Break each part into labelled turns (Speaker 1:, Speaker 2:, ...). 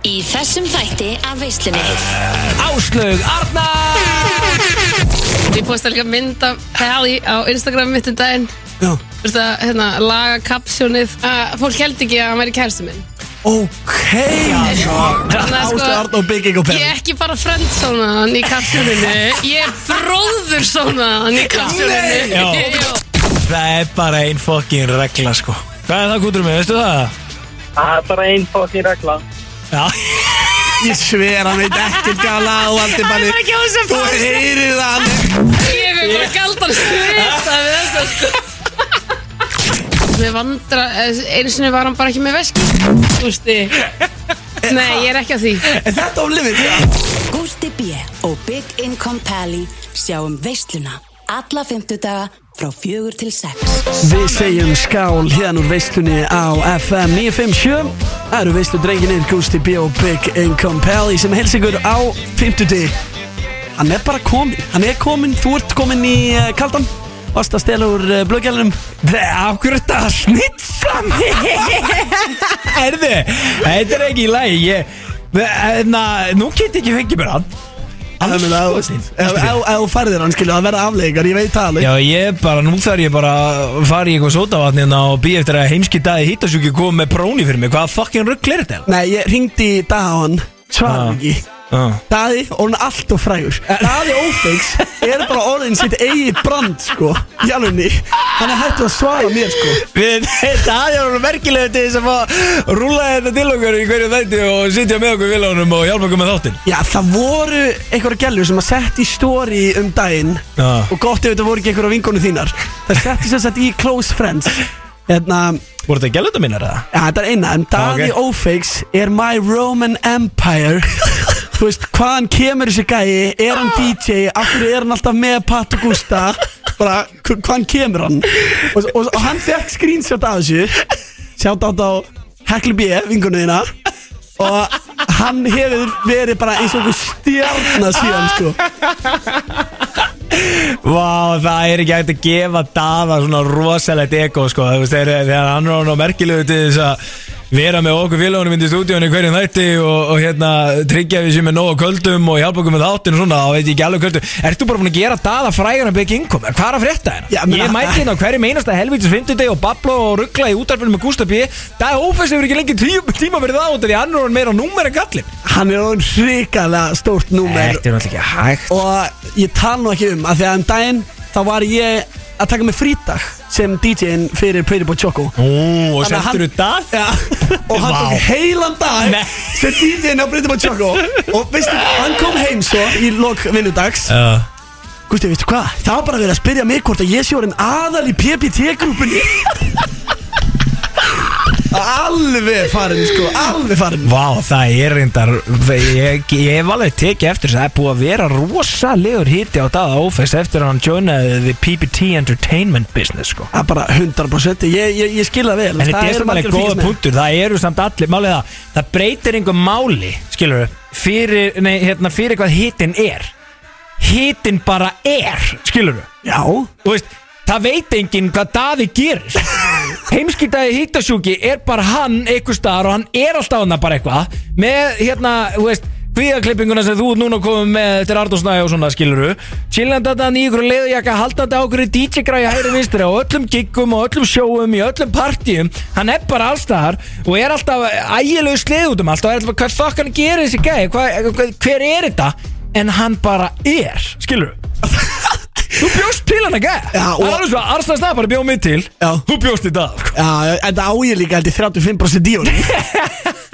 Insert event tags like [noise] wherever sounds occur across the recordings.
Speaker 1: Í þessum þætti af veislunni
Speaker 2: Áslög Arna
Speaker 3: Ég posta líka mynd af Pally á Instagram mitt um daginn
Speaker 2: Já,
Speaker 3: Þú veist að hérna, laga kapsjónið að fólk held ekki að hann væri kærstu minn
Speaker 2: ok
Speaker 3: Þannig að sko-
Speaker 2: Áslög Arna og Bygging og
Speaker 3: Ég
Speaker 2: Penn
Speaker 3: er ekki bara friendzóna hann í kapsjóninu Ég er bróðursóna hann
Speaker 2: Nei!
Speaker 3: í
Speaker 2: Já.
Speaker 3: kapsjóninu Jú.
Speaker 2: Það er bara ein fokkin regla sko Hvað er það kútur með, veistu það?
Speaker 4: Það er bara einn fokkin regla
Speaker 2: Já [laughs] Ég sver, hann veit ekkert hvað að laga og allt er
Speaker 3: Hann er
Speaker 2: bara
Speaker 3: ekki á þessum
Speaker 2: Þú
Speaker 3: fósi
Speaker 2: heyrir það hann
Speaker 3: Ég er bara galdan svita við þetta sko Mér vandra, einu sinni var hann bara ekki með veski Þú veist þið Nei, ég er ekki að því
Speaker 2: Er þetta oflimit?
Speaker 5: Gústi B. og Big Income Pally sjáum veisluna alla fymtudaga frá fjögur til sex.
Speaker 6: Við segjum skál hérna úr veistlunni á FM 957 Það eru veistlu drenginir Gusti B. og Big Income Pally sem helst ykkur á 50 Hann er bara komin, hann er komin, þú ert komin í uh, kaldan Vast að stela úr uh, blöggjalinum
Speaker 2: Af hverju er þetta að snitsa mig? Erðu, þetta er ekki í lagi Ég, na, nú get ég ekki fengið mér hann
Speaker 6: Ef
Speaker 2: Alls
Speaker 6: ef- ef- ef þú færðir hann skilur það verða afleikar, ég veit það alveg
Speaker 2: Já, ég bara, nú þarf ég bara að fara í eitthvað sótavatnina og býja eftir að heimski dagi hýttasjúki kom með próni fyrir mig Hvaða fucking rugg er þetta?
Speaker 6: Nei, ég ringdi í dag á hann, svarar
Speaker 2: Ah.
Speaker 6: ekki
Speaker 2: Uh.
Speaker 6: Daði, orðin allt og frægur Daði Ófeigs er bara orðin sitt eigið brand, sko Í alvegni, hann er hættur að svara mér, sko
Speaker 2: Við, [laughs] þetta aðjáður merkilegu til þess að fá rúla þetta til okkur í hverju þætti og sitja með okkur við honum og hjálpa okkur með þáttinn
Speaker 6: Já, það voru einhverja gælur sem að setja í story um daginn
Speaker 2: Já.
Speaker 6: Og gott ef þetta voru ekki einhverja vinkonu þínar Það setja sér sett í Close Friends Hérna,
Speaker 2: Voru þetta gæluta mínar eða?
Speaker 6: ja, þetta er eina En Daði
Speaker 2: ok.
Speaker 6: Ófeigs er My Roman Empire Þú veist, hvaðan kemur þessi gæi? Er hann DJ? Akkur er hann alltaf með Pat og Gusta? Bara, hv- hvaðan kemur hann? Og, og, og hann fekk screenshot af þessu Sjátt átt á Heklu B, vinkonu þína og hann hefur verið bara eins og einhver stjarnar síðan sko
Speaker 2: Vá, það er ekki hægt að gefa Daða svona rosalegt ego sko Þú veist, þegar, þegar hann er orðinn á merkilegu til þess að vera með okkur félagunum inn í stúdíunum í hverjum þætti og, og hérna tryggja við sér með nógu köldum og hjálpa okkur með þáttinn og svona, þá veit ég ekki alveg hvertu Ertu bara búin að gera Daða frægan að byggja innkom? Hvað er að frétta hérna?
Speaker 6: Já, meina-
Speaker 2: ég mæti hérna á hverjum einasta helvítis 50 deg og babla og ruggla í útarpinu með Gustaf B Dag Ófess hefur ekki lengi tíu, tíma verið á út af því annar hann meira númer en gallin
Speaker 6: hann er orðin hrikalega stórt númer
Speaker 2: Þetta er náttúrulega ekki hægt
Speaker 6: og ég tala nú ekki um að því að um daginn þá var ég að taka mig frítag sem DJ-in fyrir Pretty Boy Choco
Speaker 2: Ó, og
Speaker 6: Þannig að
Speaker 2: sendur þú Daða?
Speaker 6: ja, og hann
Speaker 2: Vá.
Speaker 6: tók heilan dag
Speaker 2: Nei.
Speaker 6: sem DJ-in á Pretty Boy Choco og veistu, hann kom heim svo í lok vinnudags
Speaker 2: Já
Speaker 6: Gústi, veistu hvað? Það var bara verið að spyrja mig hvort að ég sé orðin aðal í PPT-grúpunni Alveg farin, sko, alveg farin
Speaker 2: Vá, það er reyndar ég, ég hef alveg tekið eftir þess að það er búið að vera rosalegur hiti á daða ófæst eftir að hann joinaði The PPT Entertainment Business sko.
Speaker 6: Það er bara 100% Ég, ég, ég skil það vel
Speaker 2: En þetta
Speaker 6: það
Speaker 2: er
Speaker 6: eru
Speaker 2: samt alveg
Speaker 6: margir að
Speaker 2: góða
Speaker 6: fylgjast með.
Speaker 2: punktur Það eru samt allir, málið það Það breytir einhver máli, skilur fyrir, nei, hérna, fyrir hvað hitin er Hitin bara er, skilur
Speaker 6: Já,
Speaker 2: Þú veist, það veit enginn hvað daði gerir Heimskitaði hýttasjúki er bara hann einhver staðar og hann er alltaf hann bara eitthvað Með hérna, þú veist, kvíðaklippinguna sem þú ert núna komið með Þetta er Arndór Snæði og svona skiluru Chillandi að hann í ykkur leðjaka haldandi á okkur DJ-græja hægri vinstri Á öllum giggum og öllum sjóum, í öllum partíum Hann er bara allstaðar og er alltaf ægilegu sleð út um allt Og er alltaf, hvað fokk hann gerir þessi gæði, hvað, hvað, hver er þetta? En hann bara er, skiluru Þú bjóst til hann að gæða
Speaker 6: Já, og-
Speaker 2: Það er alveg svo að Arslan Snæð bara bjóð mig til
Speaker 6: Já.
Speaker 2: Þú bjóst í dag sko.
Speaker 6: já, en það á ég líka held ég 35% í honum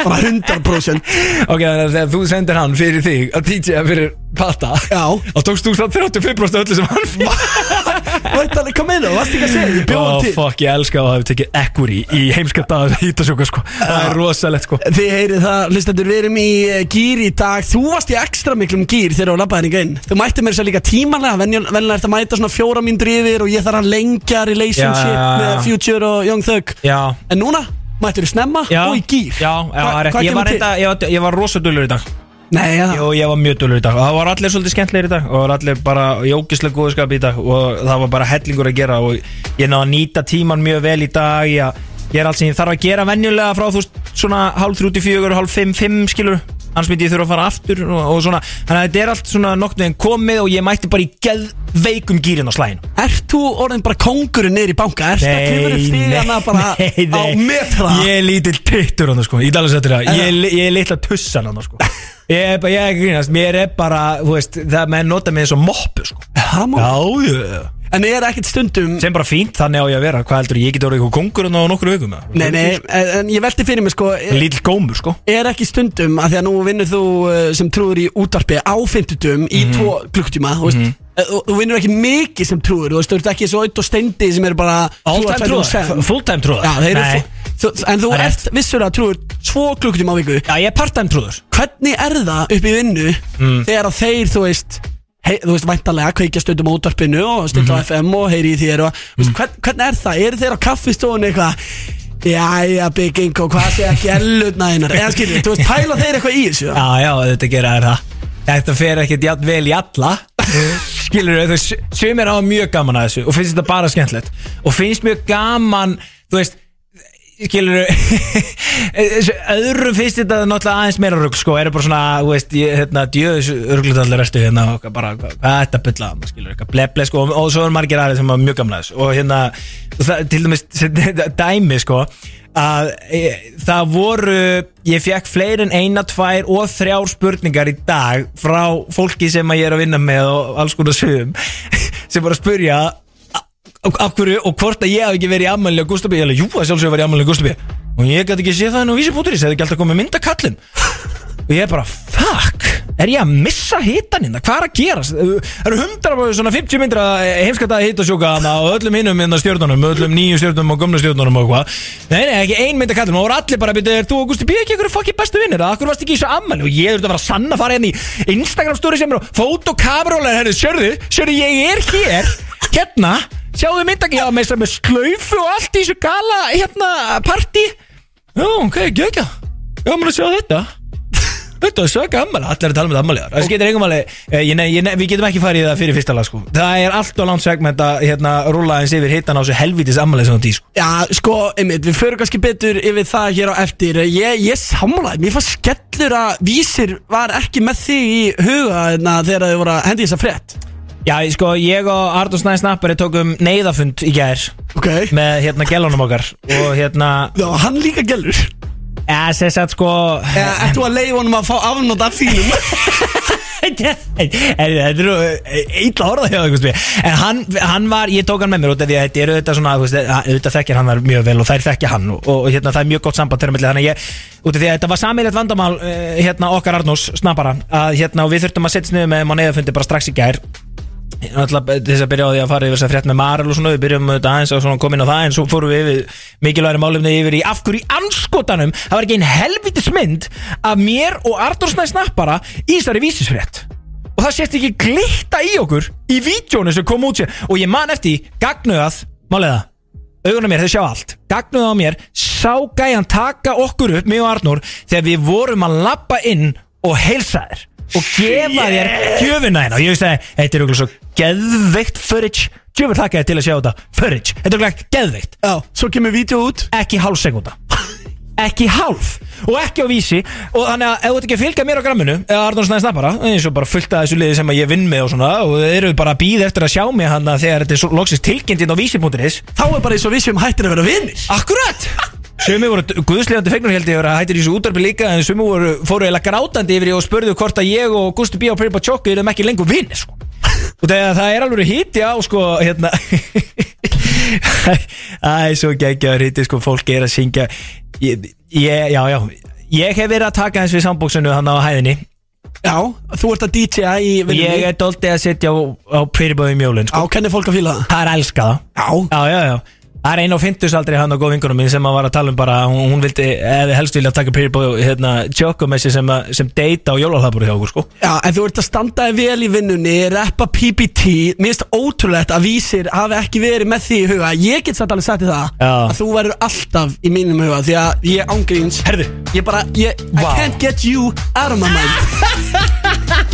Speaker 6: Bara 100%
Speaker 2: Ok, þannig að þegar þú sendir hann fyrir þig að DJ fyrir Pata
Speaker 6: Já.
Speaker 2: Þá tókst þú samt 35% öllu sem hann fyrir
Speaker 6: Væntanlega, Hvað meina, þú varst ekki að segja, [laughs] ég bjóðum til
Speaker 2: fuck, ég elska að það hefur tekið ekkur í í heimska dag að hýta sjóka sko Það er rosalegt sko
Speaker 6: Þið heyrið það, hlustendur, við erum í eh, gýr í dag Þú varst í ekstra miklum gýr þegar þú labbaði henni inn Þú mætti mér sér líka tímanlega Venjulega venjulega ertu að mæta svona fjóra mín drifir Og ég þarf að lengja relationship
Speaker 2: Já, já, já, já.
Speaker 6: með Future og Young Thug
Speaker 2: Já.
Speaker 6: En núna mættur þú snemma og í gýr
Speaker 2: Já, já,
Speaker 6: Hva-
Speaker 2: það er rétt.
Speaker 6: hvað
Speaker 2: ég var
Speaker 6: kemur til?
Speaker 2: reynda, ég var, ég var rosadulur í dag
Speaker 6: Nei, já,
Speaker 2: Jó, ég var mjög dölur í dag og það var allir svolítið skemmtlegir í dag og það var allir bara jókislega góðu skap í dag og það var bara hellingur að gera og ég náði að nýta tíman mjög vel í dag ég, Ég er alls ég þarf að gera venjulega frá þú veist svona hálf þrjúti fjögur, hálf fimm, fimm skilur annars myndi ég þurfa að fara aftur og, og svona þannig að þetta er allt svona nokt veginn komið og ég mætti bara í geðveikum gýrin á slæðinu
Speaker 6: Ert þú orðin bara kóngurinn niður í banka? Ert það kemur upp stíðana bara á metra?
Speaker 2: Ég er lítill tittur hann sko, ég tala sér til það Ég, er li- ég er litla tussan hann
Speaker 6: [laughs]
Speaker 2: sko Ég er bara, ég er ekki að grínast, mér er bara, þú veist, það menn nota mig eins og moppu sko
Speaker 6: Það má-
Speaker 2: Já, já, já
Speaker 6: En er ekkert stundum
Speaker 2: sem bara fínt, þannig á ég að vera hvað heldur, ég geti orðið eitthvað kongur en á nokkur vikum eða?
Speaker 6: Nei, nei, en en ég velti fyrir mig sko er,
Speaker 2: lítill gómur sko
Speaker 6: er ekki stundum að því að nú vinnur þú eh, sem trúður í útvarpi á fimmtutum
Speaker 2: Mhm.
Speaker 6: í tvo klukktíma þú veist, eh, þú- Þú vinnur ekki mikið sem trúður Þú veist, þú ert ekki svo auðvitað steindi sem eru bara um
Speaker 2: Fulltime trúðar, fulltime trúðar
Speaker 6: Já, þeir eru
Speaker 2: Nei.
Speaker 6: fu- þú- En þú
Speaker 2: Það er
Speaker 6: ert vissulega trúður tvo klukktíma á viku
Speaker 2: Já, ég er part-time trúður
Speaker 6: Hvernig er það upp í vinnu þegar að þeir, þú veist Hei, þú veist, væntalega, kveikja stundum á útvarpinu og stundum á FM og heyri í þér og, Mhm. mm veist, hvern, hvernig er það? Eru þeir á kaffistofunni eitthvað? Jæja, bygging og hvað sé ekki ellutna einar eða skilur, þú veist, pæla þeir eitthvað í þessu
Speaker 2: Já, já, þetta gera þær það Þetta fer ekkert jafn vel í alla Skilur þau, þau sumir á mjög gaman að þessu og finnst þetta bara skemmtilegt og finnst mjög gaman, þú veist skilur [laughs] öðrum Eh, finnst þetta náttúrulega aðeins meira rugg sko, eru bara svona, þú veist ég, hérna, djöðis rugglut allir restu hérna og eitthvað bara, hvað hvað er þetta bylla skilur, eitthvað bleble sko, og, og svo er margir aðeins sem er mjög gamla þessu og hérna, og það, til dæmis [laughs] dæmi sko að e, það voru ég fekk fleiri en eina, tvær og þrjár spurningar í dag frá fólki sem að ég er að vinna með og alls konar sögum [laughs] sem voru að spurja af af hverju og hvort að ég hafi ekki verið í ammæli á Gustafbjörn, ég alveg, jú, að sjálfsögur var í ammæli á Gustafbjörn og ég gæti ekki séð það en á vísipúturis hefði ekki alltaf komið mynd að kallin og ég er bara, fuck, er ég að missa hitan hérna, hvað er að gerast það eru hundra, svona 50 myndra heimskattaði hitasjóka hana og öllum hinnum hérna stjórnunum, öllum nýju stjórnunum og gömlu stjórnunum og hvað, nei, nei, ekki ein mynd að kallin og voru allir bara, betur, er þú og Gusti B ekki ykkur fokki bestu vinnir, að hverju varst ekki í þessu ammæli og ég þurfti að vera sann að fara hérna í Instagram story sem er, fótokamrólar henni, sörðu, sörðu, ég er hér hérna, sjáðu myndagi, já, með, með slaufu og allt í þessu gala, hérna, partí já, ok, gegja, gaman að sjá þetta Þetta er svo gammala, allir er að tala um með ammaliðar Það getur engum alveg, eh, ég, nei, ég, nei, við getum ekki farið í það fyrir fyrsta lag sko Það er allt og langt segment að hérna, rúla eins yfir hittan á þessu helvitis ammalið sem þú dís sko
Speaker 6: Já, sko, einmitt, við förum kannski betur yfir það hér á eftir Ég, ég samlaði, mér fannst skellur að vísir var ekki með þig í huga na, þegar þau voru að hendi þessa frétt
Speaker 2: Já, ég- sko, ég og Arnur Snæði Snappari tókum neyðafund í gær
Speaker 6: Ok,
Speaker 2: með hérna gælunum okkar og hérna,
Speaker 6: já, hann líka gellur
Speaker 2: eða sem sagt sko
Speaker 6: Eða ert þú að leiða honum að fá afnót af þínum?
Speaker 2: Þetta er þetta eru illa orðað hjá einhvers veginn En hann, hann var, ég tók hann með mér út af því að þetta eru auðvitað svona þú veist, að- auðvitað þekkir hann þar mjög vel og þær þekkja hann og, og hérna, það er mjög gott samband þeirra milli þannig að ég, út af því að þetta var samilegt vandamál eh, hérna okkar Arnús, snappara að hérna og við þurftum að setja sniðum með þeim á neyðafundi bara strax í gær Alltaf þess að byrja á því að fara yfir þess að frétt með Marel og svona, við byrjum auðvitað aðeins að svona koma inn á það en svo fórum við yfir mikilværi málumni yfir í af hverju í anskotanum það var ekki ein helvitis mynd af mér og Artur Snæ Snappara í þessari vísisfrétt og það sést ekki glitta í okkur í vídjónu sem kom út sér og ég man eftir því, gagnuðað, málega augunum mér, þau sjá allt, gagnuðað á mér sá gæjan taka okkur upp mig og Arnur þegar við vorum að lappa inn og heilsa þér og gefa þér gjöfuna hérna og ég veist að þetta er okkur svo geðveikt footage, djöfur þakka þér til að sjá þetta footage, þetta er okkur geðveikt
Speaker 6: Já, svo kemur vídeo út
Speaker 2: ekki hálf sekúnda ekki hálf og ekki á vísi og þannig að ef þú ert ekki að fylgja mér á gramminu eða Arnór Snæði Snappara eins og bara fullt að þessu liði sem að ég vinn með og svona og þeir eru bara að býða eftir að sjá mig hann að þegar þetta er svo loksist tilkynntinn á vísi.is
Speaker 6: Þá er bara eins og við séum hættir að vera vinnir
Speaker 2: Akkurat Sumi voru guðslegandi fegnur held ég að hættir í þessu útarpi líka en sumi voru, fóru eða grátandi yfir því og spurðu hvort að ég og Gusti B. og Pirpa Tjókku erum ekki lengur vinni sko. og þegar það er alveg híti á sko hérna [laughs] Æ, svo geggjaður híti sko fólk er að syngja ég, ég, já, já ég hef verið að taka eins við sambóksinu hann á hæðinni
Speaker 6: Já, þú ert að DJ-a í
Speaker 2: og ég
Speaker 6: vinnunni
Speaker 2: er doldið að sitja á, á Pirbóðum jólun
Speaker 6: Já,
Speaker 2: sko.
Speaker 6: hvernig fólk að fíla það?
Speaker 2: það er elska það
Speaker 6: Já,
Speaker 2: Já, já, já Það er einn á fimmtusaldri hann og góð vingunum minn sem að var að tala um bara að hún, hún vildi, eða helst vilja taka pyrir bóð hérna, tjókum þessi sem, að- sem deyta á jólahlaðbúri hjá okkur sko
Speaker 6: já en þú ert að standa þig vel í vinnunni Rappa PPT Mér finnst ótrúlegt að vísir hafi ekki verið með því í huga Ég get satt alveg sagt í það
Speaker 2: Já.
Speaker 6: Að þú verður alltaf í mínum huga Því að ég ángríns
Speaker 2: Herðu,
Speaker 6: Ég bara, ég,
Speaker 2: Vá.
Speaker 6: I can't get you out of my mind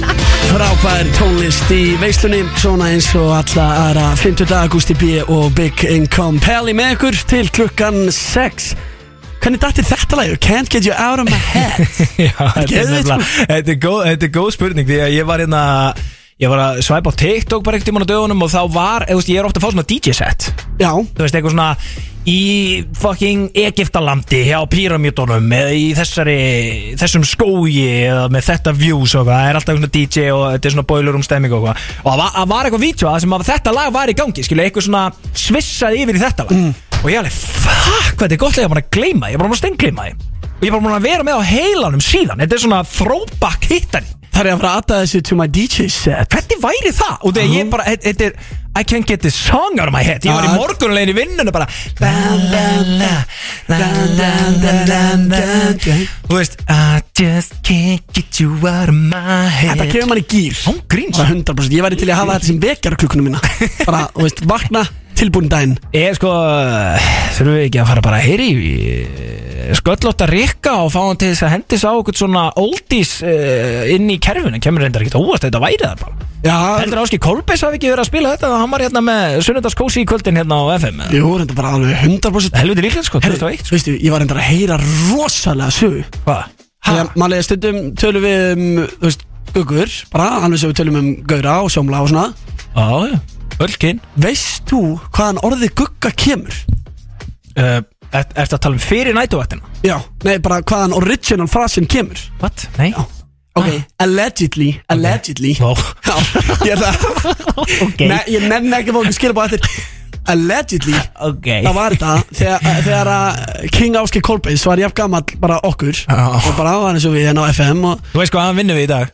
Speaker 6: [laughs] Frábær tónlist í veislunni Svona eins og alla aðra 50. augusti B og Big Income Pally með ykkur til klukkan 6 Hvernig dættir þetta lægur? Can't get you out of my head
Speaker 2: [laughs]
Speaker 6: [laughs]
Speaker 2: Já, þetta er sko.
Speaker 6: Geðveikt,
Speaker 2: nefnilega- þetta er góð- þetta er góð spurning Því að ég var hérna Ég var að svæpa á TikTok bara einhvern tímann á dögunum Og þá var, eða, þú veist, ég er ofta að fá svona DJ set
Speaker 6: Já,
Speaker 2: Þú veist, eitthvað svona Í fucking Egiptalandi Hjá píramítunum Eða í þessari, þessum skói Eða með þetta views og hvað Það er alltaf svona DJ og þetta er svona boiler um stemming og hvað Og það var, það var eitthvað vídeo að sem að þetta lag var í gangi Skilu, eitthvað svona svissaði yfir í þetta lag Og ég alveg, fuck, hvað þetta er gott lag Ég var bara að gleyma, því, ég var bara að stenggleyma því Og ég var bara að vera með á heilanum síðan Þetta er svona throwback hittan
Speaker 6: það er að fara aðta þessu to my DJ set
Speaker 2: Hvernig væri það? Og þegar ég bara, þetta þetta er I can't get this song out of my head Ég var í
Speaker 6: Ah.
Speaker 2: morgunlegin í vinnunni bara la, la, la, la, la, la, la, la. Þú veist I just can't get you out of my head
Speaker 6: Þetta kemur mann í gýr
Speaker 2: Án gríns.
Speaker 6: Bara 100% Ég væri til í að hafa þetta sem vekjar á klukkuna [laughs] mína Bara, þú veist, vakna, tilbúin daginn
Speaker 2: Ég sko, þurfum við ekki að fara bara að heyri í sköllótt að rikka og fá hann til þess að hendis á okkur svona oldies uh, inn í kerfinu kemur reyndar ekkert óvast, þetta væri það bara
Speaker 6: Já,
Speaker 2: Heldur Áski Kolbeis hafi ekki verið að spila þetta hann var hérna með sunnundaskósi í kvöldin hérna á FM eða?
Speaker 6: jú, þetta bara alveg 100%
Speaker 2: Helviti líklegt sko, 2001 sko.
Speaker 6: Veistu, ég var reyndar að heyra rosalega sögu
Speaker 2: Hvað?
Speaker 6: Þegar maður leiði stundum tölum við um, þú veist, guggur Bara, alveg sem við tölum um gaura og sjómla og svona
Speaker 2: Já, já, öllkinn
Speaker 6: Veist þú hvaðan orðið gugga kemur?
Speaker 2: uh, er, Ertu að tala um fyrir nætuvættina?
Speaker 6: Já, nei, bara hvaðan original frasin kemur
Speaker 2: What? Nei?
Speaker 6: Já, ok, allegedly, allegedly
Speaker 2: Vá.
Speaker 6: Já, ég er það ne, Ég nenni ekki fólk að skilja bá eftir Allegedly
Speaker 2: Ok
Speaker 6: Það var þetta þegar, þegar að King Áskei Kolbeins var jafn gamall bara okkur
Speaker 2: Já.
Speaker 6: og bara var eins og við hérna á FM og
Speaker 2: Þú veist hvað hann vinnum við í dag?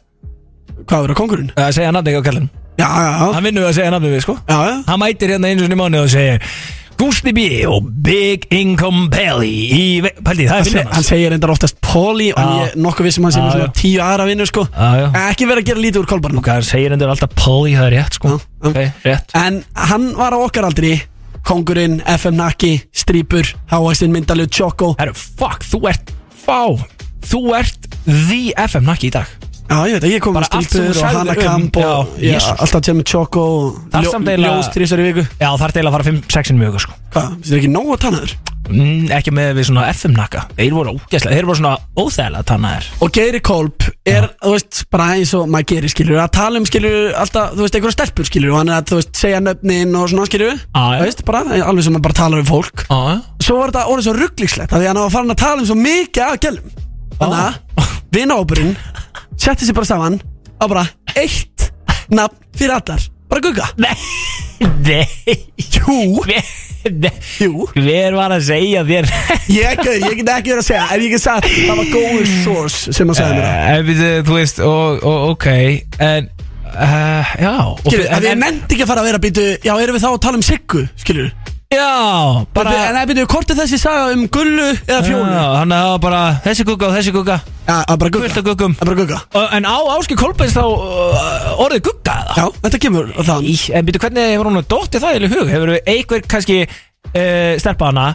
Speaker 6: hvað verður að kongurinn?
Speaker 2: Að segja nafni ekki á kallin
Speaker 6: Já, já, já,
Speaker 2: Hann vinnum við að segja nafni við sko
Speaker 6: já, já.
Speaker 2: Hann mætir hérna einu sinni í mánu og segir Gusti B og Big Income Belly í ve- Pældi, það er
Speaker 6: Se,
Speaker 2: vinnan
Speaker 6: hann
Speaker 2: hans
Speaker 6: segir reyndar oftast Póli og
Speaker 2: Já.
Speaker 6: ég er nokkuð vissum hann
Speaker 2: Já,
Speaker 6: sem er
Speaker 2: já.
Speaker 6: svona tíu aðra vinnur sko
Speaker 2: Já, já.
Speaker 6: ekki verið að gera lítið úr kolbarnum
Speaker 2: Ok, hann segir hendur alltaf Polly, það er rétt sko
Speaker 6: Já, já.
Speaker 2: Ok, rétt
Speaker 6: en hann var á okkar aldri kongurinn, FM Naki, Strípur Háastinn, Myndalug, Choco
Speaker 2: Herru, fuck, þú ert, fá Þú ert the FM nakki í dag
Speaker 6: já, ég veit að ég kom
Speaker 2: Bara
Speaker 6: með
Speaker 2: allt sem þú
Speaker 6: Strípur og
Speaker 2: sagðir um-
Speaker 6: Hanakamp og
Speaker 2: Já,
Speaker 6: já,
Speaker 2: Jesus.
Speaker 6: alltaf tjáð með Choco
Speaker 2: Það er
Speaker 6: og
Speaker 2: samt eiginlega-
Speaker 6: ljóstrísar í viku
Speaker 2: Já, það er til að fara 5-6 mjög sko
Speaker 6: hvað, finnst þér ekki nóg að tanna þér?
Speaker 2: Mm, ekki með við svona FM nakka Þeir voru ógæslega, þeir voru svona óþægilega tannaðir
Speaker 6: og Geiri Kolb er, þú veist, bara eins og maður gerir skilur, að tala um skilur alltaf, þú veist, einhverja stelpur skilur og hann er að, þú veist, segja nöfnin og svona skilur,
Speaker 2: Já, já.
Speaker 6: þú veist, bara alveg sem maður bara talar um fólk,
Speaker 2: ah.
Speaker 6: svo var þetta orðið svo rugglingslegt, af því að hann var farin að tala um svo mikið af gælum, þannig að vinahópurinn setti sér bara saman á bara eitt nafn fyrir allar, bara gugga
Speaker 2: Nei, nei
Speaker 6: Jú,
Speaker 2: Hver, nei,
Speaker 6: jú,
Speaker 2: hver var að segja þér
Speaker 6: ég, ég, ég get ekki verið að segja, en ég get sagt, það var góður source sem að segja mér það
Speaker 2: En við, þú veist, og, og ok En, uh, já og,
Speaker 6: Skilur, að
Speaker 2: en,
Speaker 6: ég nefndi ekki að fara að vera að býtu Já, erum við þá að tala um Siggu, skilur
Speaker 2: Já,
Speaker 6: bara,
Speaker 2: bara
Speaker 6: En það býtu, hvort er þessi saga um gullu eða fjónu
Speaker 2: Já,
Speaker 6: Já,
Speaker 2: Þannig að það var bara þessi gugga og þessi gugga
Speaker 6: að bara
Speaker 2: Fullt
Speaker 6: gugga
Speaker 2: af guggum
Speaker 6: Að bara gugga
Speaker 2: Og- En á Áski Kolbeins þá uh, orðið gugga eða?
Speaker 6: Já, þetta kemur á þann
Speaker 2: Í, En býtu, hvernig hefur hún að dótti það í hug? Hefur við einhver kannski uh, stelpa hana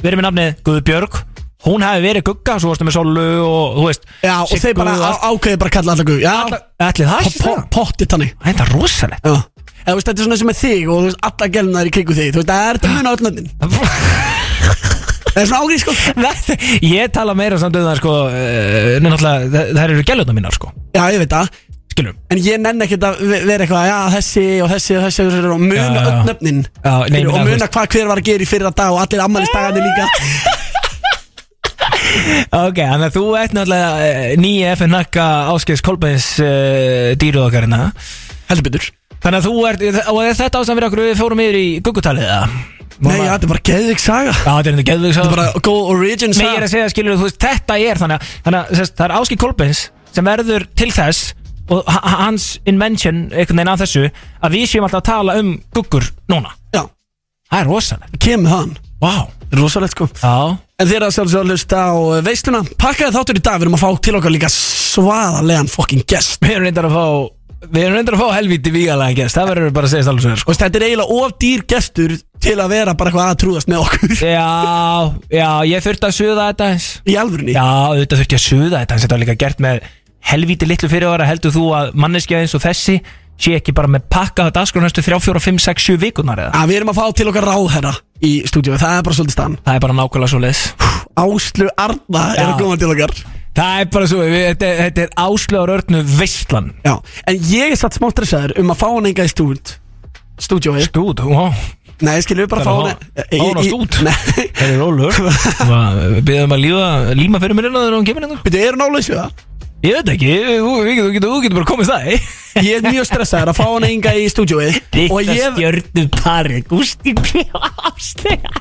Speaker 2: verið með nafnið Guðbjörg Hún hefði verið gugga, svo varstu með Solu og þú veist
Speaker 6: Já, og
Speaker 2: Siggu
Speaker 6: þeir bara
Speaker 2: allt.
Speaker 6: á- ákveði bara að kalla alltaf gugga Já,
Speaker 2: Ætli það
Speaker 6: po- po- pottið þannig
Speaker 2: Það er þetta [laughs] rosalegt
Speaker 6: Já Eða, þú veist, þetta er svona sem er þig og þú veist, alla gelnar í kringu þig Þú veist, það er þetta mun á öll nöndin Það er svona ágrið, sko
Speaker 2: Ég tala meira samt um það sko eh, Nei náttúrulega, það- það eru gælutna mínar sko
Speaker 6: Já, ég veit það
Speaker 2: Skilum
Speaker 6: En ég nenni ekkert að ve- vera eitthvað Já, þessi og þessi og þessi og þessi Og
Speaker 2: Já,
Speaker 6: muna
Speaker 2: já.
Speaker 6: öll nöfnin
Speaker 2: Já, nei,
Speaker 6: Skilur,
Speaker 2: ég meina,
Speaker 6: Og
Speaker 2: þú
Speaker 6: muna
Speaker 2: veist-
Speaker 6: hvað hver var að gera í fyrra dag Og allir ammælistagarnir líka
Speaker 2: Ok, þannig að þú ert náttúrulega eh, nýja FN nakka Áskeiðs Kolbeins uh, dýruð okkar hérna
Speaker 6: Heldur betur
Speaker 2: Þannig að þú ert, og er þetta ástæðan fyrir okkur við fórum yfir í guggutalið eða?
Speaker 6: Nei, já, þetta er bara geðvik saga
Speaker 2: Já, þetta er enda geðvig
Speaker 6: Þetta er bara góð origin
Speaker 2: Nei, ég er
Speaker 6: saga
Speaker 2: að segja, skilur þú veist, þetta er þannig að, þannig að sest, það er Áski Kolbens sem verður til þess og h- h- hans invention, einhvern veginn að þessu að við séum alltaf að tala um guggur núna
Speaker 6: Já,
Speaker 2: Það er rosalegt
Speaker 6: kemur hann
Speaker 2: Vá
Speaker 6: Rosalegt sko
Speaker 2: Já
Speaker 6: En þeir eru að sjálfsög að hlusta á eh, veisluna Pakkaði þáttur í dag, við erum að fá til okkar líka svaðarlegan fucking gest
Speaker 2: Við erum reyndar að fá Við erum reyndar að fá helvíti vígalega gest Það verður bara að segja sko. stálega svo þér
Speaker 6: Og þetta er eiginlega of dýr gestur til að vera bara eitthvað að trúðast með okkur [laughs]
Speaker 2: Já, já, ég þurfti að suða þetta eins
Speaker 6: Í alvörunni
Speaker 2: Já, auðvitað þurfti ég að suða þetta eins Þetta var líka gert með helvíti litlu fyrirvara heldur þú að manneskja eins og þessi sé ekki bara með pakka þetta askur næstu 3, 4, 5, 6, 7 vikunar eða?
Speaker 6: að Við erum að fá til okkar ráðherra í stúdíu Það er bara svolítið stann
Speaker 2: Það er bara nákvæmlega svo leiðis
Speaker 6: Áslu Arna er
Speaker 2: Já.
Speaker 6: að koma til okkar
Speaker 2: Það er bara svo, við, þetta, þetta er áslöður örnu veistlan
Speaker 6: Já, en ég er satt smá stressaður um að fá hann enga í stúd Stúdíói
Speaker 2: Stúd, wow.
Speaker 6: Nei, skilum við bara fá
Speaker 2: Þannig
Speaker 6: hann
Speaker 2: að fá- fá hann á stúd? það er [laughs] rólur
Speaker 6: Ég- ég- [laughs] Nei,
Speaker 2: Býðum að lífa, líma fyrir mér innan þegar hún kemur innan
Speaker 6: veitu, er hann álaus við það?
Speaker 2: Ég veit ekki, þú við getum- þú getur, þú getur bara komist það eh?
Speaker 6: Ég er mjög stressaður að fá hann enga í stúdíói Og ég
Speaker 2: stjörnum pari Gústi P. og Áslega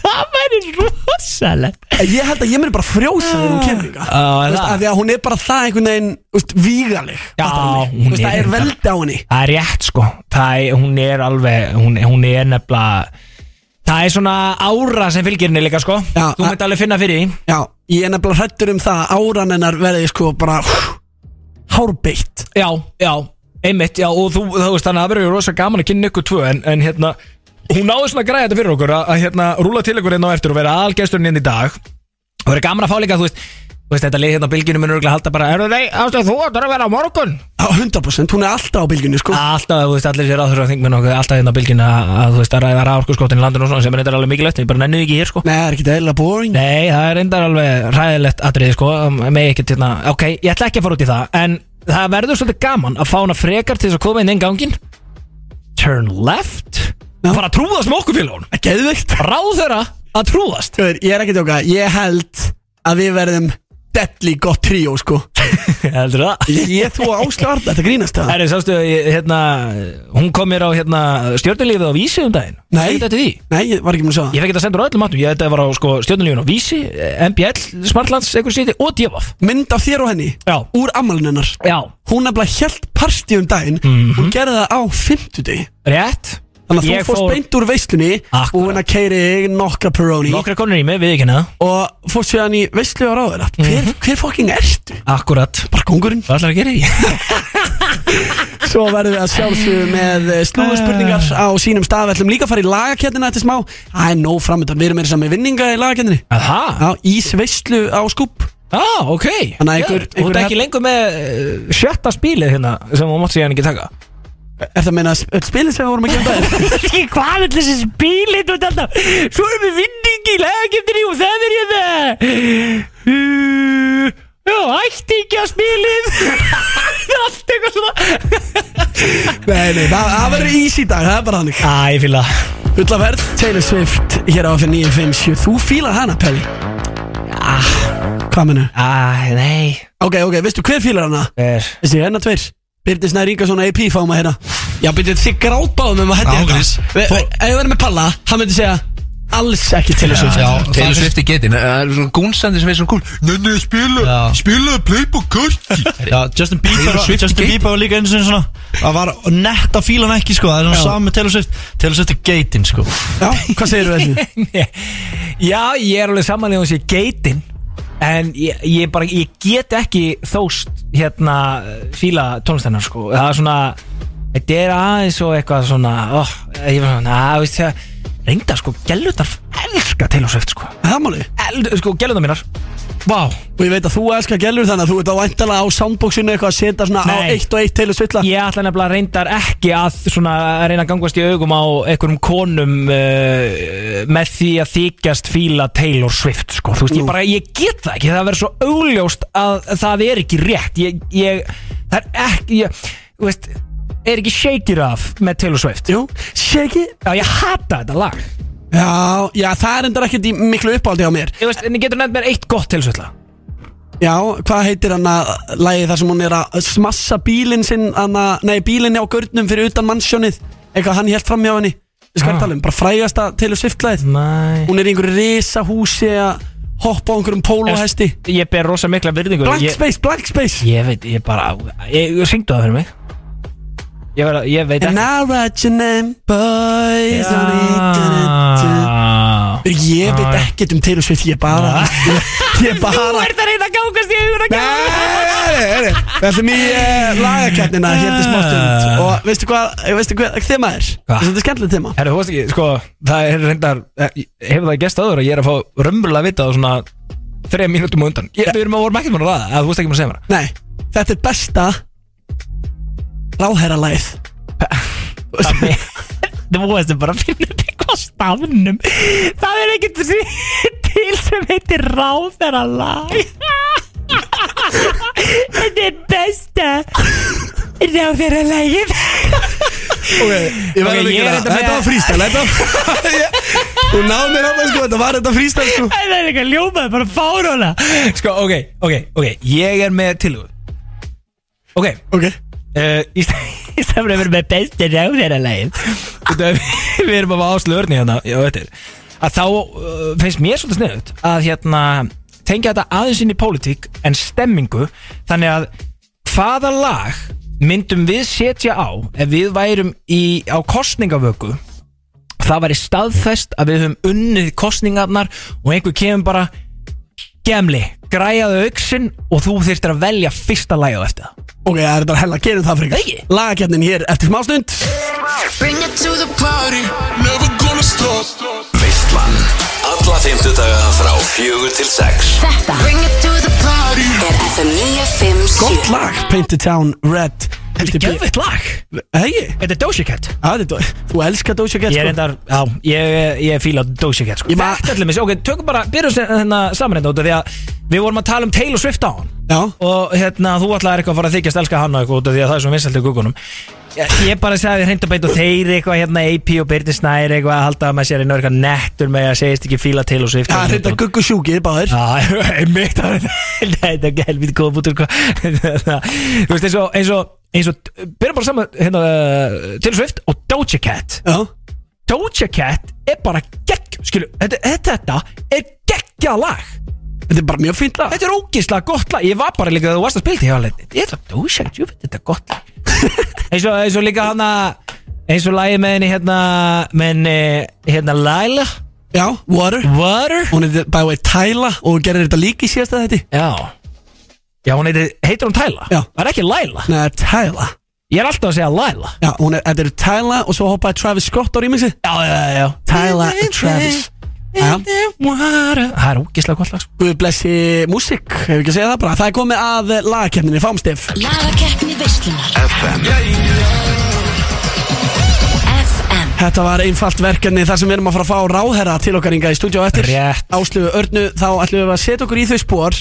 Speaker 2: Það væri rosalegt
Speaker 6: Ég held að ég myndi bara frjósa þegar hún kemur líka
Speaker 2: Já, er Ah, það?
Speaker 6: Af því að hún er bara það einhvern veginn Úst, vígaleg
Speaker 2: Já,
Speaker 6: fattar mig?
Speaker 2: hún
Speaker 6: Þú veist,
Speaker 2: er
Speaker 6: Það er
Speaker 2: reyndar-
Speaker 6: veldi á henni
Speaker 2: Það er rétt sko Það er, hún er alveg, hún, hún er nefnilega Það er svona ára sem fylgir henni líka sko
Speaker 6: Já,
Speaker 2: Þú
Speaker 6: að-
Speaker 2: mætti alveg finna fyrir því
Speaker 6: Já, ég er nefnilega hrættur um það að Áran hennar verði sko bara hú, Hárbeitt
Speaker 2: Já, já, einmitt, já og þú, þú veist þannig að það verður rosa gaman að kynna ykkur tvö en, en hérna, hún náði svona að græða þetta fyrir okkur að, að hérna, rúla til ykkur einn á eftir og vera algjasturinn inn í dag og verður gaman að fá líka, þú veist Þú veist, þetta lið hérna á bylginu munur örugglega halda bara Er það, nei, ástæðu þú ætlar að vera á morgun
Speaker 6: Á 100% Hún er alltaf á bylginni sko
Speaker 2: Alltaf, þú veist, allir sér aðhverju að þingmenn okkur Alltaf hérna á bylginu að, að, þú veist, að ræða ráðurkurskotin í landinu og svona sem er þetta alveg mikilvægt, en ég bara nennu ekki hér, sko
Speaker 6: Nei, það er ekki eðla boring
Speaker 2: Nei, það er reyndar alveg ræðilegt atriði sko, með ekkert hérna, ok, ég ætla ekki að fara út í það en það verður svolítið gaman að fá hana frekar til þess að koma inn einn gangin turn left
Speaker 6: Já.
Speaker 2: og fara að trúðast með okkur félagun
Speaker 6: Geðveikt
Speaker 2: ráð þeirra að trúðast
Speaker 6: Guður, ég er ekki að tjóka Ég held að við verðum Deadly gott tríó sko
Speaker 2: heldur það
Speaker 6: [laughs] Ég, ég þú áslu Arna, þetta grínast það
Speaker 2: Herri, sástu, ég- hérna, hún kom mér á hérna, stjórnulífið á vísi um daginn
Speaker 6: Nei.
Speaker 2: Sérðu þetta því?
Speaker 6: Nei, ég var ekki mér að
Speaker 2: Ég
Speaker 6: segja
Speaker 2: fekk þetta sendur á öllum áttum, ég þetta var á sko, stjórnulífinu á vísi, MBL, Smartlands, einhver sýti og Djavaf
Speaker 6: Mynd af þér og henni
Speaker 2: Já.
Speaker 6: Úr ammalinennar
Speaker 2: Já,
Speaker 6: Hún nefnilega hjælt partí um daginn Hún gerði það á fimmtudegi
Speaker 2: rétt
Speaker 6: Þannig að
Speaker 2: Ég
Speaker 6: þú fórst
Speaker 2: fór-
Speaker 6: beint úr veislunni
Speaker 2: Akkurat.
Speaker 6: Búin að keiri nokkra peróni
Speaker 2: Nokkra konur í mig, við ekki neða
Speaker 6: Og fórst séðan í veislu á ráður hver, hver fucking ertu?
Speaker 2: Akkurat
Speaker 6: Bara kongurinn
Speaker 2: Hvað ætlar að gera því?
Speaker 6: Svo verðum við að sjálfsögðu með slúðspurningar á sínum stað Við ætlum líka að fara í lagakettina eftir smá Það er nóg framöndan, við erum meira saman með vinninga í lagakettinni
Speaker 2: Aha,
Speaker 6: Já, ís veislu á skúp
Speaker 2: á, ok
Speaker 6: Þannig að einhver-
Speaker 2: Geðveikt. Og
Speaker 6: einhver-
Speaker 2: þetta er ekki lengur með uh, sjötta spilið hérna sem hún mátti síðan ekki taka
Speaker 6: Er það að meina öll spilin sem við vorum að gera um daginn?
Speaker 2: Ekki hvað er þessi spilið og þetta Svo erum við vinningi í lagakeftinni og það er ég það uh, Já, ætti ekki að spilið Allt eitthvað svona
Speaker 6: [laughs] Nei, nei, það, það verður ís í dag, það er bara þannig
Speaker 2: Æ, ég fíla
Speaker 6: Ullaferð, Taylor Swift, hér á fyrir 957 Þú fílar hana, Pelli? Hvað mennu?
Speaker 2: Æ, nei
Speaker 6: Ok, ok, veistu hver fílar hana?
Speaker 2: Er
Speaker 6: Þessi hennar tveir Byrnir Snær Ingarsson AP fáum að hérna Já, byrnir þið grátbáðum um að hætti
Speaker 7: Ángriðs.
Speaker 6: Ef við verðum með Palla, hann myndi segja Alls ekki Taylor Swift
Speaker 7: Já, Taylor Swift er getinn Það eru svona gúnsandi sem er svona gúl Nei, nei, spila, spila Playboy Cookie
Speaker 8: Já, Justin Bieber,
Speaker 7: Taylor Swift
Speaker 8: Justin
Speaker 7: í
Speaker 8: Bieber var líka eins og svona Það var nett að fíla hann ekki sko Það er svona saman með Taylor Swift Taylor Swift er geitin sko
Speaker 6: Já, hvað segir [laughs] við þessu?
Speaker 2: Já, ég er alveg samanlega hún sé geitin En ég, ég bara, ég get ekki þóst hérna fíla tónlistennar sko Það er svona, þetta er aðeins og eitthvað svona ó, Ég var svona, að veist það Reynda sko, gælutar elska til og sveift sko
Speaker 6: Það er máli
Speaker 2: El, Sko, gælutar mínar Vá,
Speaker 6: Og ég veit að þú elskar gælur þannig að þú ert á væntalega á soundboxinu eitthvað að setja svona á
Speaker 2: Nei.
Speaker 6: eitt og eitt Taylor Swift lag
Speaker 2: ég ætla nefnilega reyndar ekki að svona að reyna að gangast í augum á einhverjum konum uh, með því að þykjast fíla Taylor Swift sko, þú veist, ég bara, ég get það ekki það verður svo augljóst að það er ekki rétt, ég, ég það er ekki, ég, þú veist er ekki shaker af með Taylor Swift
Speaker 6: Jú, shake it
Speaker 2: Já, ég hata þetta lag
Speaker 6: Já, já, það er endur ekkert í miklu uppáldi á mér
Speaker 2: Ég veist, en ég getur nefnt mér eitt gott til svo
Speaker 6: Já, hvað heitir hann að lagi þar sem hún er að smassa bílinn sinn hana, Nei, bílinn á görnum fyrir utan mannsjónið Eitthvað hann hélt fram hjá henni Við skal
Speaker 2: Ah.
Speaker 6: tala um, bara frægasta Taylor Swift lagið
Speaker 2: Nei
Speaker 6: Hún er í einhverju risa húsi að hoppa á einhverjum pólóhesti
Speaker 2: Ég ber rosa mikla virðingu
Speaker 6: Blank
Speaker 2: ég,
Speaker 6: space, blank space
Speaker 2: ég veit, ég bara, ég, ég syngdu það fyrir mig Ég, verð að- ég veit
Speaker 6: And
Speaker 2: ekki
Speaker 6: I write your name, boys ja.
Speaker 2: Ah.
Speaker 6: Ég veit
Speaker 2: Ah.
Speaker 6: ekkert um Taylor Swift, ég bara [laughs] Ég bara
Speaker 2: ert að reyna að gangast í augun að
Speaker 6: Nei, Við ætlum í uh, lagakeppnina hérna
Speaker 2: Ah.
Speaker 6: smástund Og veistu hvað, veistu hvað þema er?
Speaker 2: Hva?
Speaker 6: Þetta er skemmtilegt þema
Speaker 2: Herru, þú veist ekki, sko, það er reyndar, eh, hefur það gæst aður að ég er að fá römbulega að vita á svona þreja mínútum á undan ég, Við erum að vorum ekkert mann að ræða að þú veist ekki maður að segja mér það.
Speaker 6: Nei, þetta er besta Ráðherralæð
Speaker 9: Þú veist bara að finna upp eitthvað á stafnum Það er ekkert til sem heitir ráðara lag Þetta er besta ráðara lagið
Speaker 6: [laughs] Ég verð
Speaker 2: Ok,
Speaker 6: að
Speaker 2: ég
Speaker 6: líka
Speaker 2: er
Speaker 6: það,
Speaker 2: þetta með-
Speaker 6: þetta var frístæl Þú náðu mér alveg sko, þetta var þetta frístæl sko
Speaker 9: Það er eitthvað ljómaði bara fáróla
Speaker 2: Sko, ok, ok, ok Ég er með tilhugum Ok,
Speaker 6: Ok,
Speaker 2: uh, í stað-
Speaker 9: Í samlega verið með besta ráðara lagið
Speaker 2: út af- [laughs] við erum að áslöðu örni hérna já, þetta er, að þá uh, finnst mér svolítið sniðut að hérna tengja þetta aðeins inn í pólitík en stemmingu þannig að hvaða lag myndum við setja á ef við værum í, á kostningavöku það væri staðfest að við höfum unnið kostningarnar og einhver kemur bara gemli, græjaðu auksinn og þú þyrftir að velja fyrsta lagið á eftir það
Speaker 6: ok, það er þetta hella, gerum það fyrir
Speaker 2: Ekki?
Speaker 6: ykkur Lagakjarnin hér eftir smástund
Speaker 10: Veistlan Alla fymtudaga frá fjögur til sex
Speaker 5: Þetta er FM 957
Speaker 6: Gott lag, Paint the Town Red
Speaker 2: Þetta er geðveitt lag,
Speaker 6: Hegi,
Speaker 2: þetta er Doja Cat
Speaker 6: þú elskar Doja Cat
Speaker 2: Ég er
Speaker 6: sko
Speaker 2: endar, já, ég, ég fíla Doja Cat sko.
Speaker 6: Ég ma-
Speaker 2: Þetta allir með sér, ok, tökum bara byrjum sem hérna saman þetta út af því að við vorum að tala um Taylor Swift á hann
Speaker 6: Já,
Speaker 2: og hérna, þú ætlaðir eitthvað að fara að þykjast elska hann og eitthvað út af því að það er svo vinsælt í gugunum Ég ég bara sagði hreint og beint og þeir eitthvað hérna AP og Byrni Snær eitthvað að halda að maður sér einu eitthvað nettur með að segist ekki fíla Taylor Swift
Speaker 6: það er þetta guggu sjúkið báðir
Speaker 2: Já, [laughs] einmitt það er- [laughs] Nei, Þetta er ekki helvítið góða bútur hvað. Hérna, Þú veist, eins og, eins og, eins og byrjum bara saman hérna, uh, Taylor Swift og Doja Cat
Speaker 6: Já,
Speaker 2: Doja Cat er bara gegg skilu, þetta, þetta er geggja lag
Speaker 6: þetta er bara mjög fínt lag
Speaker 2: þetta er ógislega gott lag ég var bara líka þegar þú varst að spila því ég var alveg, ég ætla Doja Cat, jú veit þetta er gott [laughs] lag eins, og, eins og líka hana eins og lagi með henni hérna með henni hérna Laila
Speaker 6: Já, Water
Speaker 2: Water
Speaker 6: Hún heitir by the way Tyla og gerir þetta líka í síðasta þetta
Speaker 2: já já hún heitir, heitir hún Tyla
Speaker 6: Já.
Speaker 2: það er ekki Laila
Speaker 6: Nei, Tyla
Speaker 2: ég er alltaf að segja Laila
Speaker 6: Já, hún er, þetta er Tyla og svo hoppaði Travis Scott á rýmixi
Speaker 2: já já já, já.
Speaker 6: Tyla and Travis Já,
Speaker 2: Water. það er ógislega gott lag sko.
Speaker 6: Guð blessi músík, hefur ekki að segja það bara Það er komið að lagakefninni, fámstef
Speaker 5: Lagakeppni veislunar
Speaker 10: FM
Speaker 5: FM
Speaker 6: Þetta var einfalt verkefni þar sem við erum að fara að fá ráðherra til okkar inga í stúdíu á eftir
Speaker 2: Rétt.
Speaker 6: Áslöfu Örnu, þá ætlum við að setja okkur í þau spór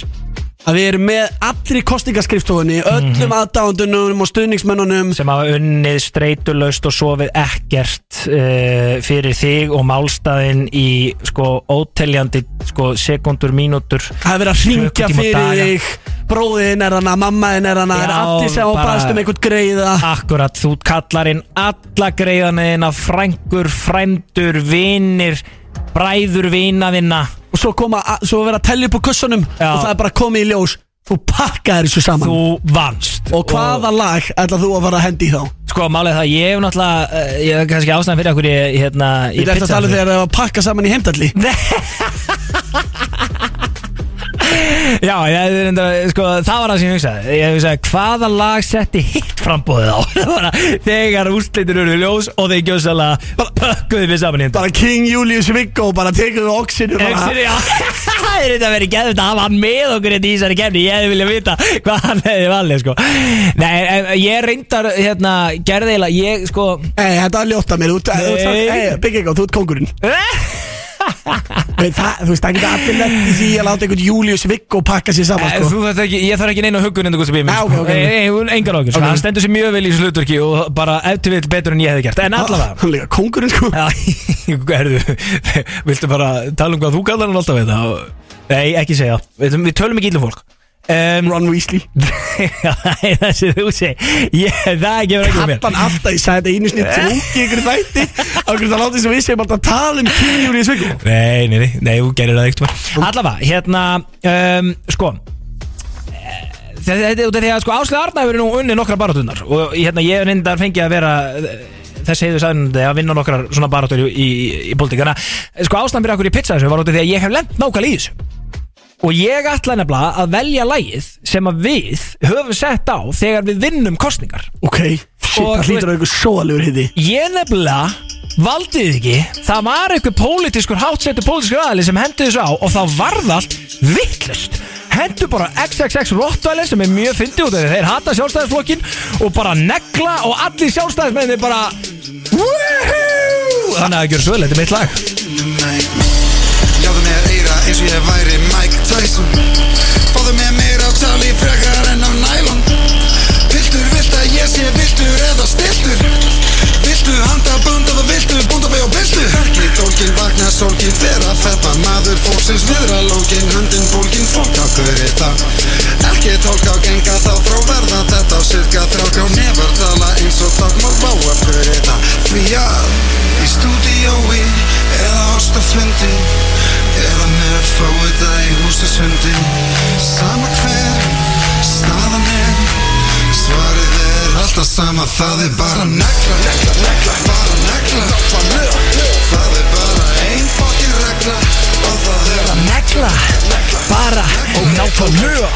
Speaker 6: að við erum með allri kostingaskrifstofunni
Speaker 2: Mhm.
Speaker 6: öllum mm aðdáðundunum og stuðningsmönnunum
Speaker 2: sem hafa unnið streytulaust og sofið ekkert uh, fyrir þig og málstæðin í sko óteljandi sko sekundur, mínútur
Speaker 6: Það er verið að hringja
Speaker 2: Klukkutíma
Speaker 6: fyrir
Speaker 2: daga.
Speaker 6: þig Bróðin er hana, mammaðin er hana er
Speaker 2: Já,
Speaker 6: Allir sem
Speaker 2: bara-
Speaker 6: ábaðast um einhvern greiða
Speaker 2: Akkurat, þú kallar inn alla greiðanina, frængur, frændur, vinir, bræður, vinaðina
Speaker 6: Og svo, koma, að- svo verið að tella upp úr kussunum
Speaker 2: Já.
Speaker 6: Og það er bara komið í ljós Þú pakkaðir þessu saman
Speaker 2: Þú vannst
Speaker 6: Og hvaða lag ætlað þú að fara að hendi í þá?
Speaker 2: Sko, málið er það, ég hef náttúrulega, eh, ég hef kannski ástæðan fyrir okkur ég, hérna, ég
Speaker 6: Þetta er að tala um þegar það var að pakka saman í heimdalli
Speaker 2: Já, ég, reynda, sko, það var það sem ég hugsaði Ég hugsaði hvaða lag setti hitt frambóðið á [laughs] Það var að Þegar úrslitur eru ljós og þeir gjósalega bara pökkuðu við saman hérna
Speaker 6: bara King Julius Viggo bara tekur við oxinu bara-
Speaker 2: Exit, já [laughs] Það er þetta verið geðvægt að hafa hann með okkur hérna í þessari kemni Ég hefði viljað vita hvað hann hefði valið sko. Nei, en ég reyndar hérna, gerði eiginlega Ég sko
Speaker 6: Nei, þetta er ljótt að mér, þú- þú ert
Speaker 2: Nei.
Speaker 6: hey, Byggegó, þú ert kongurinn
Speaker 2: Eh?
Speaker 6: Nei, það, Þú veist, það geta allir lett í því að láta einhvern Julius Viggo pakka sér saman
Speaker 2: Eh,
Speaker 6: sko.
Speaker 2: Þú þarft ekki, ég þarf ekki neina huggun enda Gusti Bími sko.
Speaker 6: Ah, ok, ok.
Speaker 2: Engar okkur, sko.
Speaker 6: Ok.
Speaker 2: hann stendur sér mjög vel í þessu hlutverki Og bara eftir við betur en ég hefði gert En allavega
Speaker 6: Ah, Hann er líka kongurinn sko
Speaker 2: Já, [laughs] herðu, viltu bara tala um hvað þú kallar hann alltaf við það? Nei, ekki segja, við, við tölum ekki ílum fólk um,
Speaker 6: Ron Weasley
Speaker 2: [laughs] Nei, það sem þú segir, ég, það gefur ekki um mér
Speaker 6: Kappan alltaf, ég sagði þetta einu snið trúki ykkur þætti Af hverju það láta þess að við séum alltaf að tala um King Julius Viggo
Speaker 2: Nei, nei, nei, nei, þú gerir það ekkert Allavega, hérna, um, sko Þetta þetta er út af því að sko Áslega Arna hefur nú unnið nokkra barátunar Og hérna, ég er reyndar fengið að vera eh, Þess heiðu sæðandi að vinna nokkrar svona barátur í, í, í politík Þannig að sko ástæðan fyrir okkur í pizza þessu var út af því að ég hef lent nákvæmlega í þessu Og ég ætla nefnilega að velja lægið sem að við höfum sett á þegar við vinnum kostningar
Speaker 6: Ok, shit,
Speaker 2: Og
Speaker 6: það
Speaker 2: þú
Speaker 6: hlýtur á einhver sóalegur hitti
Speaker 2: Ég nefnilega valdið þið ekki það var einhver pólitískur hátsettur pólitískur aðli sem hendi þessu á og þá varð allt vittlust hendu bara XXX Rottweiler sem er mjög fyndi út af því þeir hata sjálfstæðisflokkin og bara negla og allir sjálfstæðismenni bara Woohoo! þannig að það gjör svo vel, þetta er mitt lag
Speaker 11: Ljáðu mér eira eins og ég væri Mike Tyson Fáðu mér meira á tali frekar en á nælon Viltur, vilt að ég sé viltur eða stiltur Viltu handa band eða viltu búnda með og viltu Bergi tólkin vakna sólkin þeirra fetta Maður fólksins viðra lókin Höndin bólkin fólk á hverju það Ekki tólk á genga þá frá verða þetta Sirka þrák á nefur tala eins og tákmál Vá af hverju það Því að í stúdíói eða ástafundi Eða með fóita í húsasundi Sama hver, staðan er Svarið er alltaf sama, það er bara negla Negla, negla, bara negla Það er bara ein fokkin regla Og það er að
Speaker 2: negla bara og nákvæmlega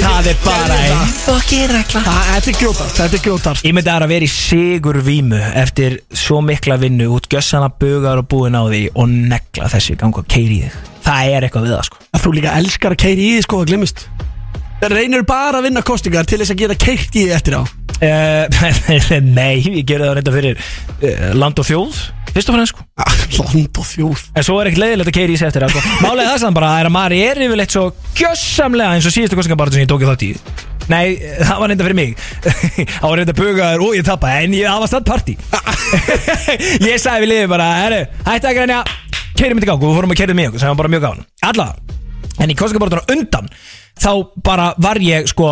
Speaker 2: það er bara einn
Speaker 6: Fucking regla Þetta er grjótart, þetta er grjótart
Speaker 2: Ég myndi að það er að vera í sigur vímu eftir svo mikla vinnu út gjössana bugar og búin á því og negla þessi gang og keiri þig það er eitthvað við það sko
Speaker 6: Þú líka elskar að keiri í því sko að glemist Reynir bara að vinna kostingar til þess að geta keirt í því eftir á
Speaker 2: uh, [laughs] Nei, ég gerði það reynda fyrir uh, land og þjóð Fyrst og fremst sko
Speaker 6: Ah, Land og þjóð
Speaker 2: En svo er ekkert leiðilegt að keiri í sig eftir það, sko. Málega það sem bara er að maður er yfirleitt svo gjössamlega eins og síðustu kostningabartu sem ég tók í þátt í Nei, það var reynda fyrir mig [laughs] Það var reynda bugaður og ég tappa En ég, það var statt partí [laughs] Ég sagði við liðið bara "Herru, Hætti að grænja, keirum þetta í gang Og við fórum að keirið með okkur, það var bara mjög gáðan Alla En í kostningabartuna undan Þá bara var ég sko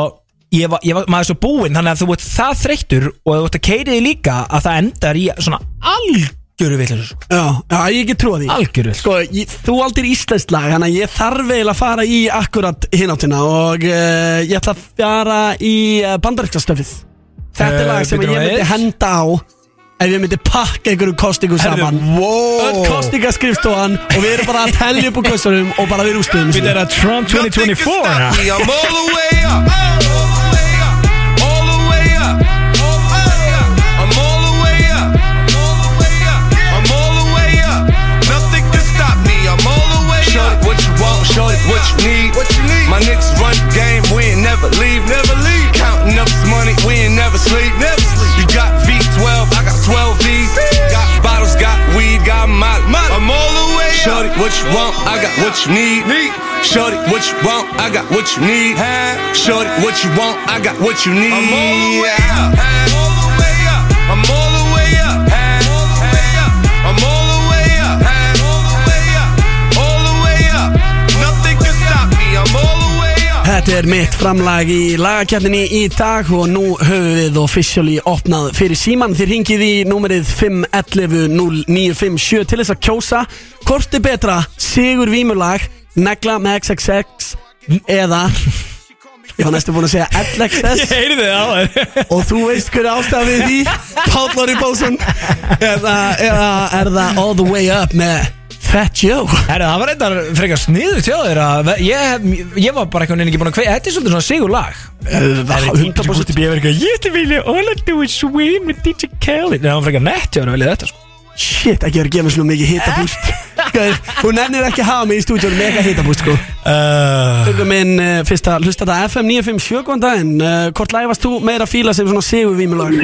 Speaker 2: Ég var, ég var, maður er svo búinn, þannig að þú ert það þreyttur og þú ert að keirið þig líka að það endar í svona algjöru sko. villur
Speaker 6: Já, já, ég get trúa því
Speaker 2: Algjöru
Speaker 6: Sko, ég, þú aldrei íslenskt lag Þannig að ég þarf eiginlega að fara í akkurat hináttina Og uh, ég ætla að fara í uh, bandaríkstastöfið Þetta
Speaker 2: Eh,
Speaker 6: er lag sem
Speaker 2: bíddu
Speaker 6: ég myndi
Speaker 2: aðeins.
Speaker 6: henda á Ef ég myndi pakka einhverju kostingu
Speaker 2: Herðu,
Speaker 6: saman
Speaker 2: wow.
Speaker 6: Öll kostingaskrifstofan Og við erum bara að tellja upp úr kostunum Og bara við rústum
Speaker 2: Við erum að Trump 2024 eða?
Speaker 11: Me, I'm all the way up All the way up I'm all the way up I'm all the way up Nothing can stop me, I'm all the way up Short what you want, short what you need What you need My niggas run the game, we ain't never leave Never leave Counting up this money, we ain't never sleep Never sleep You got V12, I got 12 V's Got bottles, got weed, got molly I'm all the way up Shorty, what you want, I got what you need Shorty, what you want, I got what you need Shorty, what you want, I got what you need I'm all the way up I'm all the way up. I'm all the way up. All the way up. Nothing can stop me. I'm all the way up.
Speaker 6: Þetta er mitt framlag í lagakjarninni í dag og nú höfum við officially opnað fyrir síman. Þér hingið í númerið 511-0957 til þess að kjósa hvort er betra Sigur Vímulag, Negla með XXX eða ég var næstu búin að segja [laughs] LXS
Speaker 2: heyrði það á þér
Speaker 6: og þú veist hverju ástæða við því Páll Lóri Bósson eða, eða er það All The Way Up með Fat Joe
Speaker 2: Herra, það var reyndar frekar sniður til þér að ég, ég var bara einhvern veginn ekki búin að kveða Þetta er svolítið svona sigur lag
Speaker 6: Það er 100%
Speaker 2: bíða verið eitthvað Ég til vilja all I do is swim with DJ Kelly Nei, það var frekar nett hjá hann að velja þetta sko
Speaker 6: Shit, ekki verið að gefa mér svona mikið [laughs] hitabúst Hún nennir ekki að hafa mig í stúdíónu með eitthvað hitabúst sko
Speaker 2: uh,
Speaker 6: Tökum minn uh, fyrst að hlusta þetta FM 957 góðan daginn uh, Hvort lag varst þú meira að fíla sem svona sigur vímulag?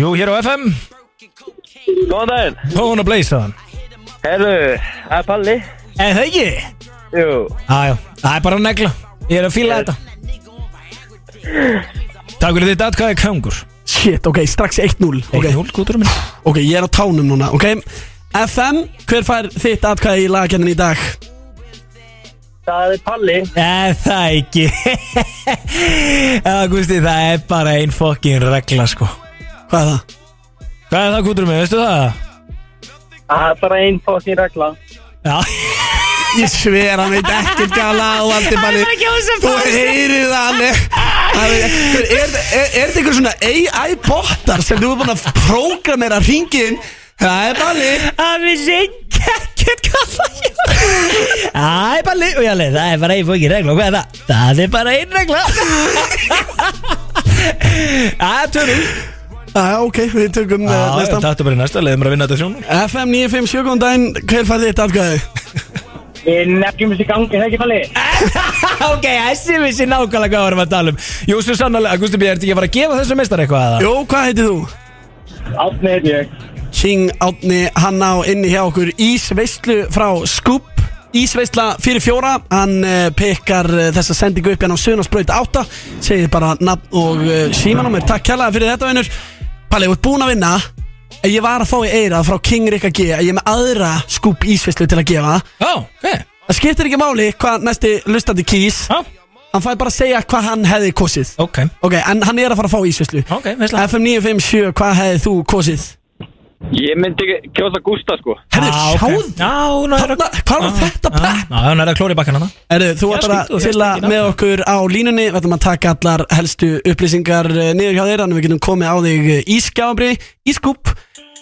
Speaker 2: Jú, hér á FM
Speaker 4: Góðan daginn
Speaker 2: Póðan að bleysa þann
Speaker 4: Herru, það er Palli
Speaker 2: En það ekki
Speaker 4: Jú
Speaker 2: Æjá, það er bara að negla Ég er að fíla þetta Takk fyrir þitt atkvæði kangur
Speaker 6: Shit, ok, strax 1-0
Speaker 2: Eitt
Speaker 6: okay.
Speaker 2: hól, kúturum minn
Speaker 6: ok, ég er á tánum núna Ok, FM, hver fær þitt atkvæði í lagakjarnin í dag?
Speaker 4: Það er Palli
Speaker 2: Nei, Eh, það ekki [laughs] Já, Gusti, það er bara ein fokkin regla, sko
Speaker 6: Hvað er það?
Speaker 2: Hvað er það, kútur mig, veistu það?
Speaker 4: Það er bara einn fókin regla
Speaker 2: Já,
Speaker 6: Ég sver hann veit ekkert gala og allt er bara Þú heyrir það alveg Það Er er- er- er þetta einhver svona AI-bottar sem þú er búin að prógramera hringin? Það er balli
Speaker 2: það vissi ekkert hvað það er Það er bara lið og ég alveg, það er bara ein fokkin regla og hvað er það? [laughs] Það er bara ein regla Það er törnum
Speaker 6: Já, ok, við tökum
Speaker 2: Ah, Já,
Speaker 6: uh,
Speaker 2: já,
Speaker 6: næsta
Speaker 2: Þetta er bara í næsta, leiðum við að vinna þetta þjónum
Speaker 6: FM 957, góðan daginn, hver fær þitt atkvæði?
Speaker 4: Við nefnum þessi gangi, það ekki falli
Speaker 2: Ok, þessi vissi nákvæmlega hvað við erum að tala um Jú, svo sannlega, Gusti B, ertu ekki að fara að gefa þessu meistar eitthvað eða?
Speaker 6: Jó, hvað heitir þú?
Speaker 4: Átni heit ég
Speaker 6: King Átni, hann á inni hjá okkur Ísveislu frá Scoop Ísveisla fyrir fjóra Hann uh, pekar uh, þessa sendingu upp hérna á Sunarsbraut 8 Segir bara nafn og uh, símanúmer Takk kærlega fyrir þetta vinnur Palli, þú ert búinn að vinna En Ég var að fá í eirað frá King Rikka G að Ég er með aðra Scoop Ísveislu til að gefa
Speaker 2: oh, okay.
Speaker 6: Það skiptir ekki máli hvað næsti lustandi kýs
Speaker 2: oh.
Speaker 6: Hann fær bara að segja hvað hann hefði kosið
Speaker 2: okay.
Speaker 6: En hann er að fara að fá Ísveislu
Speaker 2: okay,
Speaker 6: FM 957, hvað hefði þú kosið?
Speaker 12: Ég myndi ekki kjósa Gústa sko
Speaker 6: Herðu,
Speaker 2: ah,
Speaker 6: Eh, sjáðu
Speaker 2: Þarna,
Speaker 6: hvað var þetta
Speaker 2: prep? Ah, Já, hann er að klóra í bakkan hana
Speaker 6: Erðu, þú
Speaker 2: Já, sko,
Speaker 6: ætlar
Speaker 2: skildu,
Speaker 6: að
Speaker 2: þú
Speaker 6: fylla
Speaker 2: fékkst ekki
Speaker 6: með okkur á línunni Við ætlum að taka allar helstu upplýsingar eh, niður hjá þeir Þannig að við getum komið á þig eh, í skjáabri, í skúp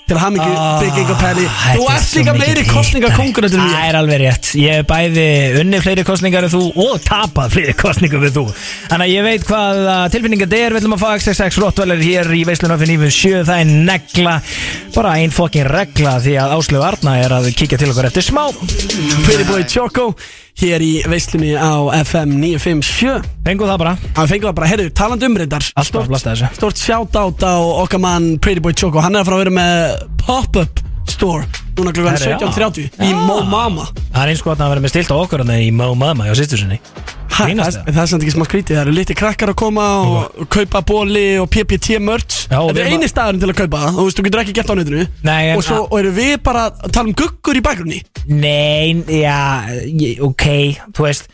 Speaker 6: Til hamingju, ah, bygging og pæli Þú ert líka meiri kostninga konkurrentur
Speaker 2: Það er alveg rétt Ég hef bæði unni fleiri kostningar en þú og tapað fleiri kostningar en þú Þannig að ég veit hvað tilfinninga þetta er Við ætlum að fá XXX Rottweiler hér í veislunum fyrir nýfum sjö Það er negla, bara ein fokkin regla því að Áslöf Arna er að kíkja til okkur eftir smá
Speaker 6: Fyrirbúi Tjókó Hér í veislunni á FM 957
Speaker 2: Fengu það bara
Speaker 6: Það fengu það bara, um herru, taland umrindar
Speaker 2: að blasta þessu.
Speaker 6: Stort shoutout á okkar mann Pretty Boy Choco Hann er að fara að vera með pop-up store Núna klukkan
Speaker 2: Herru, já.
Speaker 6: 17.30 Í Mo Mama
Speaker 2: Það er eins og að vera með stilt á okkur en það í Mo Mama hjá sýstur sinni
Speaker 6: Ha, það,
Speaker 2: Grínast
Speaker 6: það er samt ekki smá skrítið, það eru litli krakkar að koma og kaupa bóli og PPT merch
Speaker 2: Já, og
Speaker 6: Þetta
Speaker 2: við
Speaker 6: er
Speaker 2: erum
Speaker 6: eini staðurinn til að kaupa það, þú veist, þú getur ekki gett á netinu
Speaker 2: Nei, en-
Speaker 6: og, svo, og eru við bara að tala um guggur í bakgrunni
Speaker 2: Nei, já, ég- ok, þú [laughs] veist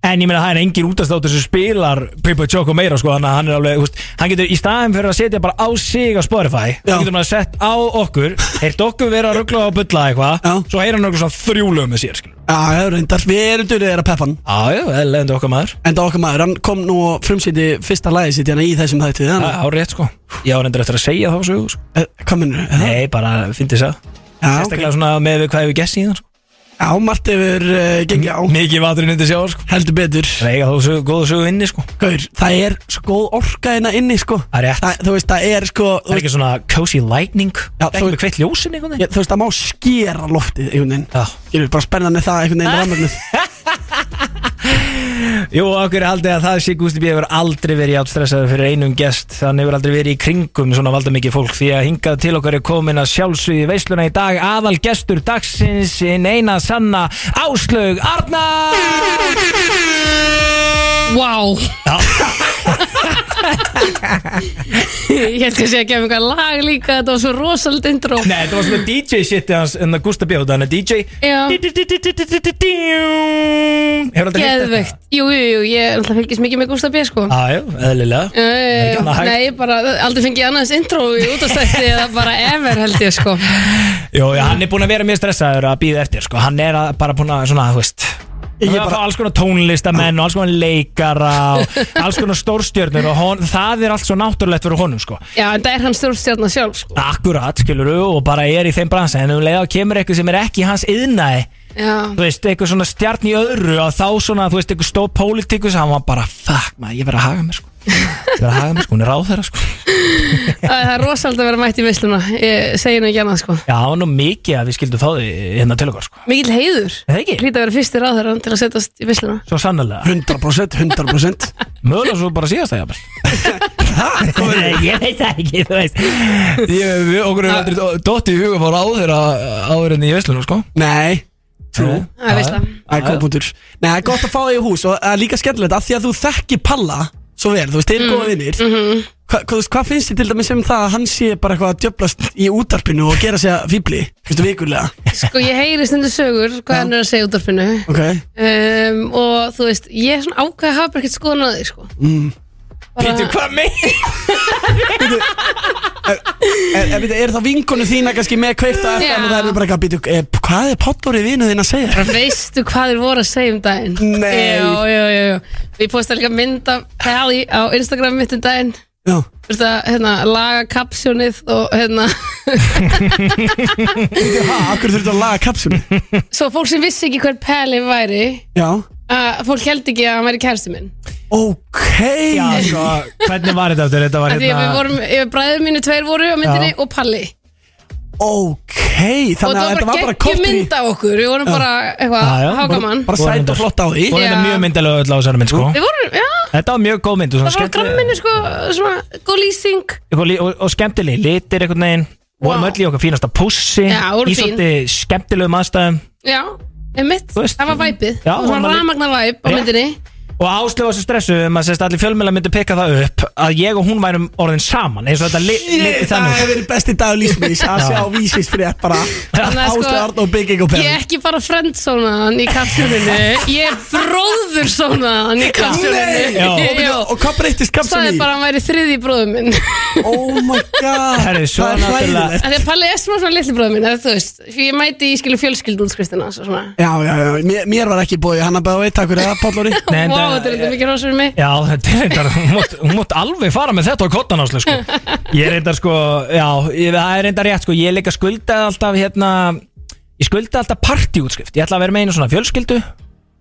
Speaker 2: En ég meina það er engin útastáttur sem spilar Pippa Choco meira sko Þannig að hann er alveg, þú veist, hann getur í staðin fyrir að setja bara á sig á Spotify Já. Hann getur bara sett á okkur Heyrt okkur vera að ruggla og bulla eitthvað Svo heyra hann okkur svona þrjúlum með sér skilur.
Speaker 6: Já, já, reyndar, við erum dyrið þeirra peppan
Speaker 2: Já, já, eða okkar maður
Speaker 6: Enda okkar maður, hann kom nú og frumsýtti fyrsta lagi sitt hérna í þessum þætti Eh,
Speaker 2: Það er árið sko Ég á reyndur eftir að segja þá sögu sko.
Speaker 6: Hvað minnur?
Speaker 2: Nei, bara fyndi þess að Sérstaklega svona með við hvað hefur gessið í það sko.
Speaker 6: Já, margt hefur uh, gengið á
Speaker 2: Mikið vaturinn undir sjá sko.
Speaker 6: Heldur betur
Speaker 2: Reyga þá sögu, góðu sögu inni sko
Speaker 6: Gaur, það er sko góð orka hérna inni sko
Speaker 2: Það er rétt
Speaker 6: það, Þú veist, það er sko
Speaker 2: Það er ekki svona cozy lightning
Speaker 6: Já,
Speaker 2: Það er ekki með kveitt ljósin einhvern
Speaker 6: Ég, þú veist, það má skera loftið einhvern veginn Ég er bara spennan með það einhvern veginn rannarnið
Speaker 2: veginn Jú, okkur haldið að það sé Gústi B. hefur aldrei verið átstressaður fyrir einum gest Hann hefur aldrei verið í kringum svona valda mikið fólk Því að hingað til okkar er komin að sjálfsögði veisluna í dag Aðal gestur dagsins inn eina sanna Áslaug Arna
Speaker 3: Wow Ég held kannski að gefa einhver lag líka Þetta var svo rosald intro
Speaker 2: Nei, þetta var svona DJ shitið hans en það Gústi B. Þannig að DJ
Speaker 3: Já
Speaker 2: Hefur aldrei heyrt þetta?
Speaker 3: Geðveikt Jú, jú, jú, ég náttúrulega fylgist mikið með Gústa B sko
Speaker 2: Já, já, eðlilega
Speaker 3: Eh,
Speaker 2: ekki annað hægt.
Speaker 3: Nei, ég bara aldrei fengið annars intro í útastætti eða bara ever held ég sko
Speaker 2: Jú, já, hann er búin að vera mjög stressaður að býða eftir sko. Hann er að, bara búin að, svona, þú veist Ég er að fá alls konar tónlistamenn og alls konar leikara og alls konar stórstjörnur og hon, það er allt svo náttúrulegt fyrir honum sko.
Speaker 3: Já, en það er hann stjórnstjárna sjálf sko
Speaker 2: Akkurat, skilur og bara er í þeim bransa en um leið og kemur eitthvað sem er ekki í hans yðnaði
Speaker 3: Já
Speaker 2: þú veist, eitthvað svona stjarn í öðru og þá svona, þú veist, eitthvað stór pólitíkus hann var bara, fuck maður, ég verð að haga mér sko. ég verð að haga mér, sko, hún er ráð þeirra sko.
Speaker 3: Æ, Það er rosald að vera mætt í veisluna Ég segi nú ekki annað sko
Speaker 2: Já, það var nú mikið að við skildum þá því hérna til okkar sko.
Speaker 3: Mikill heiður
Speaker 2: Það ekki?
Speaker 3: Hlýta að vera fyrstir á þeirra til að setjast í veisluna
Speaker 2: Svo sannlega
Speaker 6: 100% 100%
Speaker 2: Mögulega svo bara síðast það [laughs] jafnvel Ég veit það ekki, þú veist ég, við, Okkur hefur aldrei dotti í huga fóra áður áður enn í Veslunum, sko
Speaker 6: Nei Trú
Speaker 3: Það er veisla
Speaker 6: Það er góðbúndur Nei, það er gott að fá þig í hús og það er líka skemmtilegt að því að þú þekki Palla svo vel, þú veist, þeir eru góða vinnir Hva- hvað- þú veist, Hvað finnst þið til dæmis um það að hann sé bara eitthvað að djöblast í útarpinu og gera sig að fýbli, þú veist, vikurlega
Speaker 3: Sko ég heyri stundu sögur hvað hann er að segja út af finnu
Speaker 6: Ok
Speaker 3: um, Og þú veist, ég er svona ákveð að hafa bara ekkert skoðan á því
Speaker 6: [laughs]
Speaker 3: sko
Speaker 6: mm.
Speaker 3: Bara- Bíddu,
Speaker 2: hvað með?
Speaker 6: Er, er, er, er það vinkonu þína kannski með kveikt á FM
Speaker 3: Já.
Speaker 6: og það eru bara eitthvað að býta Hvað er pottórið vinu þín að segja?
Speaker 3: Veistu hvað þeir voru að segja um daginn?
Speaker 6: Nei.
Speaker 3: Jú, jú, jú, jú. Ég posta líka mynd af Pally á Instagram mitt um daginn
Speaker 6: Já
Speaker 3: Þú veist að hérna, laga kapsjónið og hérna [laughs]
Speaker 6: Akkur þurftu að laga kapsum
Speaker 3: Svo fólk sem vissi ekki hver Pally væri
Speaker 6: Já
Speaker 3: að Fólk held ekki að hann væri kærsti minn
Speaker 6: Ok
Speaker 2: Já,
Speaker 3: sko.
Speaker 2: svo, hvernig var þetta aftur? Þetta var
Speaker 3: Því að við
Speaker 2: hérna
Speaker 3: vorum, ég- bræður mínu tveir voru á myndinni og Palli
Speaker 6: Ok,
Speaker 3: og
Speaker 6: þannig
Speaker 3: það
Speaker 6: að þetta
Speaker 3: var
Speaker 6: var
Speaker 3: bara
Speaker 6: bara
Speaker 3: geggjum
Speaker 6: kortri
Speaker 3: mynd af okkur Við vorum bara eitthvað hágaman
Speaker 6: Bara sæt og flott á því.
Speaker 2: Voru þetta
Speaker 3: Já.
Speaker 2: mjög myndalega öll á þessari mynd sko
Speaker 3: Við vorum, já,
Speaker 2: Þetta var mjög góð mynd og
Speaker 3: það
Speaker 2: svona
Speaker 3: var gramminu sko Svona góð lýsing
Speaker 2: eitthvað lí- og, og skemmtileg litir einhvern veginn vorum öll í okkar fínasta pussi
Speaker 3: Já,
Speaker 2: í
Speaker 3: voru fín.
Speaker 2: svolítið skemmtilegum aðstæðum
Speaker 3: Já, einmitt, það var væpið
Speaker 2: Já, hún
Speaker 3: Svona
Speaker 2: var-
Speaker 3: ramagnar væp á
Speaker 2: Rétt.
Speaker 3: myndinni
Speaker 2: og Áslöf var svo stressuð um að sérst allir fjölmjöla myndi peka það upp að ég og hún værum orðin saman eins og þetta li, liti
Speaker 6: Það
Speaker 2: þannig
Speaker 6: hefur verið besti dag lífsmiðis að
Speaker 2: Já.
Speaker 6: sjá vísisfrétt bara
Speaker 3: Þannig að sko-
Speaker 6: Áslega Arn og Big Ego
Speaker 3: Ég
Speaker 6: Penn
Speaker 3: er ekki bara friendzónaðan í kapsjóninu Ég er bróðursónaðan í
Speaker 6: Nei!
Speaker 3: kapsjóninu
Speaker 6: Já. Og byrju, og hvað breyttist kapsjón
Speaker 3: Sæði
Speaker 6: í?
Speaker 3: bara að hann væri þriði bróður
Speaker 2: [laughs]
Speaker 3: minn
Speaker 6: Oh my god
Speaker 2: Herri, svo
Speaker 6: Það er
Speaker 2: náttúrulega-
Speaker 6: hræðilegt.
Speaker 3: Þegar Palli er svona svona litli bróður minn eða þú veist, Því ég mæti í skilu fjölskyldu útskriftina svo svona.
Speaker 6: Já, já, já, mér, mér var ekki bóið hann að bæða veit, takk fyrir það, Pállóri
Speaker 3: [laughs]
Speaker 2: Nei, en eh,
Speaker 3: Vá,
Speaker 2: það-
Speaker 3: þetta er þetta mikið rósur mig
Speaker 2: Já, þetta er reyndar, hún mátt, hún mátt alveg fara með þetta á kottan áslöf sko. Ég er reyndar sko, já, ég, það er reyndar rétt sko, ég er líka skuldaði alltaf hérna, ég skuldaði alltaf partíútskrift, ég ætla að vera með einu svona fjölskyldu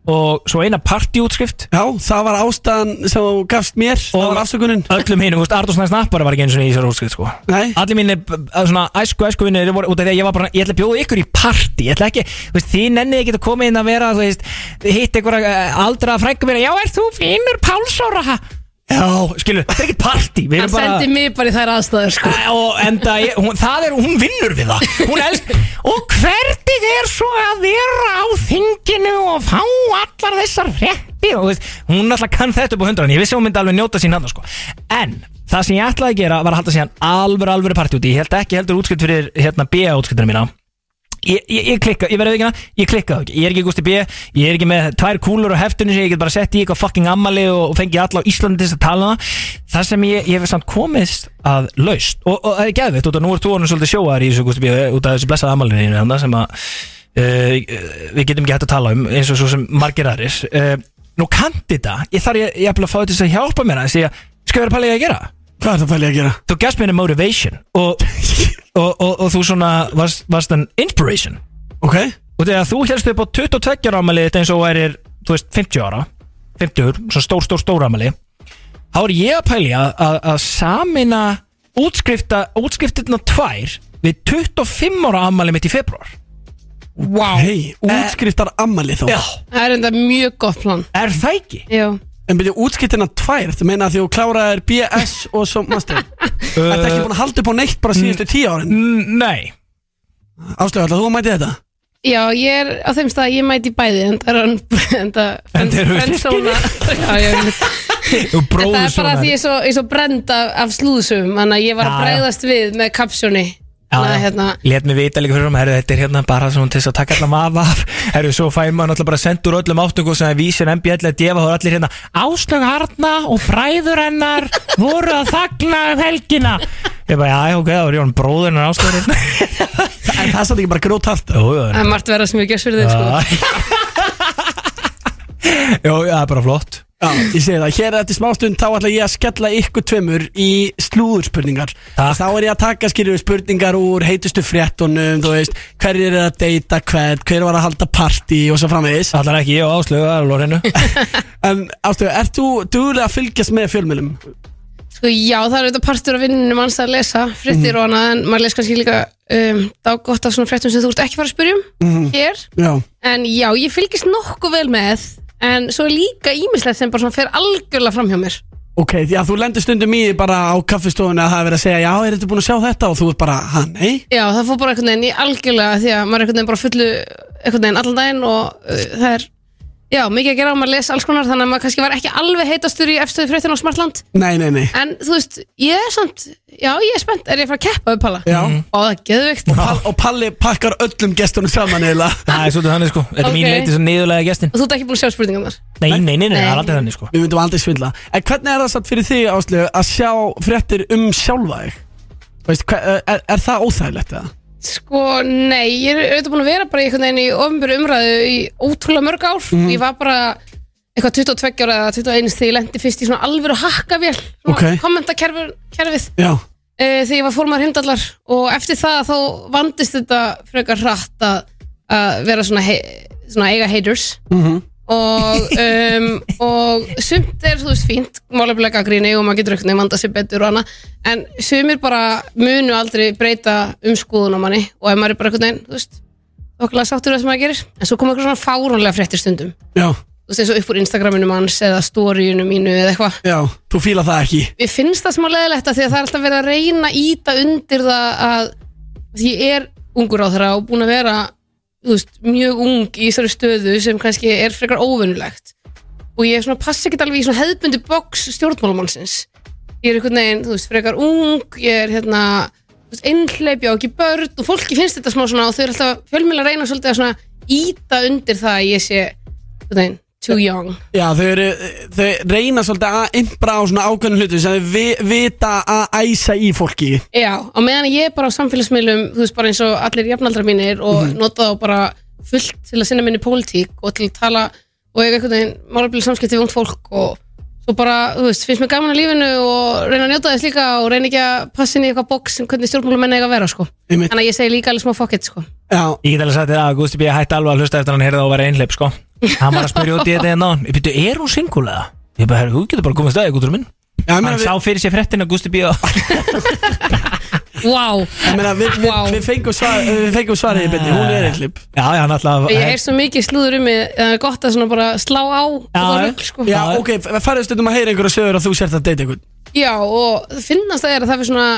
Speaker 2: og svo eina partíútskrift
Speaker 6: Já, það var ástæðan sem þú gafst mér, það var afsökunin
Speaker 2: Öllum hinum, þú veist, Artur Snæði Snappara var ekki eins og í þessari útskrift sko
Speaker 6: Nei.
Speaker 2: Allir mínir b- að svona æsku, æsku vinnir voru út af því að ég var bara Ég ætla að bjóða ykkur í partí, ég ætla ekki Þú veist, þið nennið ekki að koma inn að vera, þú veist Hitt eh, ykkur aldra frængu mér Já, ert þú finnur Pálsóra? Já, skilu, þetta er ekki partí Við
Speaker 3: Hann
Speaker 2: erum bara
Speaker 3: sendi mig bara í þær aðstæður sko.
Speaker 2: Æ, og enda, ég, hún, það er, hún vinnur við það hún elsk og hvernig er svo að vera á þinginu og fá allar þessar fréttir og þú veist, hún alltaf kann þetta upp á hundran ég vissi að hún myndi alveg njóta sín hann sko. en það sem ég ætlaði að gera var að halda síðan alvöru, alvöru partí úti, ég held ekki heldur útskipt fyrir hérna B.A. útskiptina mína Ég, ég, ég klikka, ég verði ekki hana, ég klikkaði ekki Ég er ekki Gusti B, ég er ekki með tvær kúlur á heftinu sem ég get bara sett í eitthvað fucking ammali og, og fengi alla á Íslandi til þess að tala um það Það sem ég, ég hef samt komist að laust og, og það er geðvitt, út af nú er tónum svolítið sjóaðar í þessu Gusti B út af þessu blessað ammalinu þínu þarna sem að uh, við getum ekki hægt að tala um eins og svo sem margir aðrir uh, Nú kanti þetta, ég þarf ég, ég að fá þetta til að hjálpa mér að því að sko, skal vera pælið að gera
Speaker 6: Hvað er það fælið að gera?
Speaker 2: Þú gafst mér motivation og, og, og, og þú svona varst, varst an inspiration
Speaker 6: Ok,
Speaker 2: Og þegar þú helst upp á 22 ára ámæli þetta eins og værir, þú veist, 50 ára 50, svona stór, stór, stór ámæli Þá er ég að pælja að, að samina útskrifta, útskriftirna tvær við 25 ára ámæli mitt í februar
Speaker 3: Vá
Speaker 6: hei, útskriftar ammali þá
Speaker 2: Eh, Já,
Speaker 3: Það er enda mjög gott plan
Speaker 2: er það ekki?
Speaker 3: Jú.
Speaker 6: En byrju útskriftina tvær, þú meina að því þú kláraðir BS og svo [laughs] master Mm. Þetta ekki búin að halda upp á neitt bara síðustu tíu árin
Speaker 2: Eh, N- Nei
Speaker 6: Áslega, ætlaðu þú að mæti þetta?
Speaker 3: Já, ég er á þeim stað að ég mæti í bæði En það er hann En
Speaker 2: En þeir
Speaker 3: það
Speaker 2: eru [laughs]
Speaker 3: Já, já, einmitt.
Speaker 2: Þú
Speaker 3: En [laughs] það
Speaker 2: bróður
Speaker 3: er bara því
Speaker 2: því
Speaker 3: ég er svo, ég er svo brend af, af slúðsum Þannig að ég var
Speaker 2: Já,
Speaker 3: að
Speaker 2: já.
Speaker 3: bregðast við með kapsjóni Þannig að hérna
Speaker 2: Let mig vita líka fyrir um, herru, þetta er hérna bara svona til þess að taka allan vafa af [laughs] Herru, svo fær maður náttúrulega bara sendur öllum áttungu sem er vísir MBL að djefa og allir hérna Áslög Arna og bræður hennar voru að þagna um helgina Ég bara, já, ok, það var Jón bróður hennar áslögur hérna [laughs]
Speaker 6: Það er satt ekki bara grótart
Speaker 2: Jú, jú,
Speaker 3: Það er margt vera sem ég gjörs fyrir þig sko.
Speaker 2: já. Jú, það er bara flott
Speaker 6: Já, ég segi það, hér eftir smástund þá ætla ég að skella ykkur tveimur í slúðurspurningar
Speaker 2: Takk.
Speaker 6: Þá er ég að taka skilur spurningar úr heitustu fréttunum, þú veist Hverjir er að deyta hvern, hver var að halda partí og svo framvegis
Speaker 2: Allar ekki ég og áslög, það er lórinu
Speaker 6: En ástöðu, ert þú dugulega að fylgjast með fjölmjölum?
Speaker 3: Sko, já, það er auðvitað partur af vinninu manns að lesa
Speaker 2: Mhm.
Speaker 3: fréttir og annað En maður les kannski líka um, dágótt af svona fréttum sem þú ert ekki fara að spyrja um
Speaker 2: Mhm.
Speaker 3: Hér
Speaker 6: Já
Speaker 3: En já, ég fylgist nokkuð vel með En svo er líka ímislegt sem bara svona fer algjörlega fram hjá mér
Speaker 6: Ok, því að þú lendur stundum í því bara á kaffistofunni að það er verið að segja Já, er þetta búin að sjá þetta? Og þú er bara, ha, nei
Speaker 3: Já, það fór bara einhvern veginn í algjörlega því að maður er einhvern veginn bara fullu einhvern veginn allan daginn og uh, það er já, mikið að gera og maður les alls konar þannig að maður kannski var ekki alveg heitastur í efstöðu fréttina á Smartland
Speaker 6: Nei, nei, nei
Speaker 3: en þú veist, ég er samt já, ég er spennt, er ég að fara að keppa við Palla?
Speaker 6: Já.
Speaker 3: og það er geðveikt
Speaker 6: Pall, Og Palli pakkar öllum gestunum saman eiginlega
Speaker 2: [laughs] Það er svolítið þannig sko, þetta er mín
Speaker 3: Ok.
Speaker 2: leiti sem niðurlega gestin
Speaker 3: og þú ert ekki búin að sjá spurningarnar
Speaker 2: Nei, nei, nei, nei, það er
Speaker 3: Nei.
Speaker 2: aldrei þannig sko
Speaker 6: Við myndum aldrei svindla En hvernig er það satt fyrir þig áslögu að sjá fréttir um sjálfa þig? Veist, hva, eh, er, er það óþægilegt eða?
Speaker 3: Sko, nei, ég er auðvitað búin að vera bara í einhvern veginn í ofnbjörn umræðu í ótrúlega mörg ár
Speaker 6: Mm.
Speaker 3: Ég var bara eitthvað 22 ára eða 21 þegar ég lendi fyrst í svona alvöru hakkavél svona
Speaker 6: Ok.
Speaker 3: kommentakerfið
Speaker 6: Já,
Speaker 3: uh, þegar ég var fórmaður heimdallar og eftir það þá vandist þetta frekar hratt að, að vera svona, hei, svona eiga haters
Speaker 6: mm -hmm.
Speaker 3: og, um, og sumt er er, þú veist, fínt málefnilega gaggrinni og maður getur auknir vanda sér betur og annað, en sumir bara munu aldrei breyta umskoðun á manni og ef maður er bara einhvern veginn, þú veist okkurlega sáttur við það sem maður gerir en svo koma eitthvað svona fáránlega fréttir stundum
Speaker 6: Já,
Speaker 3: þú veist, eins og upp úr Instagraminu manns eða storyinu mínu eða eitthvað
Speaker 6: já, þú fíla það ekki
Speaker 3: Mér finnst það smá leðilegt að því að það er alltaf verið að reyna að íta undir það að því ég er ungur á þeirra og búin að vera þú veist, mjög ung í þessari stöðu sem kannski er frekar óvinnulegt og ég svona passa ekkert alveg í svona hefðbundi box stjórnmálamannsins ég er einhvern veginn, þú veist, frekar ung ég er hérna, þú veist, einhleip ég á ekki börn og fólki finnst þetta smá svona og þau eru alltaf fjölmjöla að reyna svolítið að svona íta undir það að ég sé, einhvern veginn, too young
Speaker 6: Já, þau, eru, þau reyna svolítið að impra á svona ákveðnum hlutu sem þau vi- vita að æsa í fólki
Speaker 3: Já, á meðan ég er bara á samfélagsmiðlum þú veist bara eins og allir jafnaldra mínir og
Speaker 6: Mhm.
Speaker 3: nota þá bara fullt til að sinna minni pólitík og til að tala og eiga einhvern veginn málefnileg samskipti við ungt fólk og svo bara, þú veist, finnst mér gaman að lífinu og reyna að njóta þess líka og reyna ekki að passa inn í eitthvað box um hvernig stjórnmálamenn eiga að vera sko.
Speaker 6: Einmitt.
Speaker 3: Þannig að ég segi líka alveg smá fokket sko.
Speaker 6: Já.
Speaker 2: Ég get alveg sagt þér að Gusti B. hætti alveg að hlusta eftir að hann heyrði á að vera einhleip sko Hann var að spyrja út í þetta en á hann Ég byrju, er hún singulega? Ég bara, herru, þú getur bara komið stæði, Guðrún minn
Speaker 6: Já,
Speaker 2: Hann sá fyrir sér frettin að Gusti B.
Speaker 3: Wow.
Speaker 6: Meina, við, við, við fengum svar, við fengum svarið í byrni, hún er einhleip
Speaker 2: Já, já, hann alltaf
Speaker 3: Ég er svo mikið slúður um mig það er gott að svona bara slá á og rugl, sko.
Speaker 6: Já, ok, farið stundum að heyra einhverja sögur að þú sért að deyta einhvern
Speaker 3: Já, og finnast það er að það er svona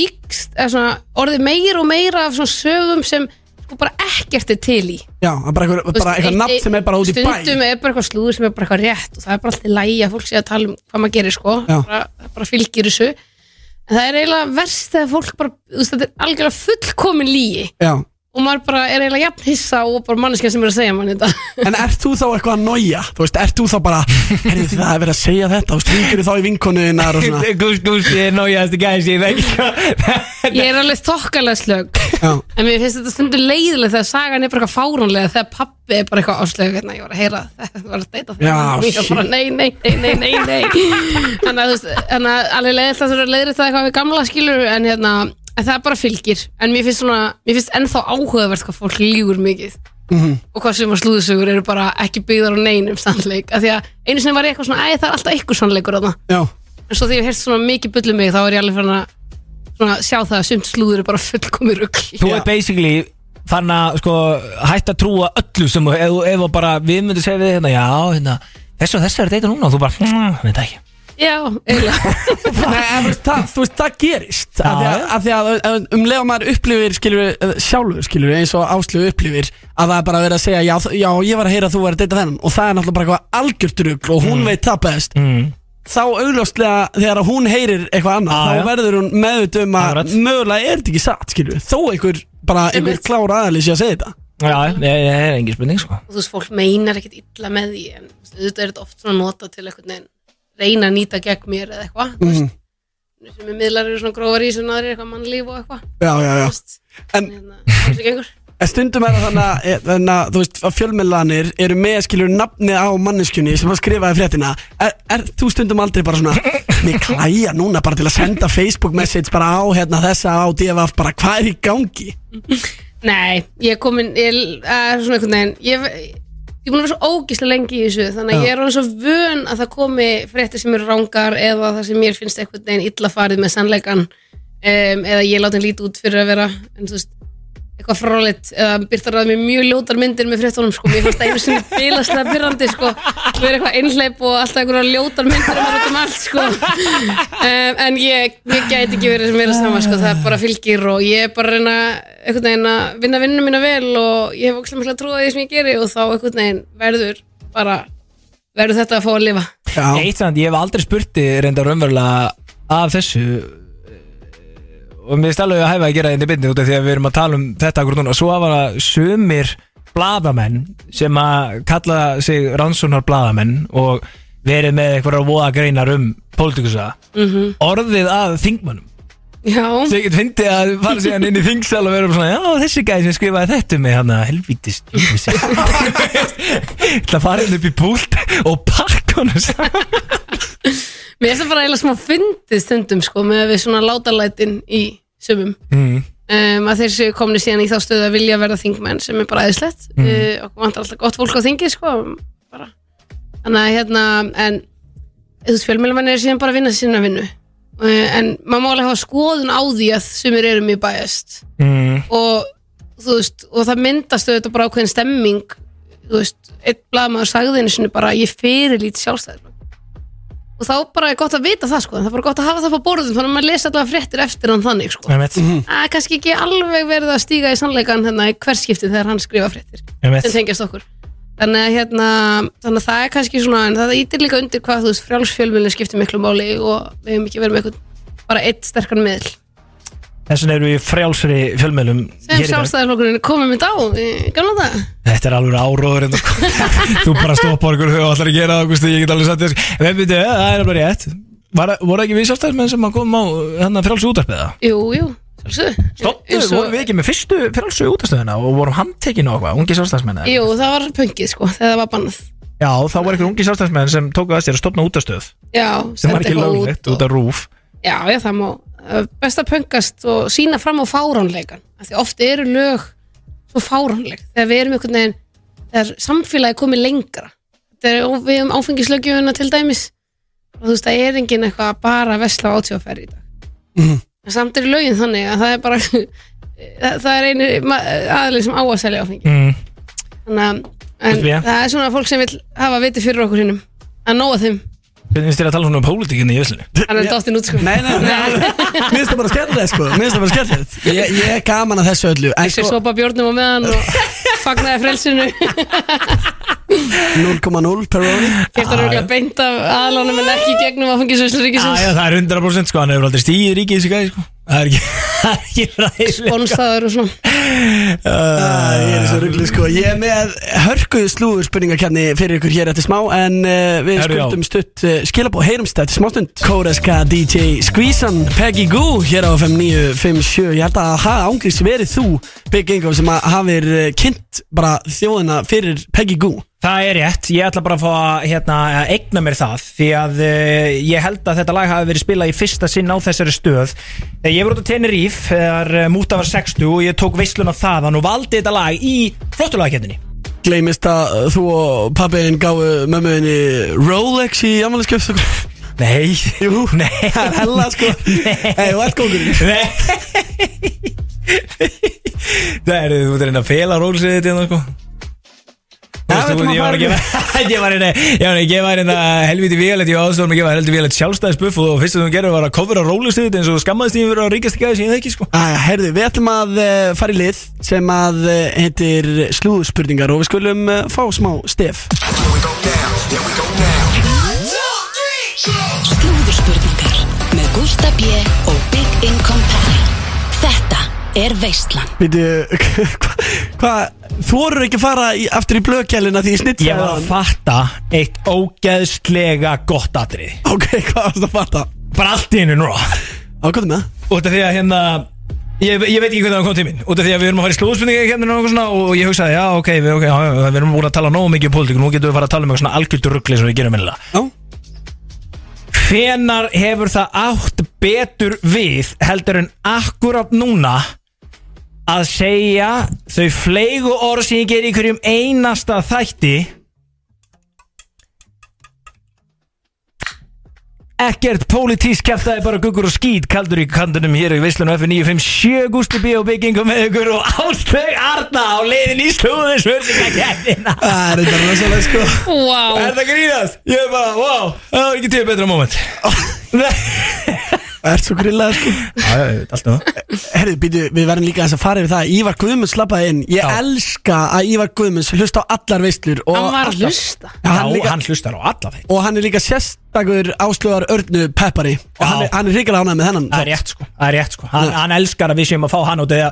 Speaker 3: ykst, eða svona orðið meira og meira af svona sögum sem sko bara ekkert er til í
Speaker 6: Já, það er bara einhver-
Speaker 3: Þú
Speaker 6: bara
Speaker 3: veist,
Speaker 6: eitthvað
Speaker 3: eitt-
Speaker 6: nafn sem er bara út í bæ
Speaker 3: Stundum er bara eitthvað slúður sem er bara eitthvað rétt og það er bara alltaf lægi að fólk sé að tala um hvað maður gerir sko,
Speaker 6: Já.
Speaker 3: bara, það bara fylgir þessu en það er eiginlega verst þegar fólk bara, þú veist, þetta er algjörlega fullkomin lígi
Speaker 6: Já,
Speaker 3: og maður bara er eiginlega jafn hissa og bara manneskja sem er að segja manni þetta [laughs]
Speaker 6: en ert þú þá eitthvað að nója? Þú veist, ert þú þá bara, heyrðu það er verið að segja þetta og stringur þá í vinkonuðinnar
Speaker 2: [laughs]
Speaker 3: [laughs]
Speaker 6: og svona
Speaker 2: Gúst, gúst, ég er nájaðast í gæðis, ég veit sko.
Speaker 3: Ég er alveg þokkalega slög En mér finnst þetta stundu leiðilega þegar sagan er bara eitthvað fáránlega Þegar pappi er bara eitthvað áslega Hérna, ég var að heyra þetta, var að deyta
Speaker 9: Já,
Speaker 3: þetta Ég var bara,
Speaker 9: shit.
Speaker 3: nei, nei, nei, nei, nei, nei Þannig að, þú veist, þannig að alveg leiðilega það þurfa að leiðri þetta eitthvað við gamla skilur En hérna, en það bara fylgir En mér finnst svona, mér finnst ennþá áhugavert hvað fólk lígur mikið
Speaker 9: Mhm.
Speaker 3: og hvað sem að slúðusugur eru bara ekki byggðar á neinum sannleik af því að einu sinni var ég eitthvað svona æ, það er alltaf ykkur sannleikur þarna
Speaker 6: Já.
Speaker 3: en svo því ég hef heyrt svona mikið bullum mig þá er ég alveg fann að svona, sjá það að sumt slúður er bara fullkomi
Speaker 2: [laughs]
Speaker 3: rugli
Speaker 2: Þú er basically fann að sko, hætta að trúa öllu sem ef, ef að bara við myndum segja við þig, hérna, já, hérna, þessu og þessu er að deyta núna og þú bara, "Mm, veit það ekki
Speaker 3: Já, eiginlega
Speaker 6: Nei, en þú veist, það, þú veist, það gerist af því að, af því að ef- um leið og maður upplifir skilur við, eh, sjálfur skilur við, eins og áslöfu upplifir að það er bara verið að segja já, þ- já, ég var að heyra að þú var að deyta þennan og það er náttúrulega bara eitthvað algjört rugl og hún veit það best
Speaker 2: mm.
Speaker 6: þá augljóslega þegar að hún heyrir eitthvað annað
Speaker 2: Já,
Speaker 6: þá
Speaker 2: já.
Speaker 6: verður hún meðut um að mögulega er þetta ekki satt skilur við, þó einhver bara einhver klára aðalins ég að segja þetta
Speaker 2: Já, það er engin spurning sko
Speaker 3: [laughs] og þú veist, fólk meinar ekkit illa með því en þú veist, auðvitað er þetta oft svona nota til einhvern veginn reyna að nýta gegn mér eða eitthvað
Speaker 6: mm.
Speaker 3: sem er miðlar eru svona grófar í sem aðrir eitthvað mannlíf og eitthvað
Speaker 6: Já, já, já En
Speaker 3: það er gengur
Speaker 6: En stundum er það þannig að, eh, þannig að þú veist, að fjölmjölanir eru með skilur nafnið á manneskunni sem að skrifaði fréttina er, er þú stundum aldrei bara svona mig klæja núna bara til að senda Facebook message bara á hérna þessa á DFF bara hvað er í gangi?
Speaker 3: Nei, ég er komin ég er svona einhvern veginn ég, ég er búin að vera svo ógíslega lengi í þessu þannig að
Speaker 6: Já.
Speaker 3: ég er alveg svo vön að það komi fréttir sem eru rángar eða það sem mér finnst einhvern veginn illa farið með sannleikan um, eða ég láti hann líti út fyrir að vera en þú veist, eitthvað fráleitt eða byrtar að mér mjög ljótar myndir með fréttunum sko, mér finnst það einu sinni bilaslega byrrandi sko, við erum eitthvað einhleip og alltaf einhverja ljótar myndir um allt um allt sko um, en ég, ég gæti ekki verið sem meira sama sko, það bara fylgir og ég er bara að reyna einhvern veginn að vinna vinnum mína vel og ég hef ókslega mikla trúið því sem ég geri og þá einhvern veginn verður bara verður þetta að fá að lifa
Speaker 2: Eitt samt, ég hef aldrei spurti reynda raunverulega af þessu eh, og mér finnst alveg að hæfa að gera þetta í byrni út af því að við erum að tala um þetta akkur núna svo hafa sumir bladamenn sem að kalla sig rannsónar bladamenn og verið með einhverjar voða greinar um pólitikusa
Speaker 9: Mhm.
Speaker 2: orðið að þingmannum
Speaker 3: Já
Speaker 2: Svo ég get fyndið að fara síðan inn í þingsal og vera bara svona, já þessi gæði sem skrifaði þetta um með hann að helvítist [laughs] Það farið upp í púlt og pakka hann saman
Speaker 3: mér finnst það bara eiginlega smá fyndið stundum sko með að við svona látalætin í sumum
Speaker 2: mm.
Speaker 3: um, að þeir séu komni síðan í þá stöðu að vilja verða þingmenn sem er bara aðeinslegt
Speaker 2: Mhm.
Speaker 3: mm. uh, okkur vantar alltaf gott fólk á þingi sko bara. þannig að hérna en þú veist, fjölmjölmenn er síðan bara að vinna sína vinnu Eh, en maður má alveg hafa skoðun á því að sumir eru mjög bæjast
Speaker 2: Mm.
Speaker 3: og þú veist, og það myndast auðvitað bara ákveðin stemming þú veist, einn blaðmaður sagði einu sinni bara ég fyrirlít sjálfstæður og þá bara er gott að vita það sko en það er bara gott að hafa það på borðum þannig að maður lesa allavega fréttir eftir hann þannig sko
Speaker 2: Einmitt.
Speaker 3: það er kannski ekki alveg verið að stíga í sannleikan hérna í hverskipti þegar hann skrifa fréttir
Speaker 2: Einmitt.
Speaker 3: sem tengjast okkur þannig að, hérna, þannig að það er kannski svona en það ítir líka undir hvað þú veist frjálsfjölmjölu skiptir miklu máli og við hefum ekki verið með eitthvað bara eitt sterkan miðl
Speaker 2: Þess vegna eru við í frjálsri fjölmjölum
Speaker 3: sem sjálfstæðarflokkurinn komið mynd á í gamla dag
Speaker 2: Þetta er alveg áróður en
Speaker 3: [laughs]
Speaker 2: sko. Þú bara stoppa okkur og allar að gera það Gústi, Ég get alveg sagt þér sko. En veitu, það er alveg rétt Var, voru ekki við sjálfstæðismenn sem að koma á hérna frjálsu útarpið það?
Speaker 3: jú, jú, sjálfsögðu
Speaker 2: Stoppu,
Speaker 3: Eins og-
Speaker 2: vorum við ekki með fyrstu frjálsu útarstöðuna og vorum handtekinu og eitthvað, ungi sjálfstæðismenn eða?
Speaker 3: jú, það var pöngið sko þegar það var bannað
Speaker 2: Já, þá var eitthvað ungi sjálfstæðismenn sem tók að sér að stopna útarstöð
Speaker 3: já,
Speaker 2: sem var ekki
Speaker 3: sendi eitthvað út
Speaker 2: löglegt út af rúf
Speaker 3: Já, já, það má eh, best að pöngast og sína fram á fáránleikan af því oft eru lög svo fáránleik þegar við erum einhvern veginn þegar samfélagi komið lengra þegar við erum áfengislögjöfuna til dæmis og þú veist, það er enginn eitthvað að bara vesla á átjóferð í dag en samt er lögin þannig að það er bara [laughs] það það er einu aðlið sem á að selja áfengi
Speaker 2: mm.
Speaker 3: þannig að en,
Speaker 2: Veist við?
Speaker 3: það er svona fólk sem vil hafa viti fyrir okkur hinnum að nóa þeim,
Speaker 2: Hvernig finnst þér að tala svona um pólitíkinni í Íslandi?
Speaker 3: hann er dottin út sko
Speaker 6: Nei, nei, nei, mér finnst það bara skemmtilegt sko Mér finnst það bara skemmtilegt ég, ég er gaman að þessu öllu En
Speaker 3: Ég
Speaker 6: sko,
Speaker 3: svopa bjórnum á meðan
Speaker 6: [laughs]
Speaker 3: og fagnaði frelsinu
Speaker 6: 0,0 per róni
Speaker 3: Keftar örgulega beint af aðlánum en ekki gegnum áfengisvöslu
Speaker 2: Ah, já,
Speaker 3: ríkisins
Speaker 2: það er 100% sko, hann hefur aldrei stíð ríkið þessi gæði sko Það er ekki, [laughs] það er ekki ræðilega
Speaker 3: Sponsaður og svona
Speaker 6: Uh, ég er svo ruggli sko Ég er með hörku slúður spurningakerni fyrir ykkur hér eftir smá En uh, við
Speaker 2: Herru, já.
Speaker 6: skuldum stutt uh, skilabó Heyrumst þetta smá stund Kóreska DJ Skvísan Peggy Goo Hér á 5957 Ég held að hafa ángriðs verið þú Big Ingo sem að hafir uh, kynnt bara þjóðina fyrir Peggy Goo
Speaker 2: Það er rétt, ég ætla bara að fá að hérna, að eigna mér það því að uh, ég held að þetta lag hafi verið spilað í fyrsta sinn á þessari stöð Þegar ég var út á Teneríf þegar uh, Múta var 60 og ég tók veisluna þaðan og valdi þetta lag í flottulagaketinni
Speaker 6: Gleimist að uh, þú og pappiðin gáu mömmuðinni Rolex í afmælisgjöf
Speaker 2: Nei,
Speaker 6: [laughs] Jú,
Speaker 2: nei
Speaker 6: það er hella
Speaker 2: [laughs]
Speaker 6: sko Nei, þú ert kókurinn
Speaker 2: Nei Það er, þú ert að reyna að fela rólsið þetta hérna, sko Þú
Speaker 6: Já,
Speaker 2: veist, þú-
Speaker 6: við ætlum að
Speaker 2: Ég var
Speaker 6: fara
Speaker 2: að gefa [laughs] ég var að ég var að gefa hérna helviti vélætt ég ástofum að gefa helviti vélætt sjálfstæðisbuff og fyrst sem þú gerði var að kofra rólustuðið eins og þú skammaðist því fyrir að ríkast ekki aðeins ég ekki sko
Speaker 6: Æja, herðu, Ah, við ætlum að uh, fara í lið sem að uh, heitir slúðspurningar og við skulum uh, fá smá stef
Speaker 5: Slúðurspurningar með Gústa B. og Big Income Pally. Þetta er veislan.
Speaker 6: Veitu, [laughs] hvað, hva, þú voru ekki að fara í, aftur í blökjælina því ég snittraði
Speaker 2: Ég var að fatta eitt ógeðslega gott atrið
Speaker 6: Ok, [laughs] hvað varst að fatta?
Speaker 2: Bara allt í hennu núna
Speaker 6: Á, hvað er með?
Speaker 2: Út af því að hérna Ég, ég veit ekki hvernig það kom til mín Út af því að við erum að fara í slúðspurningi hérna og, eitthvað svona, og ég hugsaði, já ok, við, okay já, já, við erum búin að tala nógu mikið um pólitíku Nú getum við að fara að tala um eitthvað svona algjöldur ruggli sem við gerum minnilega
Speaker 6: Já
Speaker 2: Hvenar hefur það átt betur við heldur en akkurat núna að segja þau fleigu orð sem ég ger í hverjum einasta þætti Ekkert pólitísk kæftaði bara guggur og skýt kaldur í kandunum hér í Veislunum F957 Gústi B og Byggingum með ykkur og Áslaug Arna á leiðin í slúðin svörðinga kæftina
Speaker 6: Það er þetta rosalega sko
Speaker 3: Vá,
Speaker 2: Er það grínast? Ég er bara, wow, það var ekki til betra moment
Speaker 6: Það er svo grillað sko
Speaker 2: Já, já, allt um það
Speaker 6: Herðu, býtu, við verðum líka aðeins að fara yfir það Ívar Guðmunds slappaði inn Ég
Speaker 2: Já.
Speaker 6: elska að Ívar Guðmunds hlusta á allar veislur og
Speaker 3: hann var að
Speaker 6: alltaf-
Speaker 3: hlusta
Speaker 6: Já, hann
Speaker 2: Já,
Speaker 6: líka-
Speaker 2: hann hlustar á alla þeim
Speaker 6: Og hann er líka sérstakur áslöðar örnu peppari Og hann er, hann er hrikalega ánægð með hennan
Speaker 2: Það er rétt sko, það er rétt sko Hann, hann elskar að við séum að fá hann út eða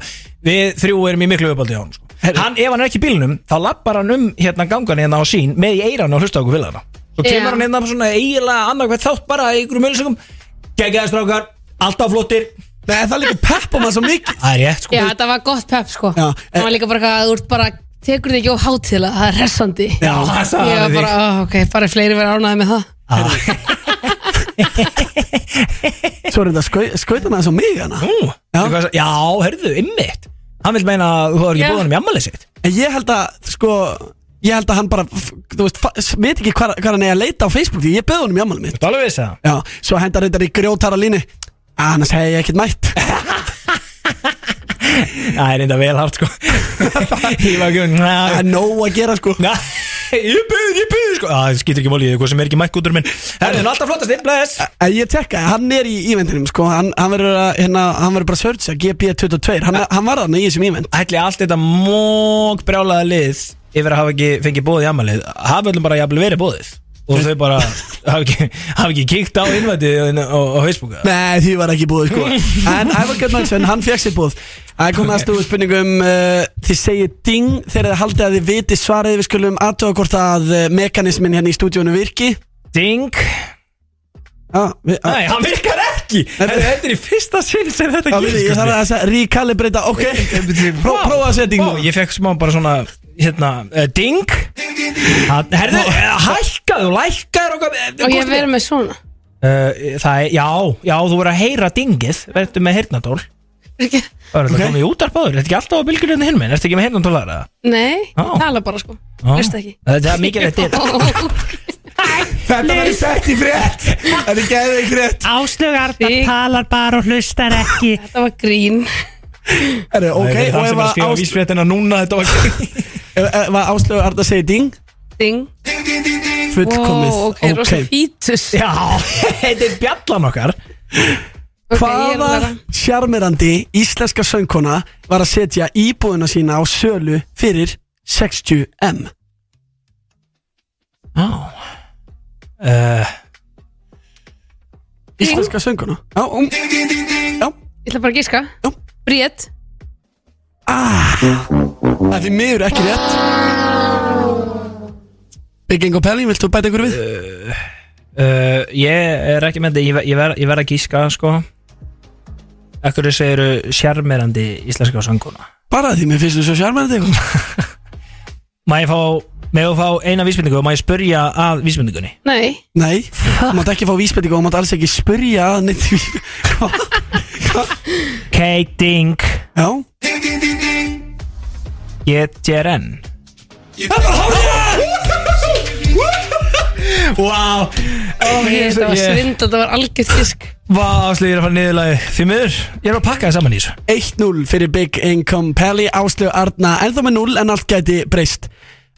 Speaker 2: við þrjú erum í miklu uppaldi á hann sko
Speaker 6: Herri.
Speaker 2: hann, Ef hann er ekki í bílnum, þá lappar hann um hérna gangan hérna á sín með í eiran og hlusta okkur vilja hana Svo kemur
Speaker 3: Já.
Speaker 2: hann hérna svona eiginlega annarkvæmt þátt bara í ykkur mjölusingum Gægjaði strákar, alltaf flottir
Speaker 6: Nei, það líka peppa maður svo mikið
Speaker 2: Það er rétt sko
Speaker 3: Já, þetta var gott pepp sko
Speaker 6: Já,
Speaker 3: Það var líka bara eitthvað að þú ert bara tekur þig ekki á hátilega, það er hressandi
Speaker 2: Já, það sagði
Speaker 3: Ég
Speaker 2: hann
Speaker 3: var
Speaker 2: við
Speaker 3: bara,
Speaker 2: þig.
Speaker 3: "Ah, ok, bara fleiri verið ánæði með það
Speaker 6: Svo er þetta skau- skautan aðeins á mig hana
Speaker 2: Nú,
Speaker 6: Já.
Speaker 2: eitthvað svo- Já, hörðu, ymmit Hann vil meina að þú hefur ekki
Speaker 3: Já.
Speaker 2: búið hann um jammalið sitt
Speaker 6: En ég held að, sko Ég held að hann bara, f- þú veist, fa- s- veit ekki hvað, hvað hann er að leita á Facebook Því ég beði honum í ammálið mitt
Speaker 2: Þú alveg vissi það?
Speaker 6: Já, svo hendar reyndar í grjótara línu Ah, Annars hef ég ekkert mætt
Speaker 2: Það er reynda vel [laughs] hart sko Ég var ekki Það
Speaker 6: er nóg að gera sko
Speaker 2: Ég byrði, ég byrði sko Það skýtur ekki mólið, eitthvað sem er ekki mækkutur minn Herðu, hann er alltaf flottast, bless
Speaker 6: Eh, Ég tekka, hann er í íventinum sko Hann, hann verður að- hérna, hann verður bara að searcha GB22 Hann, hann var þarna í þessum ívent
Speaker 2: Ætli allt þetta mók brjálaða lið Yfir að hafa ekki fengið bóðið í ammalið Hafa öllum bara jafnvel verið bóðið Og þau bara hafa ekki, hafa ekki kíkt á innvætið á, á Facebooka
Speaker 6: Nei, því var ekki búið sko
Speaker 2: [laughs]
Speaker 6: En Ævar Gjarnarsson, hann fekk sér búið Það er komið að stúðu spurningum uh, Þið segir ding þegar þið haldið að þið viti svarið Við skulum aðtöða hvort að eh, mekanismin hérna í stúdíónu virki
Speaker 2: Ding
Speaker 6: ah, við, ah.
Speaker 2: Nei, hann virkar ekki Herðu, Þetta er í fyrsta sinn sem þetta sko.
Speaker 6: Ah, við, Ég þarf að þess að recalibrata, ok Pró, Prófa að segja ding
Speaker 2: Ó, ég fekk smá bara svona hérna, uh, ding Ha- Herðu, eh, hækkaðu, lækkaðu og hvað-
Speaker 3: Og ég verið með svona
Speaker 2: Eh, Það er, já, já, þú voru að heyra dingið Verður með heyrnatól Það er alltaf okay. komið í útarpaður, þetta er ekki alltaf á bylgjurinn hinn minn, ertu ekki með heyrnatól aðra?
Speaker 3: Nei,
Speaker 2: Á.
Speaker 3: tala bara sko
Speaker 2: Á.
Speaker 3: Veist ekki
Speaker 2: Eh, Það er mikið þetta er
Speaker 6: Þetta var sett í frétt Þetta er gæðið í frétt
Speaker 9: Áslög Arna talar bara og hlustar ekki
Speaker 2: [laughs]
Speaker 3: Þetta var grín
Speaker 6: Heru, Ok,
Speaker 2: Það er
Speaker 6: og
Speaker 2: það
Speaker 6: ef
Speaker 2: sem er að
Speaker 6: að
Speaker 2: skrifa
Speaker 6: Ás-
Speaker 2: vísfréttina núna þetta var
Speaker 6: [laughs] ef- ef að Áslögu Arda segir ding
Speaker 3: Ding
Speaker 6: Fullkomið,
Speaker 3: Ó, Ok, rosa
Speaker 6: ok.
Speaker 3: fítus
Speaker 2: Já, [laughs] þetta er bjallan okkar
Speaker 6: Hvaða sjarmirandi íslenska söngkona var að setja íbúðuna sína á sölu fyrir 60M?
Speaker 2: Já uh,
Speaker 6: Íslenska söngkona? Já, um,
Speaker 3: Ég ætla bara að gíska Briett
Speaker 6: það er því miður ekki rétt. Bygging og Pelli, viltu bæta ykkur við?
Speaker 2: uh, Ég er ekki með þetta, ég, ver- ég verð ver að gíska sko Ekkur segiru sjarmerandi íslenska sönguna
Speaker 6: Bara því, mér finnst þú svo sjarmirandi eitthvað.
Speaker 2: Má ég fá, má ég fá eina vísbendingu og má ég spurja að vísbendingunni
Speaker 3: Nei
Speaker 6: Nei, þú mátt ekki fá vísbendingu og þú mátt alls ekki spyrja að neitt [laughs] vísbendingu.
Speaker 2: K-Ding
Speaker 6: Já
Speaker 2: J-J-N Vá
Speaker 3: Ó, ég- Þetta var svind, þetta var algjörð gísk
Speaker 2: Vá, Áslu, ég er að fara niðurlagi Því miður, ég er að pakka það saman í þessu
Speaker 6: 1-0 fyrir Big Income Pelli, Áslögu Arna, ennþá með 0 en allt gæti breyst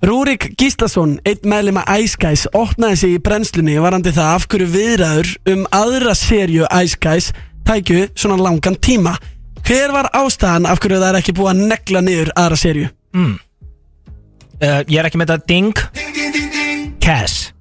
Speaker 6: Rúrik Gíslason, einn meðlum að Ice Guys opnaði sig í brennslunni varandi það af hverju viðræður um aðra serju Ice Guys tækju svona langan tíma Hver var ástæðan af hverju það er ekki búið að negla niður aðra serju?
Speaker 2: mm. uh, Ég er ekki með þetta Ding Cass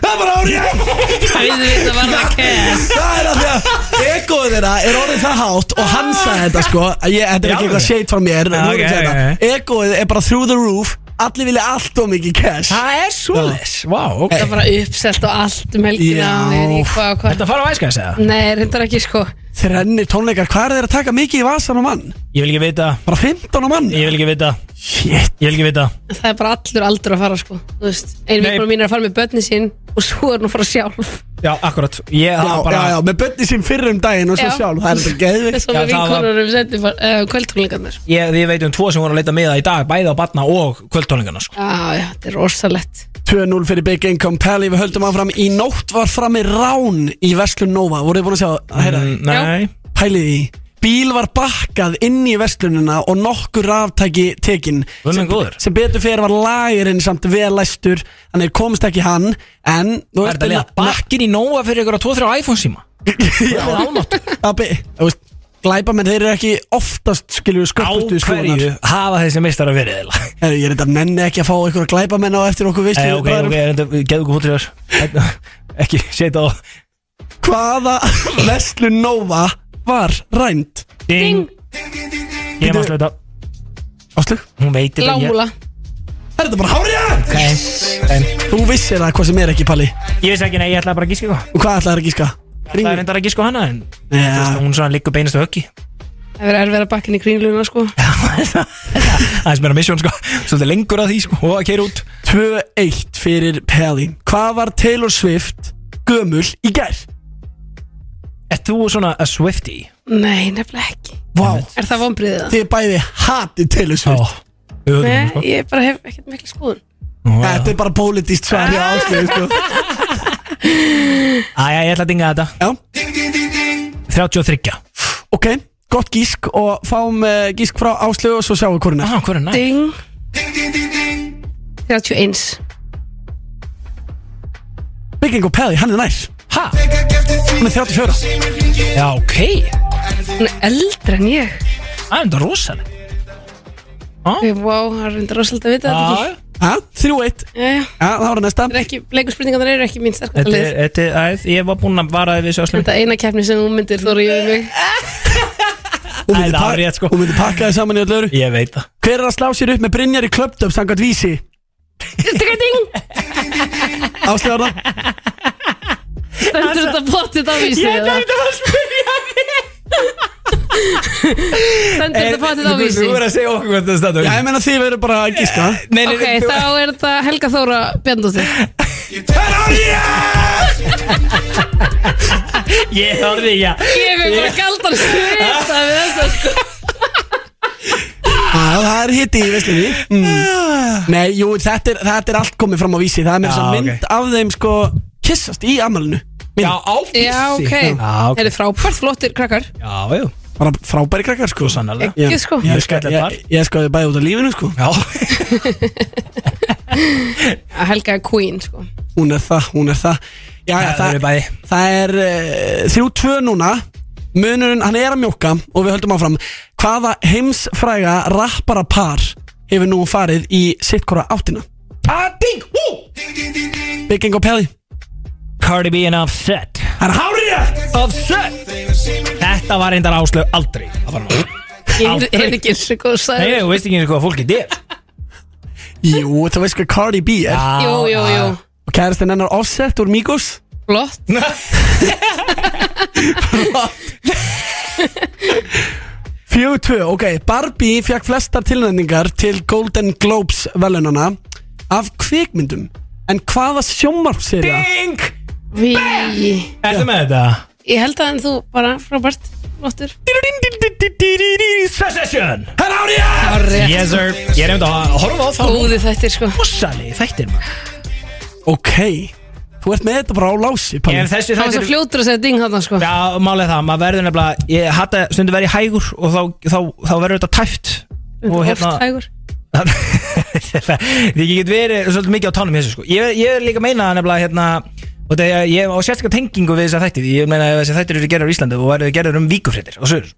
Speaker 6: Það var árið
Speaker 3: Þetta var það kæs
Speaker 6: Það er að því að egoð þeirra er orðið það hátt og hann sagði þetta sko að ég, Þetta er ekki
Speaker 2: Já,
Speaker 6: eitthvað
Speaker 2: ok.
Speaker 6: shade frá mér
Speaker 2: Já,
Speaker 6: Rúrik
Speaker 2: ok,
Speaker 6: sagði
Speaker 2: ok,
Speaker 6: þetta. Egoið er bara through the roof Allir vilja allt og mikið cash
Speaker 2: Það er svoleiðis, vá ok.
Speaker 3: Þetta var bara uppselt og allt um helgina
Speaker 6: Já.
Speaker 3: Nei, ég- hvað- hvað-
Speaker 2: Þetta fara á æskæðis eða?
Speaker 3: Nei, reyndar ekki sko
Speaker 6: Þrennir tónleikar, hvað er þeir að taka mikið í vasan á mann?
Speaker 2: Ég vil ekki vita
Speaker 6: Bara 15 á mann?
Speaker 2: Ég vil ekki vita
Speaker 6: Shit
Speaker 2: Ég vil ekki vita
Speaker 3: En Það er bara allur aldur að fara sko Þú veist, einu
Speaker 2: Nei.
Speaker 3: vinkonu mín er að fara með börni sín Og svo er hún að fara sjálf
Speaker 2: Já, akkurat Ég
Speaker 6: Já,
Speaker 2: það bara
Speaker 6: já, já, með bönni sín fyrr um daginn og svo
Speaker 3: Já.
Speaker 6: sjálf Það er þetta
Speaker 3: [laughs]
Speaker 6: geðvikt
Speaker 3: Þess að
Speaker 2: Já, það
Speaker 3: með
Speaker 2: var-
Speaker 3: vinkonunum sendi uh, kvöldtónlingarnar
Speaker 2: Ég, ég veit um tvo sem voru að leita með það í dag Bæði á batna og kvöldtónlingarna sko.
Speaker 3: Já, já, þetta er rosalett
Speaker 6: 2-0 fyrir Big Income Pally, við höldum áfram Í nótt var frammi rán í Vestlun Nova Voruð þið búin að sjá, að heyra því?
Speaker 2: Mm, Nei
Speaker 6: Pælið í Bíl var bakkað inn í verslunina og nokkur ráftæki tekin
Speaker 2: Guð minn
Speaker 6: sem,
Speaker 2: góður.
Speaker 6: sem betur fyrir var lagerinn samt vel læstur Þannig þeir komst ekki hann En
Speaker 2: Það
Speaker 6: þú
Speaker 2: er
Speaker 6: veist,
Speaker 2: þetta að leiða bakkin í nóa fyrir ykkur á 2-3 iPhone síma
Speaker 6: Abbi, þú veist, glæpamenn þeir eru ekki oftast skilur
Speaker 2: Á
Speaker 6: sköpustu
Speaker 2: hverju hafa þessi meistar að verið [laughs] eiginlega?
Speaker 6: Heru, Ég er þetta nenni ekki að fá einhverja glæpamenn á eftir okkur
Speaker 2: Ei,
Speaker 6: veislu
Speaker 2: Eh, ok, ok, reynda, geðu okkur fótur í þess Ekki, setja á
Speaker 6: Hvaða [laughs] Veslu Nova var rænt?
Speaker 2: Ding Ég má slöta
Speaker 6: Áslug,
Speaker 2: Hún veit þetta ég-
Speaker 3: Lámúla
Speaker 6: er þetta bara hárið?
Speaker 2: Ok, en
Speaker 6: Þú vissir það hvað sem er ekki, Palli
Speaker 2: Ég vissi ekki, nei, ég ætlaði bara að gíska eitthvað
Speaker 6: Og hvað ætlaði að gíska?
Speaker 2: Það er reyndar að gíska hana en þú veist,
Speaker 6: Já,
Speaker 2: Hún svona liggur beinast á höggi [laughs]
Speaker 3: Það verður erfið að bakka inn í kringluna sko
Speaker 2: Það er meira misjón, sko Svolítið lengur að því, sko Og að keira út
Speaker 6: 2-1 fyrir Palli Hvað var Taylor Swift gömul í gær?
Speaker 2: Er þú svona a Swifty?
Speaker 3: Nei, nefnilega ekki
Speaker 6: Vá,
Speaker 3: Er það vonbriðið það?
Speaker 6: þið bæði hatið Taylor
Speaker 2: Nei
Speaker 6: Swift
Speaker 3: Nei, ég bara hef ekkert mikil skoðun
Speaker 6: Þetta er bara pólitíst svar hjá áslið sko.
Speaker 2: Æja, ég ætla að dinga þetta
Speaker 6: Já
Speaker 2: 33
Speaker 6: Ok, gott gísk og fáum uh, gísk frá áslið og svo sjáum við hvorina
Speaker 2: ah, Hvorina?
Speaker 3: Ding 31
Speaker 6: Bygging og Pæði, hann er nær
Speaker 2: Ha?
Speaker 6: Hún er 34
Speaker 2: Já, ok
Speaker 3: Hún er eldri en ég
Speaker 2: Það er enda rosalega
Speaker 3: Ok, wow, það er reynda rosalega að vita þetta ekki.
Speaker 6: Ha? 3-1
Speaker 3: Já, já.
Speaker 6: Já, það var næsta
Speaker 3: Þetta er ekki, leikurspurningarnar eru ekki mín sterkasta
Speaker 2: Þetta
Speaker 3: lið
Speaker 2: er, þetta er, að, ég var búinn að varaði við sjáslum
Speaker 3: Þetta er eina keppni sem þú myndir þóra yfir
Speaker 2: [laughs]
Speaker 3: mig
Speaker 6: Hún
Speaker 2: Það
Speaker 6: myndi, pa
Speaker 2: er rétt sko
Speaker 6: hún myndi pakka þið saman í öll öðru
Speaker 2: Ég veit það
Speaker 6: Hver er að slá sér upp með Brynjar í klöptöp samkvæmt vísi? Áslið var það
Speaker 3: Stendur þetta potið af vísi
Speaker 2: Ég
Speaker 3: eða?
Speaker 2: veit það var spyrja
Speaker 3: Stendur þetta potið af vísi
Speaker 13: Þú verður að segja okkur hvernig það stendur
Speaker 6: Já, ég meina þið verður bara að gíska
Speaker 13: Nei, nei,
Speaker 3: Ok,
Speaker 13: nei, þú-
Speaker 3: þá er þetta Helga Þóra Bjarnóttir
Speaker 2: Ég þorði ekki að
Speaker 3: Ég er bara galdan svita við þetta sko
Speaker 6: Já, það er hitti í veislinni mm. Nei, jú, þetta er, þetta er allt komið fram á vísi Það er með
Speaker 2: Já,
Speaker 6: þess
Speaker 2: ok.
Speaker 6: að mynd af þeim sko Kissast í amalinu
Speaker 13: Já, á
Speaker 3: Já, ok
Speaker 2: Já, ok
Speaker 3: Þeir eru frábært flottir krakkar
Speaker 2: Já, jú
Speaker 6: Bara frábæri krakkar sko
Speaker 2: Sannarlega
Speaker 3: Ekki sko
Speaker 2: Ég er skellið
Speaker 6: Ég,
Speaker 2: þar
Speaker 6: ég, ég skoði bæði út af lífinu sko
Speaker 2: Já
Speaker 3: Helga er queen sko
Speaker 6: Hún er það, hún er það Já, já,
Speaker 2: Það
Speaker 6: það,
Speaker 2: eru bæði.
Speaker 6: það er uh, þrjú tvö núna Munurinn, hann er að mjóka og við höldum áfram Hvaða heimsfræga rappara par hefur nú farið í sittkora áttina?
Speaker 2: Ah, ding, hú
Speaker 6: Bygging og Pelli
Speaker 2: Cardi B and Offset
Speaker 6: Það er hárið rétt!
Speaker 2: Offset Þetta var reyndar áslöf aldrei Það var nú
Speaker 3: Ég er- er ekki eins og góð
Speaker 2: Nei,
Speaker 3: sæður
Speaker 2: þú veist ekki eins og hvað fólkið er
Speaker 6: Jú, þú veist hvað Cardi B er
Speaker 3: Jú, jú, jú
Speaker 2: Ah.
Speaker 6: Og kærastinn hennar Offset úr Migos
Speaker 3: Flott
Speaker 6: Fjögur tvö, ok Barbie fekk flestar tilnæningar til Golden Globes velunana af kvikmyndum En hvaða sjómarpserja?
Speaker 2: Ding
Speaker 3: Við
Speaker 2: Ertu með þetta?
Speaker 3: Ég held að en þú bara frábært flottur
Speaker 2: Secession
Speaker 6: Það er árið!
Speaker 3: Árið
Speaker 2: Yes sir Ég er einmitt að horfa á þá
Speaker 3: Góði þetta sko
Speaker 2: Rosalegi þættir maður
Speaker 6: Ok, þú ert með þetta bara á lási Palli.
Speaker 2: Ef þessi
Speaker 3: Það var
Speaker 2: þættir
Speaker 3: svo fljótur að segja ding hann sko
Speaker 2: Já, málið er það, maður verður nefnilega Ég hætti stundu verið hægur og þá, þá, þá verður þetta tæft Og hérna-
Speaker 3: Oft hægur
Speaker 2: [laughs] Því ég get verið svolítið mikið á tánum í þessu sko Ég, ég er líka að meina það nefnilega hérna Og það er, ég á sérstakar tengingu við þessa þætti Því ég meina að þessi þættir eru gerður á Íslandi Og verður gerður um víkufréttir og [laughs] sögur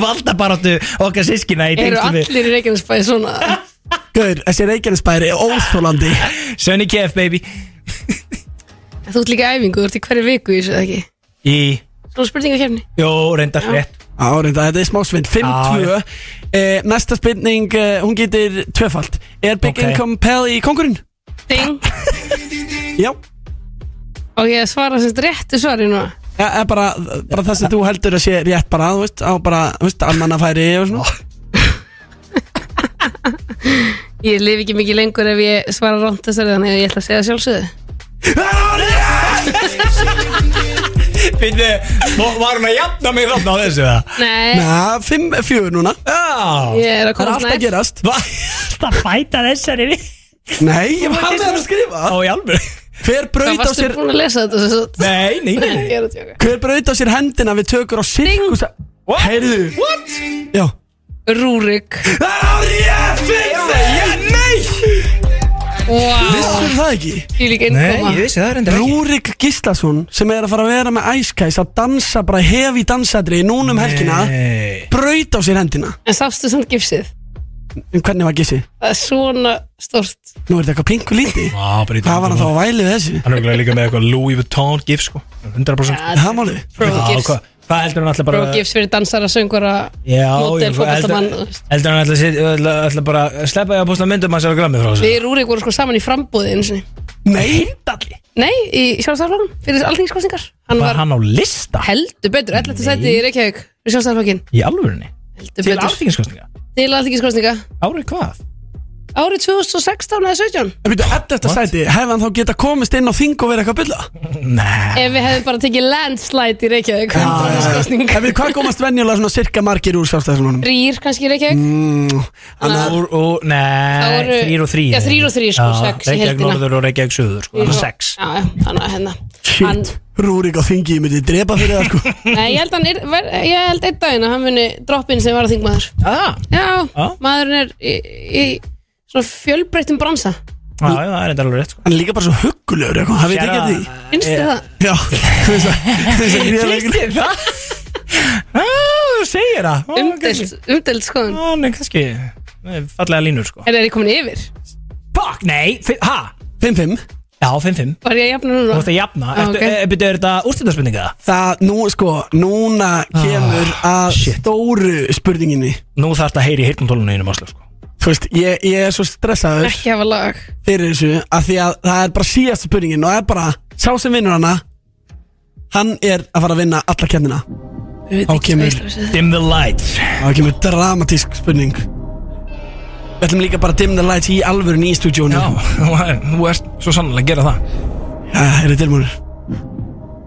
Speaker 2: Valda bara áttu okkar sískina í
Speaker 3: Eru
Speaker 2: tengslum við
Speaker 3: allir í Reykjanesbæði svona
Speaker 6: Gaur, þessi Reykjanesbæri er óþólandi
Speaker 2: Sunny KF baby
Speaker 3: Þú ert líka í æfingu, þú ert í hverju viku í þessu eða ekki
Speaker 2: Í,
Speaker 3: Svona spurningakefni
Speaker 2: jó, reyndar rétt
Speaker 6: Árið, þetta er smá svind 5-2
Speaker 2: Já,
Speaker 6: eh, Næsta spurning, eh, hún getur tvöfalt Er Big
Speaker 2: Ok.
Speaker 6: Income Pell í kongurinn?
Speaker 3: Ding
Speaker 6: Já,
Speaker 3: Og ég svara sem þetta réttu svari núna
Speaker 6: ja, eh, bara, bara það sem þú heldur að sé rétt bara Þú veist, á bara, þú veist, almannafæri og svona
Speaker 3: Ég lifi ekki mikið lengur ef ég svara rámt þessari þannig að ég ætla að segja sjálfsögðu
Speaker 2: Býttu, var hún að jafna mig þarna á þessu það?
Speaker 3: Nei,
Speaker 6: Já, 5-4 núna
Speaker 2: Já
Speaker 3: ég er að
Speaker 6: Það er
Speaker 3: koma
Speaker 6: allt að gerast
Speaker 2: Það bæta þessari við
Speaker 6: Nei, ég var með hann að skrifa
Speaker 2: Á í alveg
Speaker 6: Hver
Speaker 3: Hvað
Speaker 6: braut á
Speaker 3: varstu
Speaker 6: sér
Speaker 3: búin að lesa þetta svo svo?
Speaker 2: Nei, nei, nei
Speaker 3: Ég er að tjóka
Speaker 6: Hver braut á sér hendina við tökur á sirkus
Speaker 2: What?
Speaker 6: Heyrðu.
Speaker 2: What?
Speaker 6: Já
Speaker 3: Rúrik
Speaker 2: Það er ég finn það Nei
Speaker 3: Wow,
Speaker 6: Vissur það ekki?
Speaker 3: ég líka innkoma
Speaker 2: vissi það reyndar
Speaker 6: Rúrik Gíslason sem er að fara að vera með æskæs að dansa bara hefi dansadri núna um helgina
Speaker 2: Nei
Speaker 6: braut á sér hendina
Speaker 3: En sástu samt gifsið
Speaker 6: en hvernig var gissi?
Speaker 3: Það er svona stórt
Speaker 6: Nú er þetta eitthvað pingu líti
Speaker 2: Vá, bara í
Speaker 6: Hvað var hann þá að væli við þessu?
Speaker 2: Hann er örugglega líka með eitthvað Louis Vuitton gif sko 100%
Speaker 6: Það er málið
Speaker 3: Pro
Speaker 2: Já,
Speaker 3: gifs
Speaker 2: hvað- Hvað heldur hann alltaf bara
Speaker 3: Pro gifs fyrir dansara, söngvara
Speaker 2: Já,
Speaker 3: Módel,
Speaker 2: ég- hvað heldur
Speaker 3: fótboltamann,
Speaker 2: hann Heldur hann alltaf sit- ætla- ætla bara að Sleppa ég að posta myndum hans á grammi frá þessu
Speaker 3: Við Rúrik vorum sko saman í frambúði einu sinni
Speaker 6: Nei,
Speaker 2: Dalli
Speaker 3: Nei, í sjálfstæðarflokkum fyrir alltingskostningar Hann
Speaker 2: Var
Speaker 3: var,
Speaker 2: hann á lista?
Speaker 3: heldur betur, 11. sæti í Reykjavík fyrir sjálfstæðarflokkin
Speaker 2: Í alvörunni
Speaker 3: Heldur
Speaker 2: Til
Speaker 3: betur
Speaker 2: alþingiskostninga
Speaker 3: Til alltingskostninga
Speaker 2: Árið hvað?
Speaker 3: árið 2016 eða 17
Speaker 6: En byrju, 11. sæti, hefði hann þá geta komist inn á þing og verið eitthvað bylla? Nei
Speaker 2: Ah.
Speaker 3: ef við hefðum bara tekið landslide í Reykjavík
Speaker 6: En við hvað komast venjulega svona cirka margir úr sjálfstæðismannum?
Speaker 3: þrýr kannski í Reykjavík
Speaker 6: Mm,
Speaker 3: Þannig
Speaker 2: Úr, úr,
Speaker 3: Það
Speaker 2: nei,
Speaker 3: voru-
Speaker 2: þrýr og þrýr
Speaker 3: Já, þrír og þrír, sko,
Speaker 2: Já,
Speaker 3: sex í
Speaker 2: Reykjavík
Speaker 3: heildina.
Speaker 2: norður og Reykjavík söður, sko, þannig að sex
Speaker 3: Já, já, þannig að hérna
Speaker 6: Shit, Rúrik á þingi, ég myndi drepa fyrir það sko
Speaker 3: Nei, ég held, hann er, ver, ég held einn daginn að hann muni droppin sem var að þingmaður
Speaker 2: ah.
Speaker 3: Já,
Speaker 2: Ah.
Speaker 3: maðurinn er í, í svona fjölbreyttum bransa
Speaker 2: Já, já, það er þetta alveg rétt, sko
Speaker 6: Hann er líka bara svo huggulegur eitthvað, hann veit ekki að því
Speaker 3: Finnst
Speaker 2: Eh.
Speaker 3: þið það?
Speaker 6: Já, [laughs] þú veist það þú veist það gríðarlega-
Speaker 2: Finnst þér það? Já, þú segir það
Speaker 3: Umdelt, umdelt skoðun
Speaker 2: Hann er kannski það er fallega línur, sko
Speaker 3: Er það komin yfir?
Speaker 2: Fuck, nei, fi- ha?
Speaker 6: 5-5
Speaker 2: Já, 5-5
Speaker 3: Var ég að jafna núna?
Speaker 2: Þú ert að jafna,
Speaker 3: Já,
Speaker 2: ertu,
Speaker 3: ok.
Speaker 2: okay. byrju, er þetta úrstættarspurninga?
Speaker 6: Það, nú sko, núna kemur að stóru spurninginni
Speaker 2: Nú þarf þetta að heyri hirtnatólunni innum Oslo, sko
Speaker 6: Þú veist, ég, ég er svo stressaður
Speaker 3: Ekki hafa lag
Speaker 6: fyrir þessu að því að það er bara síðasta spurningin og það er bara sá sem vinnur hana hann er að fara að vinna alla kemnina
Speaker 3: Við
Speaker 6: þá kemur,
Speaker 2: Dim the lights
Speaker 6: þá kemur dramatísk spurning við ætlum líka bara að dim the lights í alvörun í stúdjónu
Speaker 2: Já, þú ert svo sannlega að gera það
Speaker 6: er þið tilbúinir?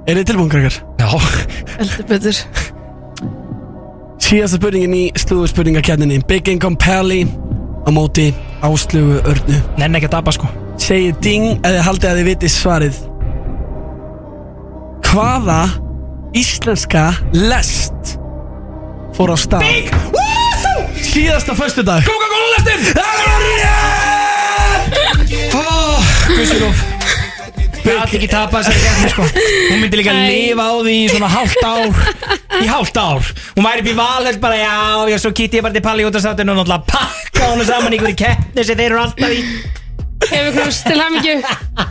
Speaker 6: er þið tilbúin krakkar?
Speaker 2: Já
Speaker 3: Heldur betur
Speaker 6: síðasta spurningin í slúðu spurningakemninni Big Income Pally á móti áslögu örnu
Speaker 2: Nenni ekki að dapa, sko
Speaker 6: segið ding eða haldið að þið viti svarið Hvaða íslenska lest fór á stað Big Síðasta föstu dag
Speaker 2: Coca-Cola lestin Það er rétt Guðsjóf Ég ætti ekki tapa þessari gefni sko Hún myndi líka
Speaker 3: Æ.
Speaker 2: lifa á því í svona hálft ár Í hálft ár Hún væri upp í valhætt bara já Já svo kýtti ég bara til Palli út af státinu Og náttúrulega pakka hún saman í einhverju keppni sem þeir eru alltaf í
Speaker 3: Hefur krús til hamingju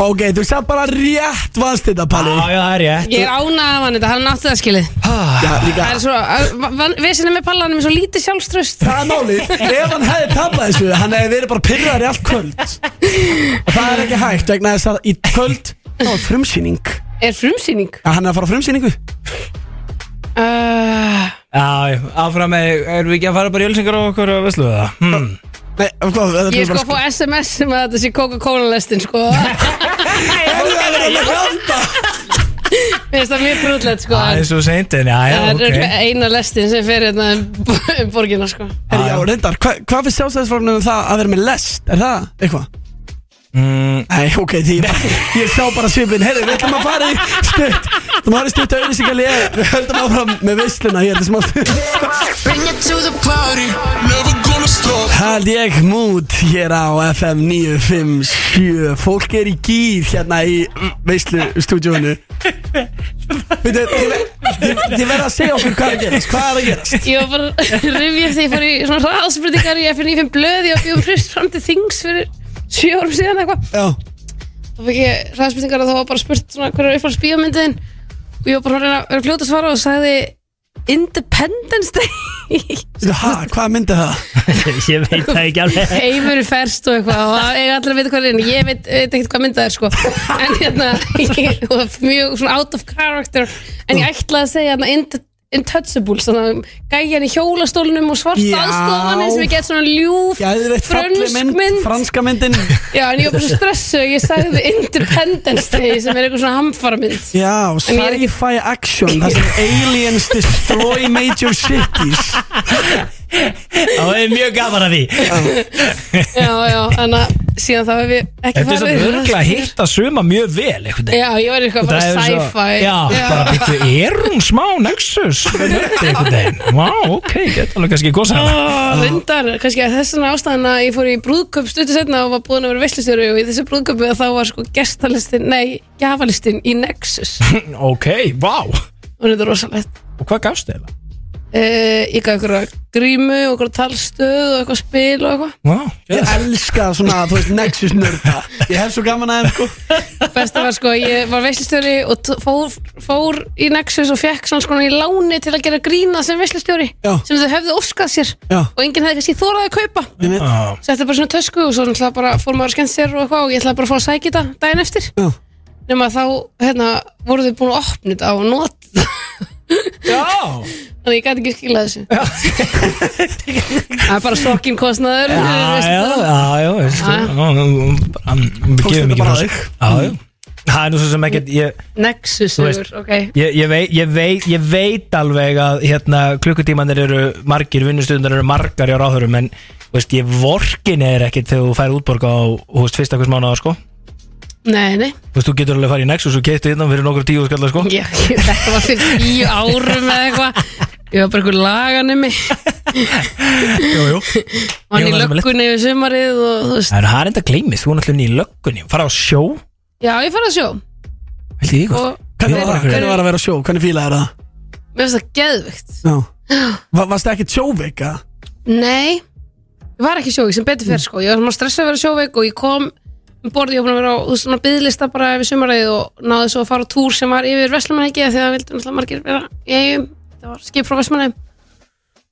Speaker 6: Ok, þú sagði bara rétt vannst þetta Palli
Speaker 3: Ah,
Speaker 2: Já já það er ég
Speaker 3: Ég er ánað af hann þetta, hann átti það skilið
Speaker 6: Já, líka
Speaker 3: Það er svo, vesinni með pallanum er svo lítið sjálfströst
Speaker 6: Það er málið, ef hann hefði tapað þessu hann hefði verið bara pyrrar í allt kvöld og það er ekki hægt vegna þess að í kvöld þá er frumsýning
Speaker 3: Er frumsýning?
Speaker 6: að hann er að fara á frumsýningu
Speaker 2: Ah.
Speaker 3: Uh,
Speaker 2: Já já, áfram með Erum við ekki að fara bara í ölsingar og okkur og veslu það hmm.
Speaker 6: Nei, hvað, þetta
Speaker 3: ég
Speaker 6: er
Speaker 3: er sko
Speaker 6: bara
Speaker 3: að fá SMS sem að þetta sé Coca-Cola lestin
Speaker 2: [laughs]
Speaker 3: sko Mér
Speaker 6: Ef það er að hljóta
Speaker 3: finnst það mjög brúðlegt sko
Speaker 2: Það er svo seint en já já
Speaker 3: Það er
Speaker 2: ok
Speaker 3: örugglega eina lestin sem fer hérna um [laughs] b- um borgina sko
Speaker 6: Herri, Ah, já, reyndar, hva, hvað finnst sjálfstæðisflokkurinn um það að vera með lest? Er það eitthvað?
Speaker 2: Mm,
Speaker 6: Nei, ok, því ég, bara- [laughs] ég sá bara svipin Herri, við ætlum að fara í stutt Þú maður í stutt auðvísingalið Við höldum áfram með veisluna hér til smá stund.
Speaker 14: Bring it to the party Never gonna stop
Speaker 6: Held ég mút hér á FM 957 Fólk er í gýr hérna í veislustúdjónu [laughs] Þið þið verða að segja okkur hvað er að gerast Hvað er að gerast?
Speaker 3: Ég var
Speaker 2: [laughs]
Speaker 3: bara að rifja því ég fór í svona ráðsbreytingar í FNF blöð ég var bjóðum hrist fram til þings fyrir sjö árum síðan eitthvað
Speaker 6: Já,
Speaker 3: þá fikk ég ræðspurningar og þá var bara spurt svona hverju uppáhalds bíómyndin og ég var bara að reyna að vera fljóta að svara og sagði Independence [laughs] Day
Speaker 6: Veitu, ha, hvað myndi það?
Speaker 2: Ég veit það ekki alveg
Speaker 3: heimur er ferst og eitthvað og það eiga allir að vita hvað er inn ég veit, veit ekkert hvað myndað er sko en hérna, [laughs] ég var mjög svona out of character en ég ætlaði að segja hérna Int- Intouchables þannig að gæjan í hjólastólunum og svart
Speaker 6: Já.
Speaker 3: aðstofanir sem ég get svona ljúf
Speaker 6: Gæðveitt falli
Speaker 3: frönsk
Speaker 6: mynd,
Speaker 3: mynd
Speaker 6: franska myndin
Speaker 3: já, en ég var bara svo stressu ég sagði Independence Day sem er eitthvað svona hamfara mynd
Speaker 6: [laughs] Já,
Speaker 3: En ég er ekki-
Speaker 6: sci-fi action Það sem aliens destroy major cities
Speaker 2: Það er mjög gaman að því
Speaker 3: já, já, þannig að síðan þá hef ég
Speaker 2: Þetta
Speaker 3: ekki
Speaker 2: er
Speaker 3: farið
Speaker 2: svona örgulega að hitta suma mjög vel einhvern veginn.
Speaker 3: já, ég var eitthvað bara
Speaker 2: Það er svo-
Speaker 3: sci-fi
Speaker 2: Já, bara byrju, er hún smá nexus með þetta einhvern veginn Vá, ok, geta alveg kannski gósa hana
Speaker 3: Ah, Rindar, kannski að þess vegna ástæðan að ég fór í brúðköp stuttu setna og var búin að vera veslustjóri og í þessu brúðköpu þá var sko gestalistin, nei, gjafalistin í Nexus
Speaker 2: Ok, vá,
Speaker 3: og þetta er rosalegt
Speaker 2: og hvað gafst þið það?
Speaker 3: uh, Ég gaf ykkur grímu og ykkur talstöð og eitthvað spil og eitthvað
Speaker 2: Vá,
Speaker 6: Ég
Speaker 2: yes.
Speaker 6: elska svona, þú veist, Nexus nörda Ég hef svo gaman að sko.
Speaker 3: Besta var sko, ég var veslustjóri og t- fór, fór í Nexus og fekk svona skona í láni til að gera grína sem veslustjóri
Speaker 6: Já.
Speaker 3: sem þau höfðu óskað sér
Speaker 6: Já.
Speaker 3: og enginn hefði kannski þórað að kaupa
Speaker 6: Ég veit.
Speaker 2: Á,
Speaker 3: Setti bara svona tösku og svo náttúrulega bara fór maður að skemmt sér og eitthvað og ég ætlaði bara að fá að sækja þetta daginn eftir
Speaker 6: Já.
Speaker 3: nema þá hérna, voru þau búin að opna þetta og nota þetta
Speaker 2: Já,
Speaker 3: Þannig að ég gæti ekki skilað þessu [laughs] Það er bara stokkin kostnaður
Speaker 2: Já,
Speaker 3: þú veist
Speaker 2: já,
Speaker 3: það.
Speaker 2: já, já, veist þú,
Speaker 3: Já, já.
Speaker 2: já, bara, mm, Við gefum
Speaker 3: þetta
Speaker 2: ekki
Speaker 3: bara
Speaker 2: frá
Speaker 3: á
Speaker 2: sig Já, já Það er nú svo sem ekkert ég,
Speaker 3: Nexus,
Speaker 2: Þú veist.
Speaker 3: ok Já,
Speaker 2: ég, ég, veit, ég, veit, ég veit alveg að hérna, klukkutímanir eru margir vinnustundar eru margar hjá ráðurum en þú veist, ég vorkin er ekkert þegar þú fær útborga á þú veist, fyrsta hvers mánuða sko.
Speaker 3: Nei, nei,
Speaker 2: Þú veist, þú getur alveg að fara í Nexus og keittu innan fyrir nokkur tíu skallar sko.
Speaker 3: já, ég- þetta var fyrir tíu árum eða eitthvað Ég var bara eitthvað lagan um mig
Speaker 2: Jú, jú
Speaker 3: Vann í
Speaker 2: Ég var það sem er leitt.
Speaker 3: löggunni yfir sumarið og þú veist
Speaker 2: En það er enda gleymið, þú er náttúrulega nýja löggunni fara á sjó,
Speaker 3: Já, ég fara að sjó
Speaker 2: held ég ekki
Speaker 3: og
Speaker 6: Hvernig var,
Speaker 2: Hvernig-
Speaker 6: hvernig var að vera á sjó? Hvernig fílaði það?
Speaker 3: mér finnst það geðvikt
Speaker 6: Já. Va- Varstu ekkert sjóveik, eða?
Speaker 3: Nei, ég var ekki sjóveik sem betur fer sko Ég var svona stressað að vera sjóveik og ég kom um borð, ég var búin að vera á þú veist, svona byðlista bara yfir sumarið og náði svo að fara á túr sem var yfir Vestlumanæki því að það vildi náttúrulega margir vera í eigum það var skip frá Vestlumanæki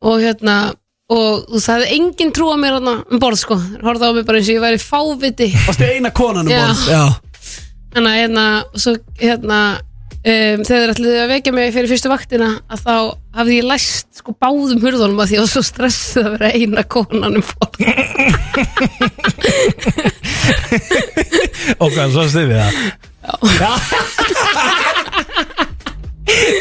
Speaker 3: og hérna og þú veist, það hefði engin trú á mér þarna um borð sko Þeir horfði á mig bara eins og ég væri fáviti
Speaker 6: Varstu eina konan um
Speaker 3: Já.
Speaker 6: borð? Já.
Speaker 3: þannig að hérna, og svo, hérna um, þegar þeir ætluðu að vekja mig fyrir fyrstu vaktina að þá hafði ég læst sko báðum hurðunum að því ég var svo stressuð að vera eina konan um borð
Speaker 2: og hvað, svo stuðið það [laughs] Já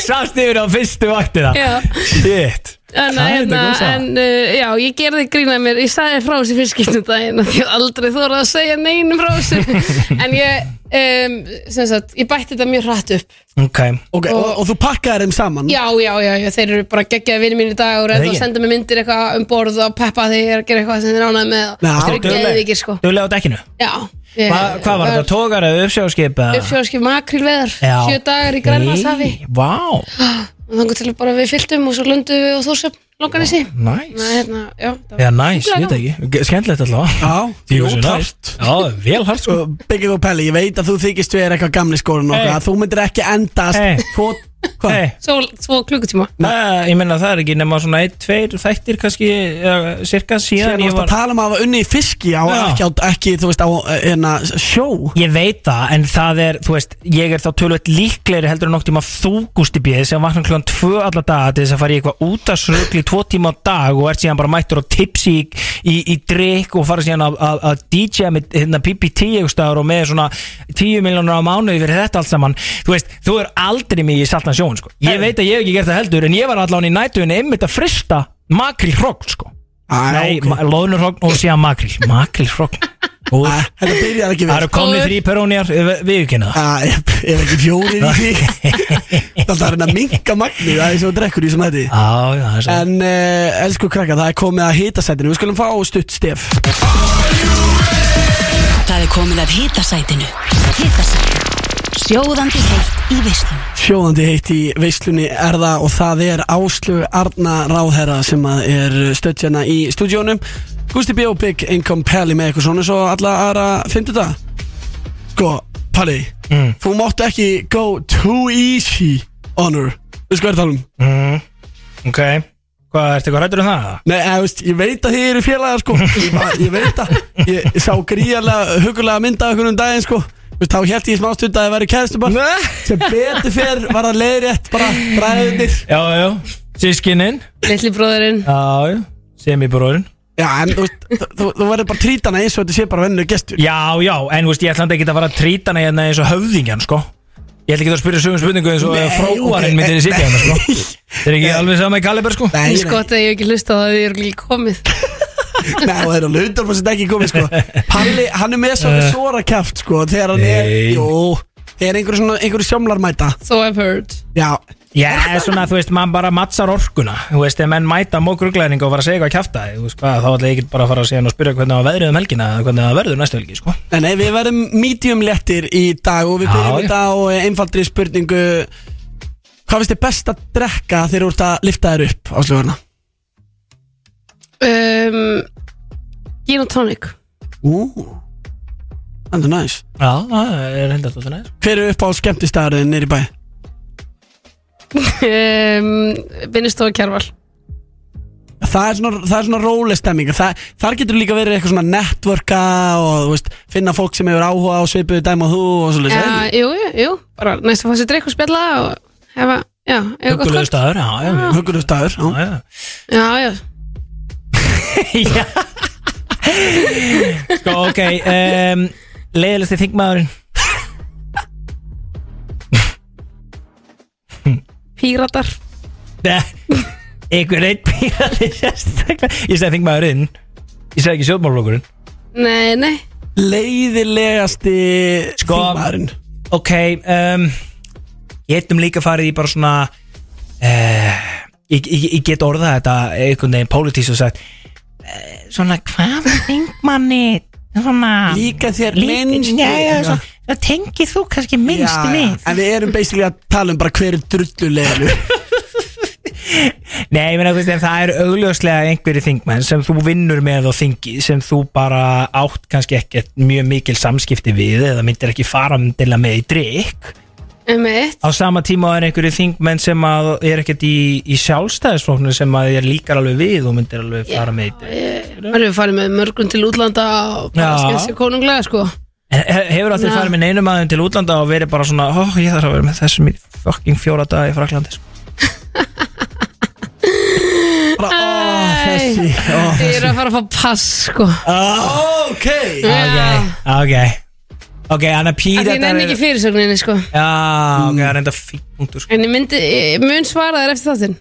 Speaker 2: Sast yfir á fyrstu vaktina
Speaker 3: Já.
Speaker 2: Shit
Speaker 3: En,
Speaker 2: Það er
Speaker 3: hérna,
Speaker 2: þetta góð saga.
Speaker 3: en uh, já, ég gerði grína mér, ég sagði frá þessu fyrst skiptum daginn af því ég hef aldrei þóra að segja neinum frá
Speaker 2: [laughs]
Speaker 3: þessu en ég, um, sem sagt, ég bætti þetta mjög hratt upp
Speaker 2: okay.
Speaker 6: Ok, og, og þú pakkaði þeim saman?
Speaker 3: Já, já, já, já þeir eru bara geggjaði vinni mín í dag og
Speaker 6: Það er
Speaker 3: reynda að
Speaker 6: ekki.
Speaker 3: senda mér myndir eitthvað um borð og peppa þegar ég er að gera eitthvað sem þeir ránaði með og
Speaker 2: Já.
Speaker 3: það er
Speaker 2: Dugleg.
Speaker 3: geðvikið sko Eh,
Speaker 2: Duglega á dekkinu
Speaker 3: Já, ég,
Speaker 2: Hva, Hvað var þetta, tógar eða uppsjáskip? eða?
Speaker 3: Uppsjóðarskip makrilveðar,
Speaker 2: Já.
Speaker 3: sjö dagar í Grænlandshafi
Speaker 2: Nei, Vá,
Speaker 3: og þannig til bara við fylgdum og svo löndum við og þórsöp, Longanesi
Speaker 2: næs
Speaker 3: Nei, hérna, já, það
Speaker 2: Já, næs,
Speaker 3: Duglega
Speaker 2: ég veit ekki Skemmtilegt allavega
Speaker 6: Já,
Speaker 2: Jú,
Speaker 6: jú,
Speaker 2: svo næs. Já, vel hart sko
Speaker 6: Byggir og Pelli, ég veit að þú þykist við er eitthvað gamli skórin og
Speaker 2: Hey.
Speaker 6: okkar Þú myndir ekki endast
Speaker 2: Hey.
Speaker 6: Þú- Hvað?
Speaker 2: Hey.
Speaker 3: Svo, svo klukkutíma
Speaker 2: Nei, ég meina það er ekki nema svona eitt, tveir þættir kannski, eða, cirka síðan
Speaker 6: Síðan
Speaker 2: ég
Speaker 6: varst
Speaker 2: var
Speaker 6: að tala um að hafa unni í fiski á,
Speaker 2: Já.
Speaker 6: ekki, á, ekki, þú veist, á hérna, sjó
Speaker 2: Ég veit það, en það er, þú veist, ég er þá tölvöld líklegri heldur en nokk tíma þú, Gústi B, sem vaknar klokkan tvö alla daga til þess að fara í eitthvað útasrugl í tvo tíma á dag og ert síðan bara mættur á tipsi í, í, í drikk og fara síðan að- að að DJ með hérna, PPT eitthvað staðar og með svona 10 miljónur á mánuði fyrir þetta allt saman þú veist, þú er aldrei mér í saltna sjón sko. ég veit að ég hef ekki gert það heldur en ég var allan í nætuðinni einmitt að frista makri hrogn, sko Nei, okay. loðnurhrogn og síðan makri makri hrogn Þetta
Speaker 6: Eh, byrjar ekki vel.
Speaker 2: Það eru komni
Speaker 6: Góður.
Speaker 2: þrý perónjar, við ekki hérna
Speaker 6: sko. Æ, Er ekki fjórir í
Speaker 2: [laughs]
Speaker 6: því Það er alltaf að reyna að minka magni Það er svo drekkur í sem þetta
Speaker 2: Já, já, það er svo
Speaker 6: En uh, elsku krakka, það er komið að hita sætinu Við skulum fá stutt stef
Speaker 5: Það er komið að hitasætinu Hitasætinu Sjóðandi heitt í veislunni
Speaker 6: Sjóðandi heitt í veislunni er það og það er Áslu Arna Ráðherra sem að er stöðjana í stúdíónum Gusti B. og Big Income Pally með eitthvað svona svo alla aðra fyndu það Sko, Pally þú máttu ekki go too easy on her Þú sko er það um
Speaker 2: mm. Ok, hvað, ertu eitthvað rættur um það?
Speaker 6: Nei, eða, þú veist, ég veit að þið eru félagar sko Ég, bara, ég veit að Ég sá gríjarlega hugulega mynda okkur um daginn sko Þú veist, Þá held ég í smástund að það væri kæðstu bara Sem betur fyrr var það leiðrétt bara bræðinir
Speaker 2: Já, já, sískininn
Speaker 3: Lilli bróðurinn
Speaker 2: Já, já, semibróðurinn
Speaker 6: Já, en þú veist, þú- þú, þú verður bara að trýta hana eins og þetta sé bara vennu gestur
Speaker 2: Já, já, en veist, ég ætla ekki að fara að trýta hana hérna eins og höfðingjan, sko Ég ætla ekki að spyrja sögum spurningu eins og
Speaker 6: Nei,
Speaker 2: fróarinn
Speaker 6: ok,
Speaker 2: myndi
Speaker 6: eh,
Speaker 2: sitja hérna, sko
Speaker 6: [laughs]
Speaker 2: Það er ekki alveg sama í Kaliber, sko
Speaker 3: Ég skotta að ég hef ekki hlusta á það að þið eru líka komið
Speaker 6: Nei, og það eru lautar maður sem ekki komið,
Speaker 2: [laughs]
Speaker 6: sko Palli, hann er með svo
Speaker 2: Eh.
Speaker 6: sora kæft, sko Þegar hann er,
Speaker 2: Nei.
Speaker 6: jú Þegar einhverju svona, einhverju sjómlar mæta
Speaker 3: So I've heard
Speaker 6: Já,
Speaker 2: Já, svona, þú veist, mann bara mattsar orkuna Þú veist, ef menn mæta mókruglæðning og fara að segja eitthvað að kjafta Þú veist hvað, þá ætla ég ekki bara að fara að segja og spyrja hvernig það var veðrið um helgina eða Hvernig það verður næstu helgi, sko
Speaker 6: nei, nei, við verðum medium lettir í dag Og við
Speaker 2: Já,
Speaker 6: byrjum
Speaker 2: já.
Speaker 6: þetta á eh, einfaldri spurningu Hvað finnst þið best að drekka þegar þú ert að lifta þér upp á slugurna?
Speaker 3: um, Gin og tonic
Speaker 6: Ú, það er næs
Speaker 2: Já, það er hendur alltaf næst
Speaker 6: Hver er upp á skemmtistæðarinn nýri bæ?
Speaker 3: um, Vinnustofa kjærval
Speaker 6: Það er svona, það er svona róleg stemming það, Þar getur líka verið eitthvað svona networka og þú veist, finna fólk sem hefur áhuga á svipuðu dæma og þú og svo
Speaker 3: ja, Jú, jú, jú, bara næst að fá sér drikk og spjalla og hefa Já, eigum við gott
Speaker 2: Huggulegur
Speaker 3: kvöld?
Speaker 2: staður, já, já
Speaker 6: Huggulegur staður, já,
Speaker 2: já
Speaker 3: Já, já,
Speaker 2: [laughs] Sko, ok um, Leiðilegsti þingmaðurinn
Speaker 3: píratar
Speaker 2: Nei, Einhver einn pírati sérstaklega Ég segi þingmaðurinn Ég segi ekki sjóðmálflokkurinn
Speaker 3: Nei, nei
Speaker 6: Leiðilegasti
Speaker 2: sko,
Speaker 6: þingmaðurinn
Speaker 2: Ok um, Ég getum líka farið í bara svona uh, ég, ég, ég get orðað þetta einhvern veginn pólitísk og sagt uh, Svona hvað þingmanni Svona
Speaker 6: Líka þér
Speaker 2: Líka-
Speaker 6: minnst
Speaker 2: Já, já, svo- Það tengið þú kannski minnst við
Speaker 6: En við erum basically að tala um bara hver er drullulegur
Speaker 2: [laughs] Nei, ég meina, þú veist, en það eru augljóslega einhverju þingmenn sem þú vinnur með á þingi sem þú bara átt kannski ekkert mjög mikil samskipti við eða myndir ekki fara til að með í drikk
Speaker 3: Um eitt
Speaker 2: á sama tíma er einhverju þingmenn sem að er ekkert í, í sjálfstæðisflóknu sem að er líkar alveg við og myndir alveg fara með í drikk
Speaker 3: Það erum við farið með mörgum til útlanda og bara
Speaker 2: Já.
Speaker 3: skemmt sér konunglega sko
Speaker 2: En he- Hefur það þér
Speaker 3: Nei.
Speaker 2: farið með neinum aðeins til útlanda og verið bara svona, ó, ég þarf að vera með þessum í fucking fjóra daga í Fraklandi sko.
Speaker 6: Bara, ó, þessi ó,
Speaker 3: Þið eru að fara að fá pass sko
Speaker 6: Ok
Speaker 3: Já.
Speaker 2: Ok, ok, hann er
Speaker 3: Af
Speaker 2: pýr
Speaker 3: því Ég nenni ekki fyrirsögninni sko
Speaker 2: Já, ok, það er enda fínt punktur sko.
Speaker 3: En ég myndi, ég mun svara þér eftir þáttinn